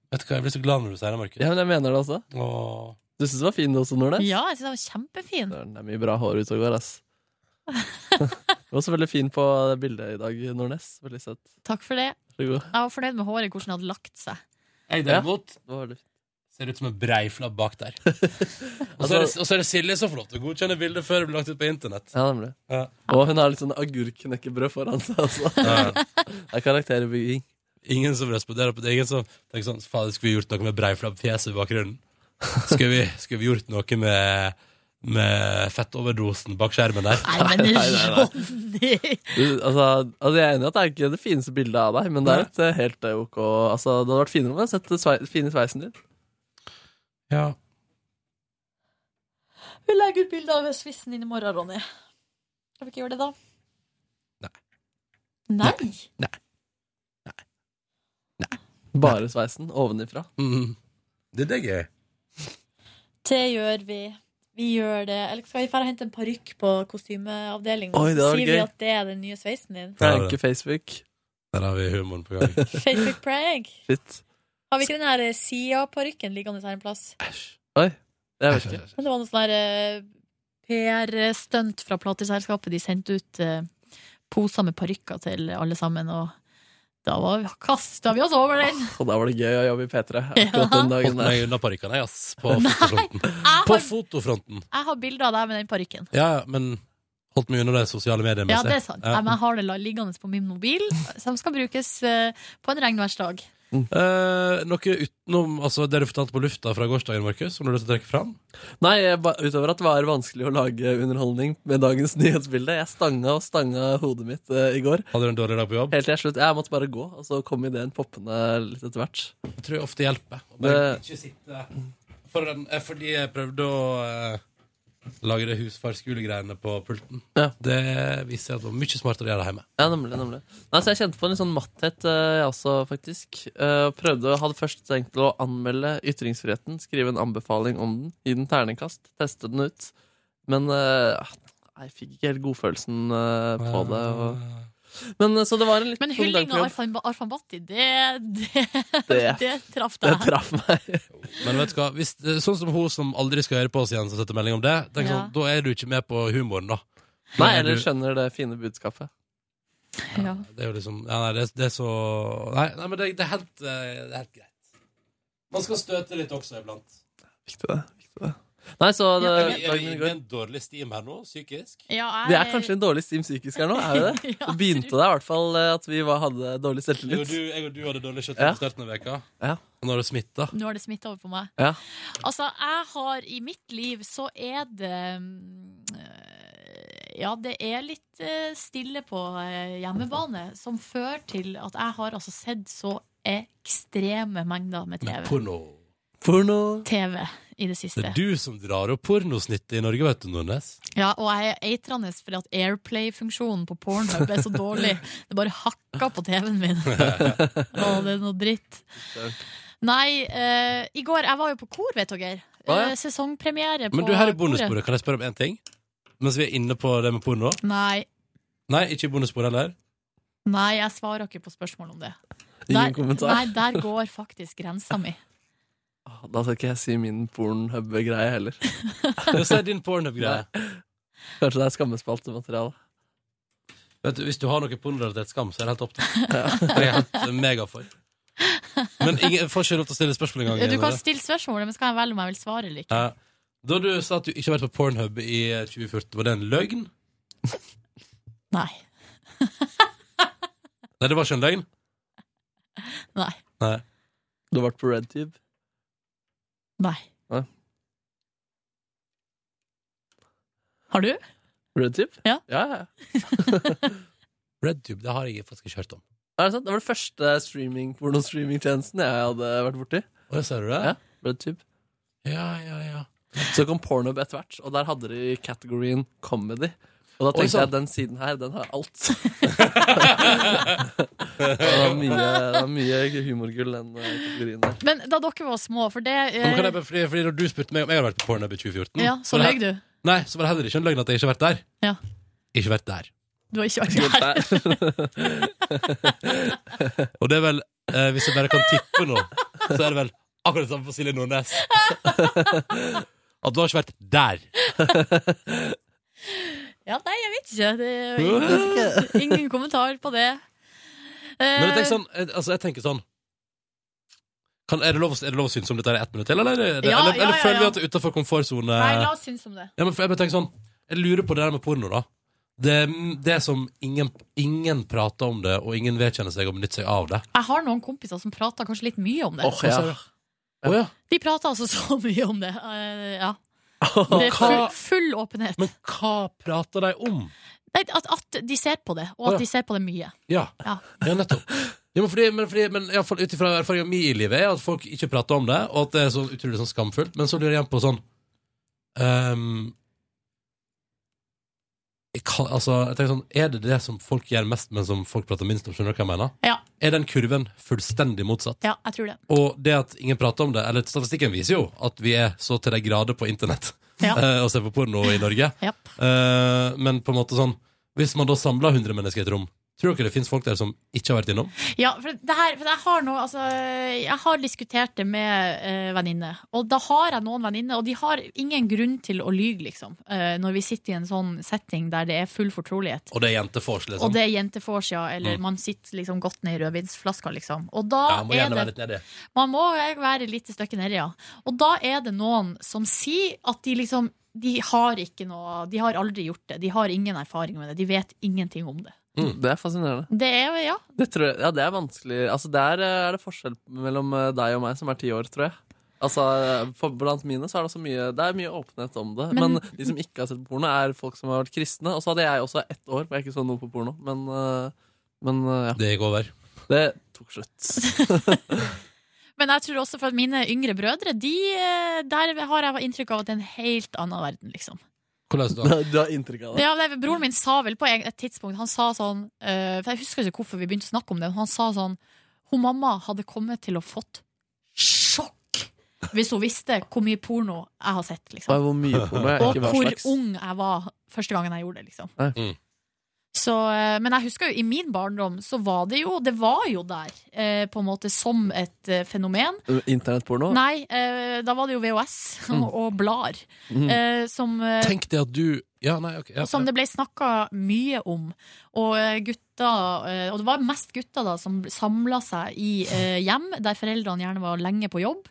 A: Vet du hva, jeg blir så glad når du sier det, Markus.
C: Ja, men jeg mener det også. Du syns det var fin det også, Nordnes?
B: Ja, jeg syns den var kjempefin.
C: Det er mye bra hår ute og går, ass. du var også veldig fin på det bildet i dag, Nordnes. Veldig søt.
B: Takk for det.
C: Vær så god.
B: Jeg var fornøyd med håret, hvordan det hadde lagt seg.
A: Jeg derimot ser ut som en breiflabb bak der. Og så er det, og så er det Silje som får lov til å godkjenne bildet før det blir lagt ut på internett.
C: Ja, nemlig.
A: Ja.
C: Og hun har litt sånn agurknekkebrød foran seg, altså. Det er karakterbygging.
A: Ingen som responderer på det. Ingen som tenker sånn Fader, skulle vi gjort noe med breiflabbfjeset i bakgrunnen? Skulle vi, skulle vi gjort noe med med fettoverdosen bak skjermen der.
P: Nei, men Ronny!
C: Du, altså, altså, jeg er enig i at det er ikke det fineste bildet av deg, men det er et eh, helt eh, ok altså, Det hadde vært finere om jeg hadde sett det svei, fine sveisen din.
A: Ja.
B: Vi legger ut bilde av svissen din i morgen, Ronny. Skal vi ikke gjøre det, da? Nei. Nei?
C: Bare sveisen ovenifra.
A: Mm. Det er gøy.
B: Det gjør vi. Vi gjør det. Eller skal vi dra og hente en parykk på kostymeavdelingen?
C: Oi, det
B: så
C: hadde vært
B: sier vi
C: gøy.
B: at det er den nye sveisen din.
C: Pranke Facebook.
A: Der har vi humoren på gang.
B: Facebook prank.
C: Shit.
B: Har vi ikke den her eh, Sia-parykken liggende her en plass?
C: Oi. Jeg vet ikke.
B: Men Det var noe sånn her eh, PR-stunt fra plateselskapet. De sendte ut eh, poser med parykker til alle sammen, og da var vi, kasta vi oss over den.
C: Og da var det gøy å jobbe i P3 akkurat den dagen
A: Holdt meg
C: der.
A: unna parykkene, jeg, ass. På fotofronten. På fotofronten.
B: Jeg har bilder av deg med den parykken.
A: Ja, ja, men holdt meg unna de sosiale mediene.
B: Ja,
A: vil jeg si.
B: det er sant.
A: Ja.
B: Nei, men Jeg har det la- liggende på min mobil, som skal brukes eh, på en regnværsdag.
A: Eh, noe utenom altså, det du fortalte på lufta fra gårsdagen, Markus, som du har lyst til å trekke fram?
C: Nei, jeg, ba- utover at det var vanskelig å lage underholdning med dagens nyhetsbilde. Jeg stanga og stanga hodet mitt eh, i går.
A: Hadde du en dårlig dag på jobb?
C: Helt til jeg slutt. Jeg måtte bare gå, og så kom ideen poppende litt etter hvert.
A: Jeg tror jeg ofte hjelper. å Bare
C: Det-
A: ikke sitte foran eh, Fordi jeg prøvde å eh, lage det husfarsskolegreiene på pulten.
C: Ja.
A: Det viser seg at det var mye smartere å gjøre det hjemme.
C: Ja, nemlig, nemlig. Nei, så jeg kjente på en litt sånn matthet, eh, jeg også, faktisk. Eh, prøvde, hadde først tenkt å anmelde ytringsfriheten, skrive en anbefaling om den, gi den ternekast, teste den ut. Men eh, jeg fikk ikke helt godfølelsen eh, på det. Og... Men eh, så det var en litt
B: Men
C: tung dag
B: hylling
C: på
B: av
C: jobb.
B: Arfan, Arfan Batti, det, det, det,
A: Det-
B: traff
A: det
B: deg.
A: traff Men vet du hva, Hvis, eh, sånn som hun som aldri skal høre på oss igjen, som setter melding om det, tenk
B: Ja.
A: sånn, da er du ikke med på humoren, da. Da
C: Nei,
A: er
C: eller
A: du-
C: skjønner det fine budskapet.
B: Ja.
A: Det er jo liksom ja, Nei, det, det er så Nei, nei men det, det, er helt, eh, det er helt greit. Man skal støte litt også iblant.
C: Viktig det. Viktig det. Nei, så det,
A: er vi- er
C: dagen
A: vi
C: min
A: inne i
C: går.
A: en dårlig stim her nå, psykisk?
C: Vi er kanskje en dårlig stim psykisk her nå, er vi det?
A: Ja,
C: Så begynte det i hvert fall eh, at vi var, hadde
A: jeg
C: dårlig
A: og,
C: selvtillit.
A: du, jeg og du hadde dårlig kjøtt
C: Ja.
A: på starten av veka
C: Ja.
A: Nå er det smitta.
B: Nå har det smitta over på meg.
C: Ja.
B: Altså, jeg har i mitt liv så er det mm, Ja, det er litt eh, stille på eh, hjemmebane, som fører til at jeg har altså sett så ekstreme mengder med TV.
A: Porno.
C: Porno.
B: TV i det
A: Det
B: siste.
A: er du som drar opp pornosnittet i Norge, vet du, Nordnes.
B: Ja, og jeg er eitrende fordi at Airplay-funksjonen på Pornhub er så dårlig. Det bare hakka på TV-en min. Å, det er noe dritt. Nei, eh, i går Jeg var jo på kor, vet dere.
A: Å, ja.
B: Eh, Sesongpremiere på
A: Men du, her i
B: koret.
A: bonussporet, kan jeg spørre om én ting? Mens vi er inne på det med porno?
B: Nei,
A: Nei, ikke i bonussporet heller?
B: nei, jeg svarer ikke på spørsmål om det.
C: Ingen kommentar.
B: Nei, der går faktisk grensa mi.
C: Da skal ikke jeg si min pornhub-greie heller.
A: Si din pornhub-greie.
C: Kanskje det er skammespaltemateriale.
A: Vet du, Hvis du har noe pornorelatert skam, så er det helt opp til deg. Det er jeg helt mega for. Men ingen, får ikke lov til å stille spørsmål engang.
B: Du
A: Nora.
B: kan stille spørsmål, men skal jeg velge om jeg vil svare eller ikke?
A: Ja. Da du sa at du ikke har vært på Pornhub i eh, 2014, var det en løgn?
B: Nei.
A: Nei, det var ikke en løgn?
B: Nei.
A: Nei.
C: Du har vært på RedTube?
B: Nei. Har du?
C: RedTube?
B: Ja.
C: ja,
A: RedTube, det har jeg faktisk ikke hørt om.
C: Er det sant? Det var den første streaming, porno-streaming-tjenesten jeg hadde vært borti.
A: Å, ser du det?
C: Ja, RedTube.
A: Ja, ja, ja.
C: Så kom Pornhub etter hvert, og der hadde de kategorien comedy. Og da
A: Oi,
C: tenkte
A: sann.
C: jeg at den siden her, den har alt. det, var mye, det var mye humorgull, den eh, kategorien der.
B: Men da dere var små, for det eh,
A: Men kan jeg, bare- fordi, fordi når du spurte meg om jeg hadde vært på Pornhub i 2014
B: Ja, så
A: var Mm. det
B: løy
A: he-
B: du.
A: Nei, så var det heller ikke en løgn at jeg ikke har vært der.
B: Ja.
A: Ikke vært der.
B: Du har ikke vært der.
A: Og det er vel, eh, hvis jeg bare kan tippe nå, så er det vel akkurat det samme for Silje Nordnes. At du har ikke vært der.
B: Ja, nei, jeg vet ikke. Det er jo ingen, ingen kommentar på det. Eh,
A: Men jeg tenker sånn, eh, altså jeg tenker sånn kan, er, det lov, er det lov å synes om dette er ett minutt til, eller, er det,
B: Ja,
A: eller,
B: ja,
A: eller
B: ja,
A: føler vi
B: ja.
A: at det er utenfor komfortsone?
B: Nei, la oss synes om det.
A: Ja, men for jeg bare tenker sånn Jeg lurer på det der med porno da Det, det som ingen, ingen prater om det Og ingen vedkjenner seg og benytter seg av det
B: Jeg har noen kompiser som prater kanskje litt mye om det.
A: Åh, ja. Åh, ja.
B: De prater altså så mye om det. eh, ja. Det er full,
A: hva-
B: full åpenhet.
A: Men hva prater de om?
B: Nei, at, at de ser på det,
A: Å, ja.
B: og at de ser på det mye.
A: Ja,
B: Ja.
A: ja nettopp. Ja, men fordi, men fordi, men iallfall ut ifra erfaringa mi i livet, er at folk ikke prater om det, og at det er så utrolig sånn skamfullt. Men så lurer jeg igjen på sånn ehm, jeg kan, altså, jeg tenker sånn, Er det det som folk gjør mest, men som folk prater minst om? Skjønner du hva jeg mener?
B: Ja.
A: Er den kurven fullstendig motsatt?
B: Ja, jeg tror det.
A: Og det at ingen prater om det, eller statistikken viser jo at vi er så til de grader på internett
B: Ja.
A: eh, og ser på porno i Norge. Eh, men på en måte sånn Hvis man da samler 100 mennesker i et rom, tror dere det fins folk der som ikke har vært innom?
B: Ja, for, det her, for jeg har nå altså, Jeg har diskutert det med uh, venninner. Og da har jeg noen venninner, og de har ingen grunn til å lyge, liksom. eh, når vi sitter i en sånn setting der det er full fortrolighet.
A: Og det er jentefors, liksom?
B: Og det er jentefors, ja. Eller
A: Mm.
B: man sitter liksom godt ned i rødvinsflaska, liksom. Og da
A: ja, må
B: er
A: gjerne
B: det
A: være litt nedi.
B: Man må være litt stykke nedi, ja. Og da er det noen som sier at de liksom De har ikke noe De har aldri gjort det. De har ingen erfaring med det. De vet ingenting om det.
C: mm, Det er fascinerende.
B: Det er jo, ja.
C: Det, tror jeg, ja, det er vanskelig. Altså, der eh, er det forskjell mellom eh, deg og meg, som er ti år, tror jeg. Altså, eh, for, Blant mine så er det også mye Det er mye åpenhet om det. Men,
B: Men-
C: de som ikke har sett porno, er folk som har vært kristne. Og så hadde jeg også ett år hvor jeg ikke så noe på porno. Men, eh, men eh, ja.
A: Det gikk over.
C: Det tok slutt.
B: Men jeg tror også for at mine yngre brødre, de, eh, der har jeg inntrykk av at det er en helt annen verden, liksom.
A: Hvordan da?
C: du har inntrykk av det?
B: Ja, det, broren min sa vel på en- et tidspunkt Han sa sånn eh, For jeg husker ikke hvorfor vi begynte å snakke om det men Han sa sånn Hun mamma hadde kommet til å fått sjokk Hvis hun visste hvor mye porno jeg har sett liksom.
C: Og hvor mye porno jeg
B: Og
C: ikke
B: hvor
C: hva slags.
B: ung jeg var første gangen jeg gjorde det liksom.
C: Nei.
B: så, eh, Men jeg husker jo i min barndom Så var det jo, det var jo der eh, På en måte som et eh, fenomen
C: Internettporno?
B: Nei, eh, da var det jo VHS
A: Mm.
B: og blar
A: Mm.
B: eh, som, eh,
A: Tenk det at du Ja, nei, ok. Ja,
B: som
A: ja.
B: det ble snakka mye om. Og eh, gutter, eh, og det var mest gutter da, som samla seg i eh, hjem der foreldrene gjerne var lenge på jobb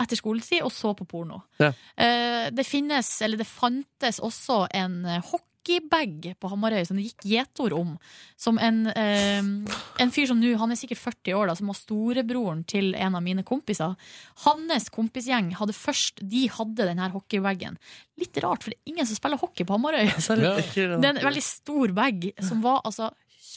B: etter skoletid, og så på porno.
C: Ja.
B: Eh, Det finnes, eller det fantes også en eh, hockeybag på Hamarøy som det gikk gjetord om. Som en, eh, en fyr som nå, han er sikkert 40 år, da, som var storebroren til en av mine kompiser. Hans kompisgjeng hadde først De hadde den her hockeybagen. Litt rart, for det er ingen som spiller hockey på Hamarøy.
C: Så er det litt ekkelt.
B: Det er en veldig stor bag som var altså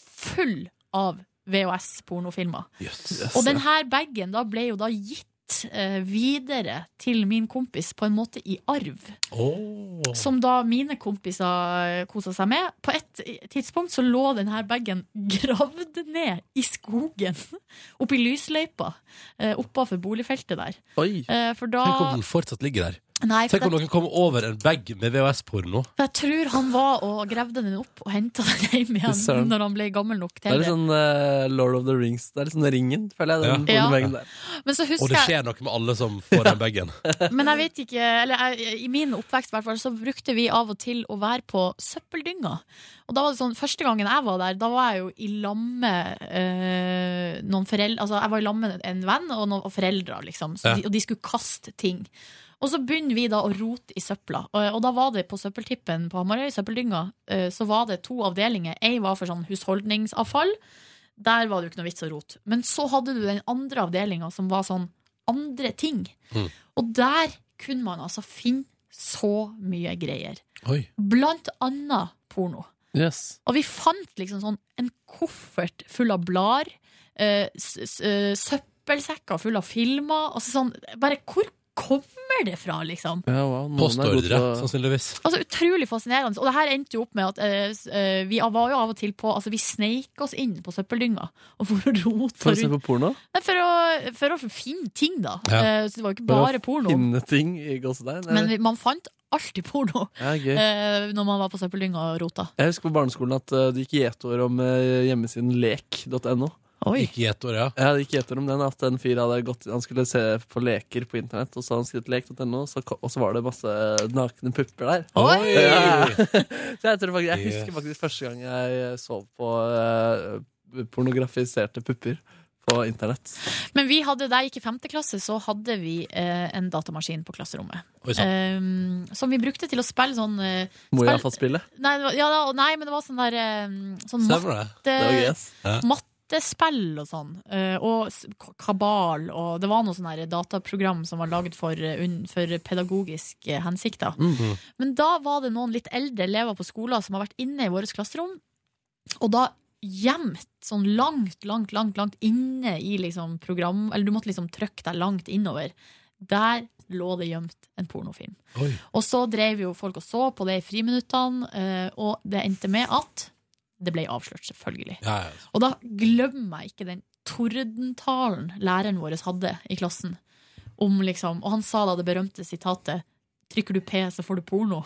B: full av VHS-pornofilmer.
C: Yes.
B: Og den her bagen da ble jo da gitt eh, videre til min kompis på en måte i arv.
A: Åh.
B: Som da mine kompiser kosa seg med. På et tidspunkt så lå den her bagen gravd ned i skogen. Oppi lysløypa. eh, Oppafor boligfeltet der.
A: Oi.
B: Eh, For da
A: Tenk om den fortsatt ligger der.
B: Nei, for
A: Tenk om
B: det-
A: noen kommer over en bag med VHS-porno.
B: For jeg tror han var og gravde den opp og henta den hjem
C: Søren.
B: igjen når han ble gammel nok
C: Det er
B: til
C: litt
B: det.
C: sånn eh, Lord of the Rings. Det er litt sånn Ringen, føler jeg. Den
B: Ja.
C: pornobagen der.
B: Men så
A: Og
B: husker
A: det
B: jeg
A: skjer noe med alle som får den bagen.
B: Men jeg vet ikke, eller jeg, i min oppvekst i hvert fall, så brukte vi av og til å være på søppeldynga. Og da var det sånn, første gangen jeg var der, da var jeg jo i lamme eh, noen foreldre, altså jeg var i lamme en venn og, noen, og foreldre, liksom. Så
Q: Ja.
B: de, og de skulle kaste ting. Og så begynner vi da å rote i søpla. Og, og da var det på søppeltippen på Hamarøy, søppeldynga, eh, så var det to avdelinger. Ei var for sånn husholdningsavfall. Der var det jo ikke noe vits å rote. Men så hadde du den andre avdelinga som var sånn andre ting. Og der kunne man altså finne så mye greier.
A: Oi.
B: Blant annet porno.
C: Yes.
B: Og vi fant liksom sånn en koffert full av blar, eh, s s eh, søppelsekker full av filmer. Altså sånn, bare hvor kommer det fra, liksom?
C: Ja, wow, noen er god
A: Postordre,
C: til å-
A: sannsynligvis.
B: Altså Utrolig fascinerende. Og det her endte jo opp med at eh, s- eh, vi var jo av og til på Altså vi sneik oss inn på søppeldynga og for å rote
C: For å se
B: rundt.
C: på porno?
B: Nei, For å, for å finne ting, da.
C: Ja.
B: Eh, Så det var jo ikke
C: For å
B: bare porno.
C: Finne ting i gåsetegn? eller?
B: Men vi- man fant alltid porno
C: Ja, gøy.
B: eh, når man var på søppeldynga og rota.
C: Jeg husker på barneskolen at eh, det gikk gjetord om eh, hjemmesiden lek.no.
B: Oi.
A: Gikk gjetord, ja.
C: det gikk gjetord om den, at en fyr hadde gått, han skulle se på leker på internett, og så hadde han skrevet lek.no, så ko- og så var det masse eh, nakne pupper der.
A: Oi!
C: Ja. Så jeg, tror faktisk, jeg
A: Yes.
C: husker faktisk første gang jeg sov på eh, pornografiserte pupper på internett.
B: Men vi hadde, da jeg gikk i femte klasse, så hadde vi eh, en datamaskin på klasserommet.
C: Oi, sånn.
B: Eh, som vi brukte til å spille sånn eh,
C: Må jeg
B: spill-
C: fått spille?
B: Nei, det var- ja, da- nei, men det var sånn der eh, sånn
C: Stemmer det.
B: matte,
C: Det var gøy, ass. Ja.
B: matte Skattespill og sånn. eh, Og s- k- kabal og Det var noe sånn her dataprogram som var lagd for, eh, unn- for eh, pedagogiske hensikter.
L: Mhm.
A: Mm.
B: Men da var det noen litt eldre elever på skolen som har vært inne i vårt klasserom, og da gjemt sånn langt, langt, langt, langt inne i liksom program Eller du måtte liksom trykke deg langt innover. Der lå det gjemt en pornofilm. Og så drev jo folk og så på det i friminuttene, eh, og det endte med at det ble avslørt, selvfølgelig.
A: Ja, ja.
B: Og da glemmer jeg ikke den tordentalen læreren vår hadde i klassen. Om liksom, og han sa da det berømte sitatet 'Trykker du P, så får du porno'.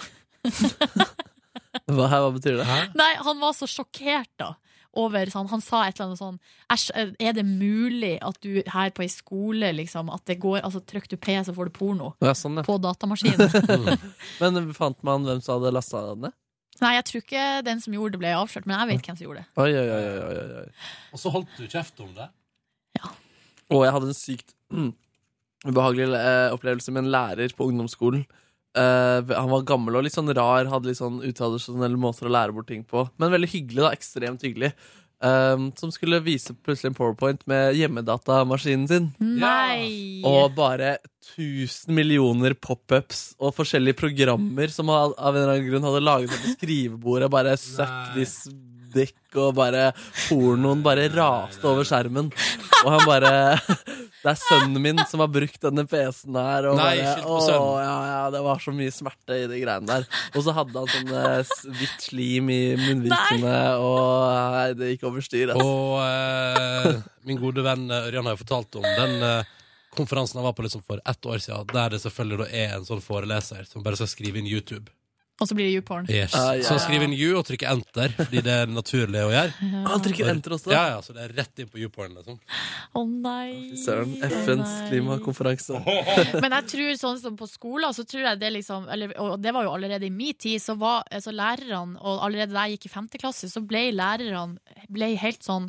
C: Hva, hva betyr det?
B: Nei, han var så sjokkert da over sånn, Han sa et eller annet sånn Æsj, er det mulig at du her på ei skole liksom, at det går, altså trykk du P, så får du porno?
C: Ja, sånn, ja.
B: På datamaskinen.
C: Men fant man hvem som hadde lasta den ned?
B: Nei, jeg tror ikke den som gjorde det, ble avslørt, men jeg vet hvem som gjorde det.
C: Oi, oi, oi, oi, oi, oi.
A: Og så holdt du kjeft om det?
C: Og jeg hadde en sykt mm, ubehagelig eh, opplevelse med en lærer på ungdomsskolen. Eh, han var gammel og litt sånn rar, hadde litt sånn utradisjonelle måter å lære bort ting på. Men veldig hyggelig, da. Ekstremt hyggelig. Eh, som skulle vise plutselig en powerpoint med hjemmedatamaskinen sin. Ah.
B: Nei!
C: Og bare 1000 millioner pop-ups og forskjellige programmer som av av en eller annen grunn hadde laget seg på skrivebordet. Bare suck this dick, og bare pornoen bare raste over skjermen. Og han bare Det er sønnen min som har brukt denne PC-en her. Og
A: Nei,
C: bare,
A: skyld på
C: «Åh,
A: sønnen.»
C: ja, ja, Det var så mye smerte i de greiene der. Og så hadde han sånn eh, s- hvitt slim i munnvikene, og nei, det gikk over styr. altså. ass.
A: Og eh, min gode venn eh, Ørjan har jo fortalt om den eh, konferansen han var på liksom for ett år siden, der det selvfølgelig da er en sånn foreleser som bare skal skrive inn YouTube.
B: Og så blir det YouPorn.
A: Yes. Så skriv inn U og trykk enter, fordi det er naturlig å gjøre.
B: Ja. Han
A: Og-
B: trykker enter også?
A: Ja, ja, så det er rett inn på YouPorn, liksom.
B: Å nei!
C: Søren. FNs klimakonferanse.
B: Men jeg tror sånn som på skolen, så tror jeg det liksom eller, Og det var jo allerede i min tid, så var altså lærerne Og allerede da jeg gikk i femte klasse, så ble lærerne ble helt sånn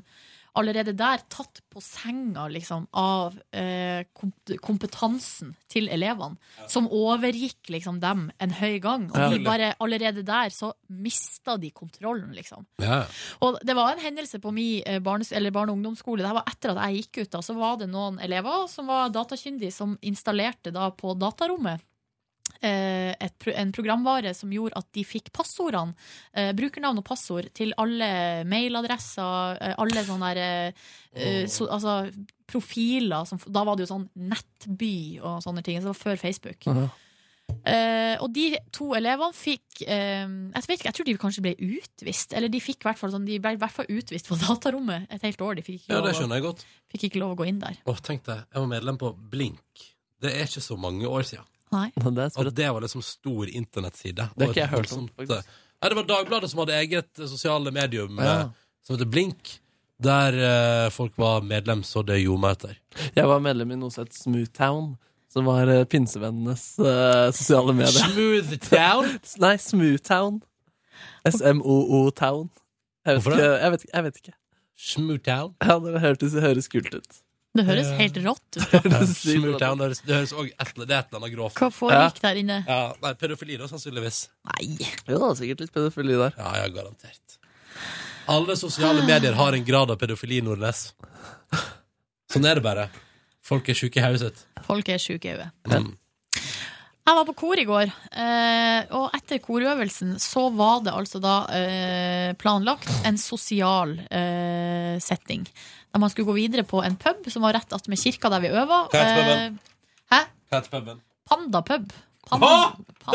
B: Allerede der tatt på senga, liksom, av eh, kom- kompetansen til elevene. Som overgikk liksom dem en høy gang.
A: Ja.
B: Og de bare, allerede der så mista de kontrollen, liksom.
A: Ja.
B: Og det var en hendelse på min eh, barnes, eller barne- og ungdomsskole. Det her var etter at jeg gikk ut. da, Så var det noen elever som var datakyndige, som installerte da på datarommet eh, et, pro- en programvare som gjorde at de fikk passordene, eh, brukernavn og passord, til alle mailadresser, eh, alle sånne der, eh, eh, so, altså, profiler som f- Da var det jo sånn Nettby og sånne ting. Så det var før Facebook. Eh, og de to elevene fikk eh, Jeg vet ikke, jeg tror de kanskje ble utvist. Eller de fikk i hvert fall sånn, de ble i hvert fall utvist på datarommet et helt år. De fikk ikke,
A: ja,
B: lov,
A: det skjønner jeg godt.
B: Å, fikk ikke lov å gå inn der.
A: Åh, tenk deg, jeg var medlem på Blink. Det er ikke så mange år siden.
B: Nei.
A: Og det var liksom stor internettside.
C: Det
A: Og
C: har ikke jeg hørt
A: voldsomt-
C: om,
A: Nei, det var Dagbladet som hadde eget eh, sosiale medium
C: Ja.
A: eh, som heter Blink, der eh, folk var medlem, så det gjorde meg etter.
C: Jeg var medlem i noe som het Smoothtown, som var eh, pinsevennenes eh, sosiale medier.
A: Smoothtown?
C: Nei, Smoothtown. S-M-O-O-town. Jeg vet
A: Hvorfor
C: ikke.
A: det?
C: Jeg vet, ikke- jeg vet ikke.
A: Smoothtown?
C: Ja, det hørtes, høres kult ut.
B: Det høres
A: Eh.
B: helt rått ut.
A: Smoothtown, det høres- det høres også et, eller- det er et eller annet grovt.
B: Hva foregikk der inne?
A: Ja, nei, pedofili da, sannsynligvis.
B: Nei.
C: Jo da, sikkert litt pedofili der.
A: Ja, ja, garantert. Alle sosiale medier har en grad av pedofili, Nordnes. Sånn er det bare. Folk er syke i hodet sitt.
B: Folk er sjuke i huet.
A: Mm.
B: Jeg var på kor i går, eh, og etter korøvelsen så var det altså da eh, planlagt en sosial eh, setting. Der man skulle gå videre på en pub som var rett attmed kirka der vi eh, øva.
A: Hva heter puben?
B: Hæ?
A: Hva heter puben?
B: Pandapub.
A: Hå!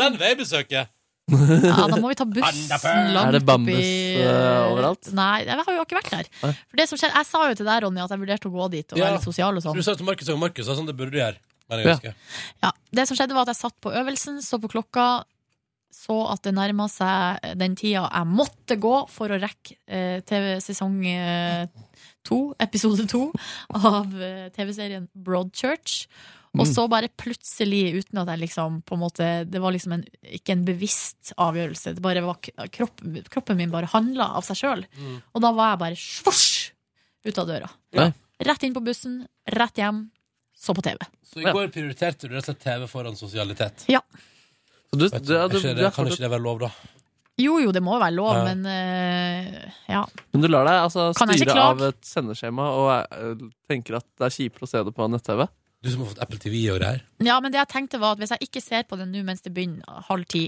A: Den vil jeg besøke!
B: Ja, da må vi ta bussen
A: Pandapub!
B: langt
C: Er det bambus,
B: oppi-
C: eh, overalt?
B: Nei, jeg har jo ikke vært der.
C: Nei.
B: For det som skjedde, Jeg sa jo til deg, Ronny, at jeg vurderte å gå dit og
A: Ja.
B: være litt sosial og sånn.
A: Du sa til Markus og Markus sa sånn det burde du gjøre. Men jeg
C: Ja.
A: husker.
B: Ja, det som skjedde var at jeg satt på øvelsen, så på klokka, så at det nærma seg den tida jeg måtte gå for å rekke eh, TV sesong eh, to, episode to, av eh, TV-serien Broadchurch. Og
N: Mm.
B: så bare plutselig, uten at jeg liksom på en måte Det var liksom en, ikke en bevisst avgjørelse. Det bare var k- kropp, Kroppen min bare handla av seg sjøl. Og da var jeg bare svosj ut av døra.
C: Nei.
B: Rett inn på bussen, rett hjem, så på TV.
A: Så i går prioriterte du rett og slett TV foran sosialitet.
B: Ja.
C: Så du,
A: Vet
C: du, ja,
A: Er
C: du,
A: ikke
C: du
A: det, kan
C: er
A: ikke
C: fortsatt,
A: det være lov, da?
B: Jo jo, det må være lov,
C: Ja.
B: men eh, ja.
C: Men du lar deg altså,
B: Kan jeg ikke
C: styre
B: klage?
C: av et sendeskjema og eh, tenker at det er kjipere å se det på nett-TV?
A: Du som har fått Apple TV og greier.
B: Ja, men det jeg tenkte var at hvis jeg ikke ser på det nå mens det begynner halv ti,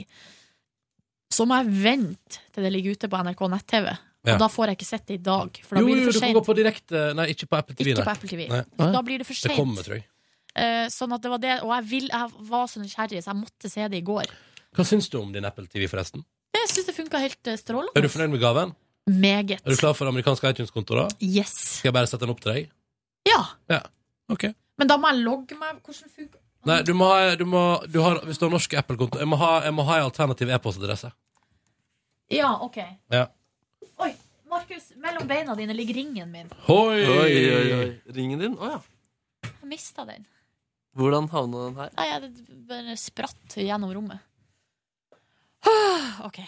B: så må jeg vente til det ligger ute på NRK nett-TV.
A: Ja.
B: Og da får jeg ikke sett det i dag, for da
A: Jo,
B: blir
A: jo,
B: det
A: du
B: for
A: kan
B: sent.
A: gå på direkte Nei, ikke på Apple TV.
B: Ikke
A: nei.
B: på Apple TV.
A: Nei.
B: Da blir det for
A: Det
B: sent.
A: kommer, tror jeg.
B: Eh, sånn at det var det, og jeg, vil, jeg var så nysgjerrig, så jeg måtte se det i går.
A: Hva syns du om din Apple TV, forresten?
B: Jeg syns det funka helt eh, strålende.
A: Er du fornøyd med gaven?
B: Meget.
A: Er du klar for amerikansk iTunes-konto, da?
B: Yes.
A: Skal jeg bare sette den opp til deg?
B: Ja.
A: Ja. Ok.
B: Men da må jeg logge meg. Hvordan funker
A: Nei, du må ha, du må, du har, hvis du har norsk Apple-konto Jeg må ha, jeg må ha en alternativ e-postadresse.
B: Ja, OK.
A: Ja.
B: Oi, Markus. Mellom beina dine ligger ringen min.
A: Hoi!
C: Oi, oi, oi. Ringen din? Å ja.
B: Jeg mista den.
C: Hvordan havna den her?
B: Nei, jeg bare spratt gjennom rommet. OK.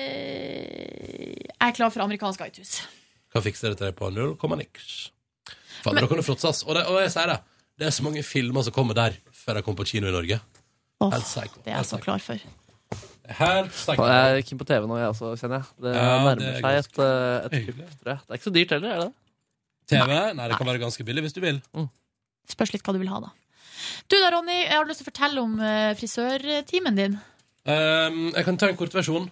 B: Eh, jeg er klar for amerikansk iTunes.
A: Kan fikse det til deg på null komma niks. Faen, da kan du fråtse, ass. Og, det, og jeg sier det, det er så mange filmer som kommer der før de kommer på kino i Norge.
B: Åh,
A: Helt psycho.
B: Det er jeg så eh, klar for.
A: Helt psycho.
C: Jeg er keen på TV nå, jeg også, kjenner jeg. Det
A: Ja,
C: nærmer
A: det er
C: seg et, eh, et kupp, tror jeg. Det er ikke så dyrt heller, er det?
A: TV? Nei, det kan være ganske billig hvis du vil.
B: Spørs litt hva du vil ha, da. Du da, Ronny, jeg har lyst til å fortelle om eh, frisørtimen din.
A: Ehm, jeg kan ta en kort versjon.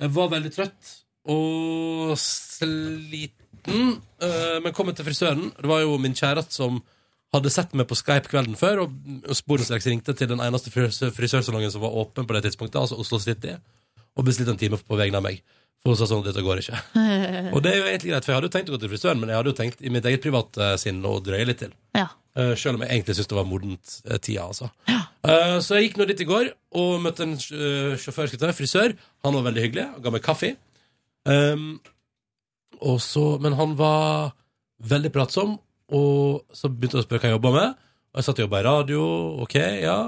A: Jeg var veldig trøtt og sliten, eh, men kom til frisøren. Det var jo min kjæreste som hadde sett meg på Skype kvelden før, og og sporenstreks ringte til den eneste frisø- frisørsalongen som var åpen på det tidspunktet, altså Oslo City, og bestilte en time på vegne av meg. For hun sa sånn dette går ikke. Og det er jo egentlig greit, for jeg hadde jo tenkt å gå til frisøren, men jeg hadde jo tenkt i mitt eget private sinn å drøye litt til.
B: Ja.
A: Eh, Selv om jeg egentlig syntes det var modent eh, tida, altså. Eh, Så jeg gikk nå dit i går og møtte en sj- eh, sjåfør, skal jeg ta, frisør. Han var veldig hyggelig og ga meg kaffe. Um, og så, men han var veldig pratsom, og så begynte jeg å spørre hva jeg jobba med. Og jeg satt og jobba i radio, ok, ja.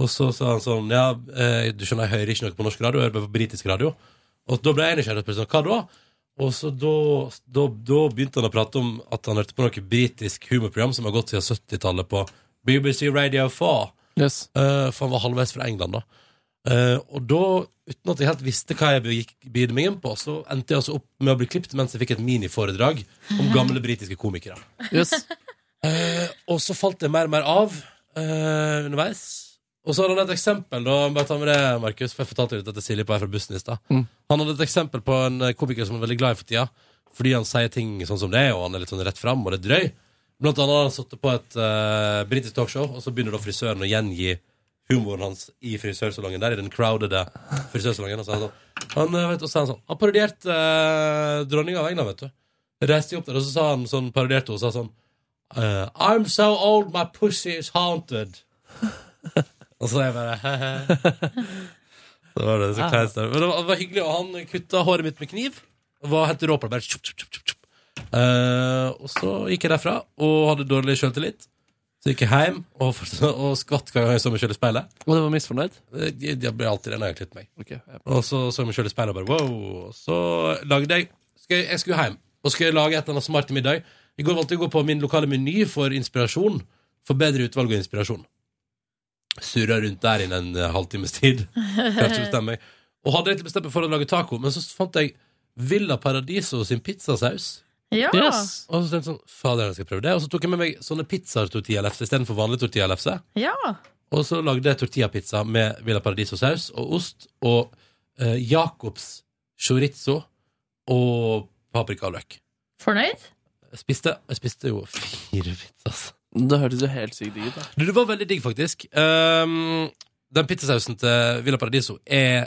A: Og så sa han sånn, ja, eh, du skjønner, jeg hører ikke noe på norsk radio, jeg hører bare på britisk radio. Og da ble jeg nysgjerrig og spurte sånn, hva da? Og så da, da, da begynte han å prate om at han hørte på noe britisk humorprogram som har gått siden 70-tallet på BBC Radio 4. Eh, for han var halvveis fra England, da. Eh, og da, uten at jeg helt visste hva jeg begikk begynte meg inn på, så endte jeg altså opp med å bli klippet mens jeg fikk et miniforedrag om gamle britiske komikere. Eh, og så falt det mer og mer av eh, underveis. Og så hadde han et eksempel, da, bare ta med det, Markus, for jeg fortalte deg dette til Silje på her fra bussen i stad.
C: Mm.
A: Han hadde et eksempel på en eh, komiker som er veldig glad i for tida, fordi han sier ting sånn som det, er, og han er litt sånn rett fram, og det er drøy. Blant annet har han sittet på et eh, britisk talkshow, og så begynner da frisøren å gjengi humoren hans i frisørsalongen der, i den crowdede frisørsalongen. Og så er han sånn Han, eh, vet, du, og så er han, sånn, han parodierte eh, dronninga av England, vet du. Reiste opp der, og så sa han sånn, parodierte hun og sa sånn eh, I'm so old, my pussy is haunted. og så er jeg bare «Hehe». Det var det så kleint der. Men det var, det var hyggelig, og han kutta håret mitt med kniv. Og var helt rå på det. Bare tjup, tjup, tjup, tjup. Eh, og så gikk jeg derfra og hadde dårlig sjøltillit. Så gikk jeg hjem og, og skvatt hver gang jeg så meg sjøl i speilet.
C: Og du var misfornøyd?
A: Jeg, jeg ble alltid det når jeg klippet meg.
C: Ok, ja.
A: Og så så jeg meg sjøl i speilet og bare wow. Og så lagde jeg skal jeg, jeg skulle hjem og skulle lage et eller annet smart til middag. I går valgte jeg å gå på min lokale meny for inspirasjon. For bedre utvalg og inspirasjon. Surra rundt der innen en eh, halvtimes tid. Klarte ikke å bestemme meg. Og hadde egentlig bestemt meg for å lage taco, men så fant jeg Villa Paradiso sin pizzasaus.
B: Ja.
A: Yes. Og så tenkte jeg sånn, fader, jeg skal prøve det. Og så tok jeg med meg sånne pizzatortillalefse istedenfor vanlig tortillalefse.
B: Ja.
A: Og så lagde jeg tortillapizza med Villa Paradiso-saus og ost og eh, Jacobs chorizo og paprika og løk.
B: Fornøyd?
A: Jeg spiste, jeg spiste jo fire altså. pizzas.
C: Det hørtes jo helt sykt digg ut. da.
A: Du, det var veldig digg, faktisk. Ehm, den pizzasausen til Villa Paradiso er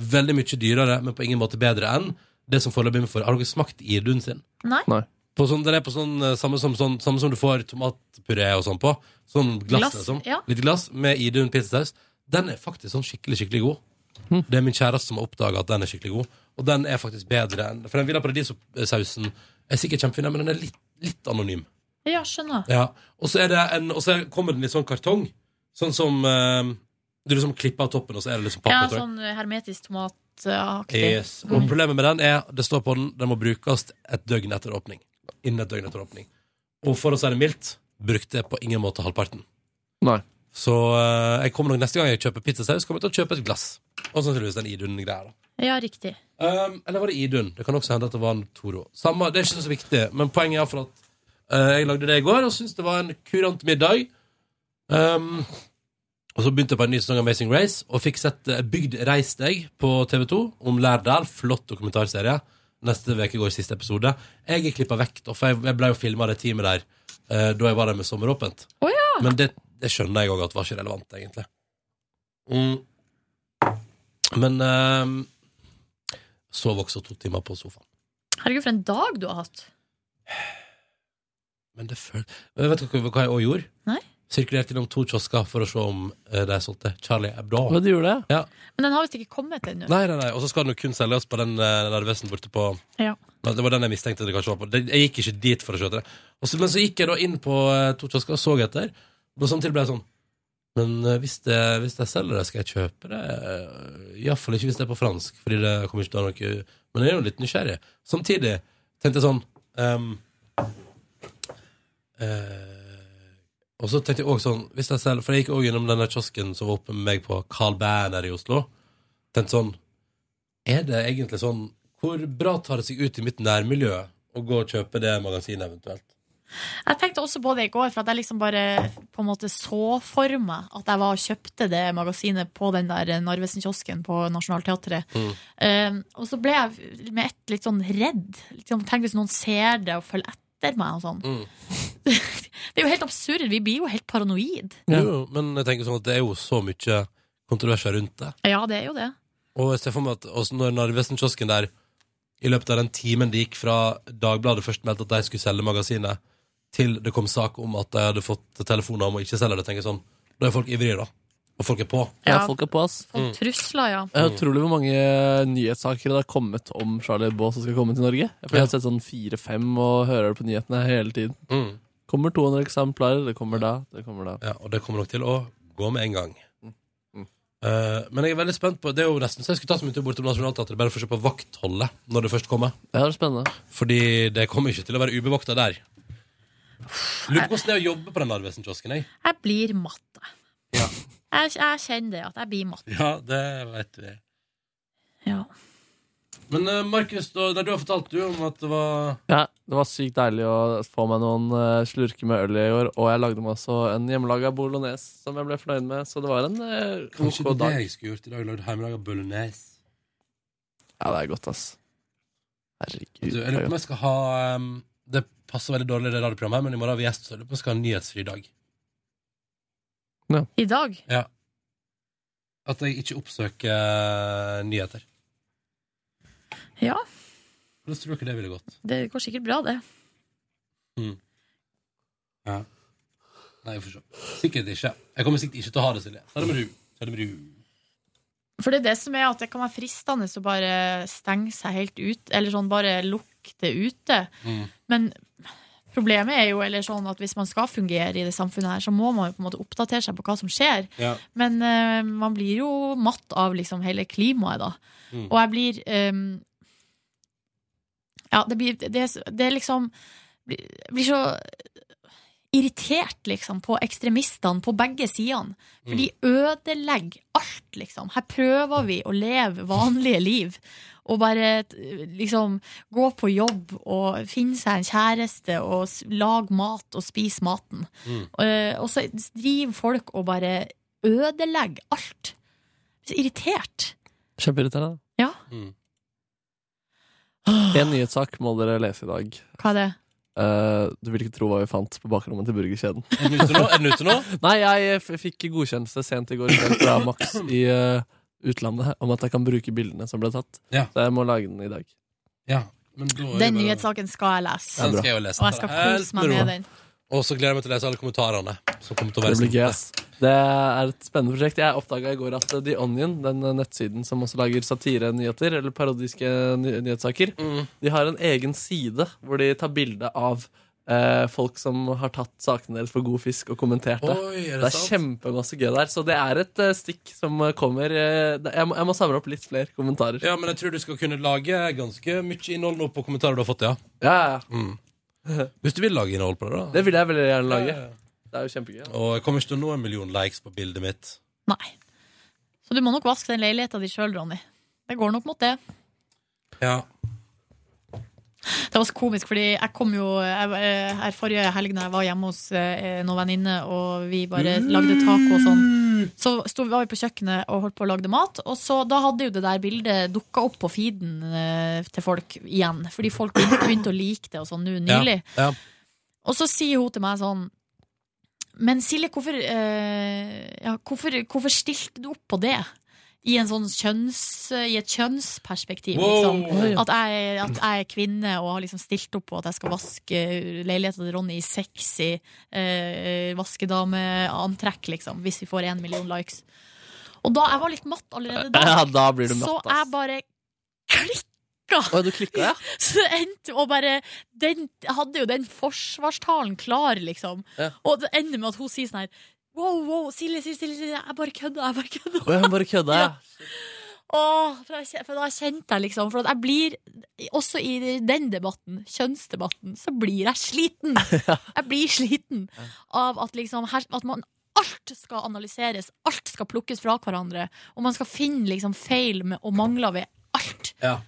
A: veldig mye dyrere, men på ingen måte bedre enn det som foreløpig er for. Har dere smakt irduen sin?
B: Nei.
A: På sånn, den er på sånn, eh, samme, som, sånn, samme som du får tomatpuré og sånn på. Sånn glass,
B: Glass,
A: liksom.
B: ja.
A: Litt glass med idun pizzasaus. Den er faktisk sånn skikkelig, skikkelig god. Det er min kjæreste som har oppdaga at den er skikkelig god. Og den er faktisk bedre enn For den Villa Paradiso-sausen er sikkert kjempefin, men den er litt, litt anonym.
B: Ja, skjønner.
A: Ja. Og så er det en, og så kommer den i sånn kartong. Sånn som eh, Du liksom klipper av toppen, og så er det liksom
B: Ja,
A: pappa. tror jeg.
B: sånn Mm. hermetisk tomataktig.
A: Yes. Og problemet med den er det står på den, den må brukes et døgn etter åpning. Innen et døgn etter åpning. Og for å si det mildt, brukte jeg på ingen måte halvparten.
C: Nei.
A: Så eh, jeg kommer nok neste gang jeg kjøper pizzasaus, kommer jeg til å kjøpe et glass. Og sannsynligvis den Idun-greia. da.
B: Ja, riktig.
A: Um, eller var det Idun? Det kan også hende at det var en Toro. Samme, det er ikke så viktig, men poenget er i hvert fall at eh, jeg lagde det i går og syntes det var en kurant middag. Um, og så begynte jeg på en ny sesong av Amazing Race og fikk sett eh, Bygd reis deg på TV2 om Lærdal. Flott dokumentarserie. Neste uke går siste episode. Jeg er klippa vekk, da, for jeg, jeg ble jo filma det teamet der eh, da jeg var der med sommeråpent.
B: Å ja!
A: Men det, det skjønner jeg òg at var ikke relevant, egentlig. Mm. Men ehm, sov også to timer på sofaen.
B: Herregud, for en dag du har hatt.
A: Men det føl... Men Vet dere hva jeg òg gjorde?
B: Nei.
A: Sirkulerte innom to kiosker for å se om eh, de solgte Charlie Hebdo.
C: Hva du gjorde?
A: Ja.
B: Men den har visst ikke kommet ennå.
A: Nei, nei, nei. Og så skal den jo kun selges på den eh, nervøsen borte på
B: Ja.
A: Nei, Det var den jeg mistenkte det kanskje var på. Det- Jeg gikk ikke dit for å kjøpe det. Og så, men så gikk jeg da inn på eh, to kiosker og så etter. Og samtidig ble jeg sånn Men eh, hvis, det, hvis jeg selger det, skal jeg kjøpe det? Iallfall ikke hvis det er på fransk, fordi det kommer ikke til å ha noe Men jeg er jo litt nysgjerrig. Samtidig tenkte jeg sånn ehm, eh, Og så tenkte jeg også sånn hvis jeg selger, For jeg gikk også gjennom denne kiosken som var oppe med meg på Carl Berner i Oslo. Tenkte sånn er det egentlig sånn Hvor bra tar det seg ut i mitt nærmiljø å gå og kjøpe det magasinet eventuelt?
B: Jeg tenkte også på det i går, for at jeg liksom bare på en måte så for meg at jeg var og kjøpte det magasinet på den der Narvesen-kiosken på Nationaltheatret. Um, og så ble jeg med ett litt sånn redd. Litt sånn, tenk hvis noen ser det og følger etter meg og sånn. Det er jo helt absurd. Vi blir jo helt paranoid.
A: Jo, jo, men jeg tenker sånn at det er jo så mye kontroverser rundt det.
B: Ja, det er jo det.
A: Og jeg ser for meg at også når Narvesen-kiosken der i løpet av den timen det gikk fra Dagbladet først meldte at de skulle selge magasinet, til det kom sak om at de hadde fått telefoner om å ikke selge det, tenker jeg sånn Da er folk ivrige, da. Og folk er på.
C: Ja, folk er på, ass.
B: Folk trusler, ja.
C: Det er utrolig hvor mange nyhetssaker det har kommet om Charlie Hebdo som skal komme til Norge. For Jeg har sett sånn fire-fem og hører det på nyhetene hele tiden.
A: Mm.
C: Kommer 200 eksemplarer, det kommer da, det kommer da.
A: Ja, og det kommer nok til å gå med en gang. Eh, men jeg er veldig spent på Det er jo nesten så jeg skulle ta som en tur bortom Nationaltheatret bare for å se på vaktholdet når det først kommer.
C: Det er spennende.
A: Fordi det kommer ikke til å være ubevokta der. Lurer på hvordan det er å jobbe på den Narvesen-kiosken, jeg.
B: Jeg blir matt. jeg. Jeg, jeg kjenner det, at jeg blir matt.
A: Ja, det vet vi.
B: Ja.
A: Men eh, Markus, da, da du har fortalt du om at det var
C: Ja, Det var sykt deilig å få meg noen eh, slurker med øl i år, og jeg lagde meg også en hjemmelaga bolognese som jeg ble fornøyd med, så det var en eh,
A: Kanskje
C: ok
A: det
C: dag.
A: jeg skulle gjort i dag, lagd hjemmelaga bolognese.
C: Ja, det er godt, ass. Herregud.
A: Du,
C: det
A: jeg
C: er
A: lurer på om
C: godt.
A: jeg skal ha ehm, Det passer veldig dårlig, i det radioprogrammet, her, men i morgen har vi gjest, så jeg lurer på om jeg skal ha en nyhetsfri dag.
B: I dag?
A: Ja. At jeg ikke oppsøker eh, nyheter.
B: Ja.
A: Hvordan tror dere det ville gått?
B: Det går sikkert bra, det.
A: Ja. Nei, vi får se. Sikkert ikke. Jeg kommer sikkert ikke til å ha det, Silje. Ta det med ru. Ta det med ru.
B: For det er det som er at det kan være fristende å bare stenge seg helt ut, eller sånn bare lukke det ute.
A: Mm.
B: Men problemet er jo eller sånn at hvis man skal fungere i det samfunnet her, så må man jo på en måte oppdatere seg på hva som skjer.
A: Ja.
B: Men eh, man blir jo matt av liksom hele klimaet, da.
A: Mm.
B: Og jeg blir eh, Ja, det blir Det, er- det er liksom blir, blir så irritert, liksom, på ekstremistene på begge sidene. For de ødelegger alt, liksom. Her prøver vi å leve vanlige liv. Og bare t- liksom gå på jobb og finne seg en kjæreste og s- lage mat og spise maten. Eh, Og så driver folk og bare ødelegger alt. Så irritert.
C: Kjempeirriterende.
B: Ja.
A: Mm.
C: En nyhetssak må dere lese i dag.
B: Hva er det?
C: Eh, du vil ikke tro hva vi fant på bakrommet til burgerkjeden.
A: Er den ute nå? Er den ute nå?
C: Nei, jeg eh, f- fikk godkjennelse sent i går kveld fra Max i eh, utlandet om at jeg kan bruke bildene som ble tatt.
A: Ja.
C: Så jeg må lage den i dag.
A: Men da er det
B: Den
A: bare-
B: nyhetssaken skal jeg lese.
A: Den skal jeg jo lese.
B: Og jeg skal kose meg med den.
A: Og så gleder jeg meg til å lese alle kommentarene. Som kommer til å være
C: Det blir
A: sånn.
C: gøy, ass. Det er et spennende prosjekt. Jeg oppdaga i går at eh, The Onion, den eh, nettsiden som også lager satirenyheter, eller parodiske ny nyhetssaker,
A: Mm.
C: de har en egen side hvor de tar bilde av eh, folk som har tatt sakene deres for god fisk og kommentert det.
A: Oi, er det
C: det er
A: sant?
C: kjempemasse gøy der. Så det er et eh, stikk som eh, kommer. eh, det- jeg, må, jeg må samle opp litt flere kommentarer.
A: Ja, men jeg tror du skal kunne lage ganske mye innhold nå på kommentarer du har fått, ja. Mm.
C: Ja, ja.
A: Hvis du vil lage innhold på det, da.
C: Det vil jeg veldig gjerne lage.
A: Ja, ja, ja.
C: Det Det er jo kjempegøy. da.
A: Og jeg kommer ikke til å nå en million likes på bildet mitt.
B: Så du må nok vaske den leiligheta di sjøl, Ronny. Det går nok mot det.
A: Ja.
B: Det var så komisk, fordi jeg kom jo jeg, eh, her forrige helg da jeg var hjemme hos eh, noen venninne, og vi bare
A: Mm.
B: lagde taco og sånn. Så sto, var vi på kjøkkenet og holdt på å lage mat, og så da hadde jo det der bildet dukka opp på feeden eh, til folk igjen. Fordi folk begynte, begynte å like det og sånn nå nylig.
A: Ja.
B: Og så sier hun til meg sånn Men Silje, hvorfor, eh, ja, hvorfor, hvorfor stilte du opp på det? I, en sånn kjønns, I et kjønnsperspektiv,
N: Wow.
B: liksom. At jeg, at jeg er kvinne og har liksom stilt opp på at jeg skal vaske leiligheten til Ronny i sexy eh, vaskedameantrekk, liksom. Hvis vi får én million likes. Og da, jeg var litt matt allerede da.
C: Ja, da blir du matt,
B: Så
C: ass.
B: jeg bare klikka.
C: du klikka, ja?
B: Så det endte og bare den, Jeg hadde jo den forsvarstalen klar, liksom.
C: Ja.
B: Og det ender med at hun sier sånn her Wow, wow, Silje, Silje, Silje, Silje, jeg bare kødda, jeg bare kødda.
C: Og jeg bare kødda, jeg.
B: Åh, for, jeg, kjen- for da kjente jeg liksom For at jeg blir, også i den debatten, kjønnsdebatten, så blir jeg sliten. Jeg blir sliten av at liksom her, At man alt skal analyseres, alt skal plukkes fra hverandre, og man skal finne liksom feil med, og mangler ved alt.
A: Ja.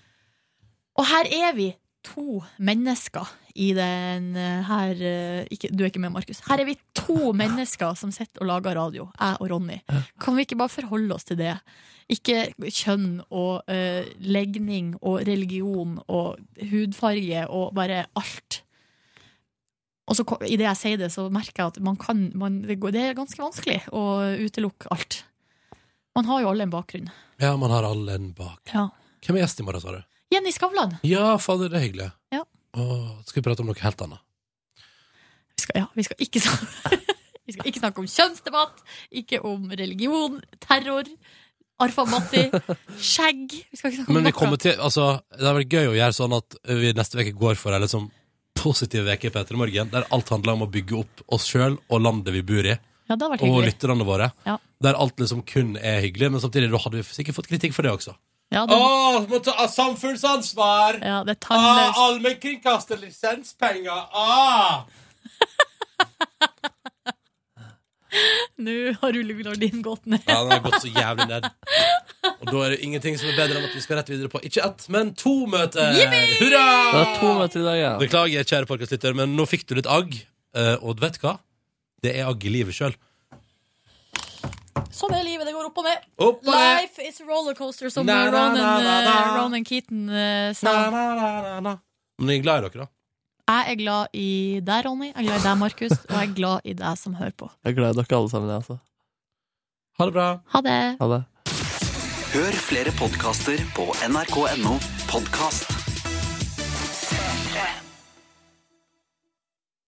B: Og her er vi to mennesker i den eh, her eh, ikke, Du er ikke med, Markus. Her er vi to mennesker som sitter og lager radio, jeg og Ronny. Kan vi ikke bare forholde oss til det? Ikke kjønn og eh, legning og religion og hudfarge og bare alt. Og så ko- idet jeg sier det, så merker jeg at man kan man, det, går, det er ganske vanskelig å utelukke alt. Man har jo alle en bakgrunn.
A: ja, man har alle en bak.
B: Ja.
A: Hvem er gjest i morgen, sa du?
B: Jenny Skavlan.
A: Ja, fader, det er hyggelig.
B: Ja.
A: Åh, skal vi prate om noe helt annet?
B: Vi skal, ja, vi skal ikke snakke Vi skal ikke snakke om kjønnsdebatt, ikke om religion, terror, arfamatti, skjegg. Vi skal ikke snakke om
A: Men vi
B: noe.
A: kommer til, altså, det hadde vært gøy å gjøre sånn at vi neste veke går for en liksom positiv veke i Peter Morgen, der alt handler om å bygge opp oss selv og landet vi bor i.
B: Ja, det hadde vært
A: og
B: hyggelig.
A: lytterne våre.
B: Ja.
A: Der alt liksom kun er hyggelig, men samtidig da hadde vi sikkert fått kritikk for det også.
B: Ja, det-
A: Åh, må ta samfunnsansvar!
B: Ja, det er tannløst.
A: Allmennkringkaster lisenspenger! Ah!
B: Nå har rullegardinen gått ned.
A: Ja, den har gått så jævlig ned. Og da er det ingenting som er bedre enn at vi skal rett videre på ikke ett, men to møter!
B: Yippee!
A: Hurra!
C: Det var to møter i dag, ja.
A: Beklager, kjære podkastlytter, men nå fikk du litt agg. Eh, og vet du hva? Det er agg i livet sjøl.
B: Sånn er livet. Det går opp og ned.
A: Opp og ned.
B: Life is rollercoaster, som
A: Na, na,
B: Ronan,
A: na, na, na.
B: eh, Ronan Keaton eh, sa.
A: Men jeg er glad i dere, da.
B: Jeg er glad i deg, Ronny. Jeg er glad i deg, Markus. Og jeg er glad i deg som hører på.
C: Jeg er glad i dere alle sammen, jeg, altså.
A: Ha det bra.
B: Ha det.
C: Ha det.
D: Hør flere podkaster på nrk.no podkast.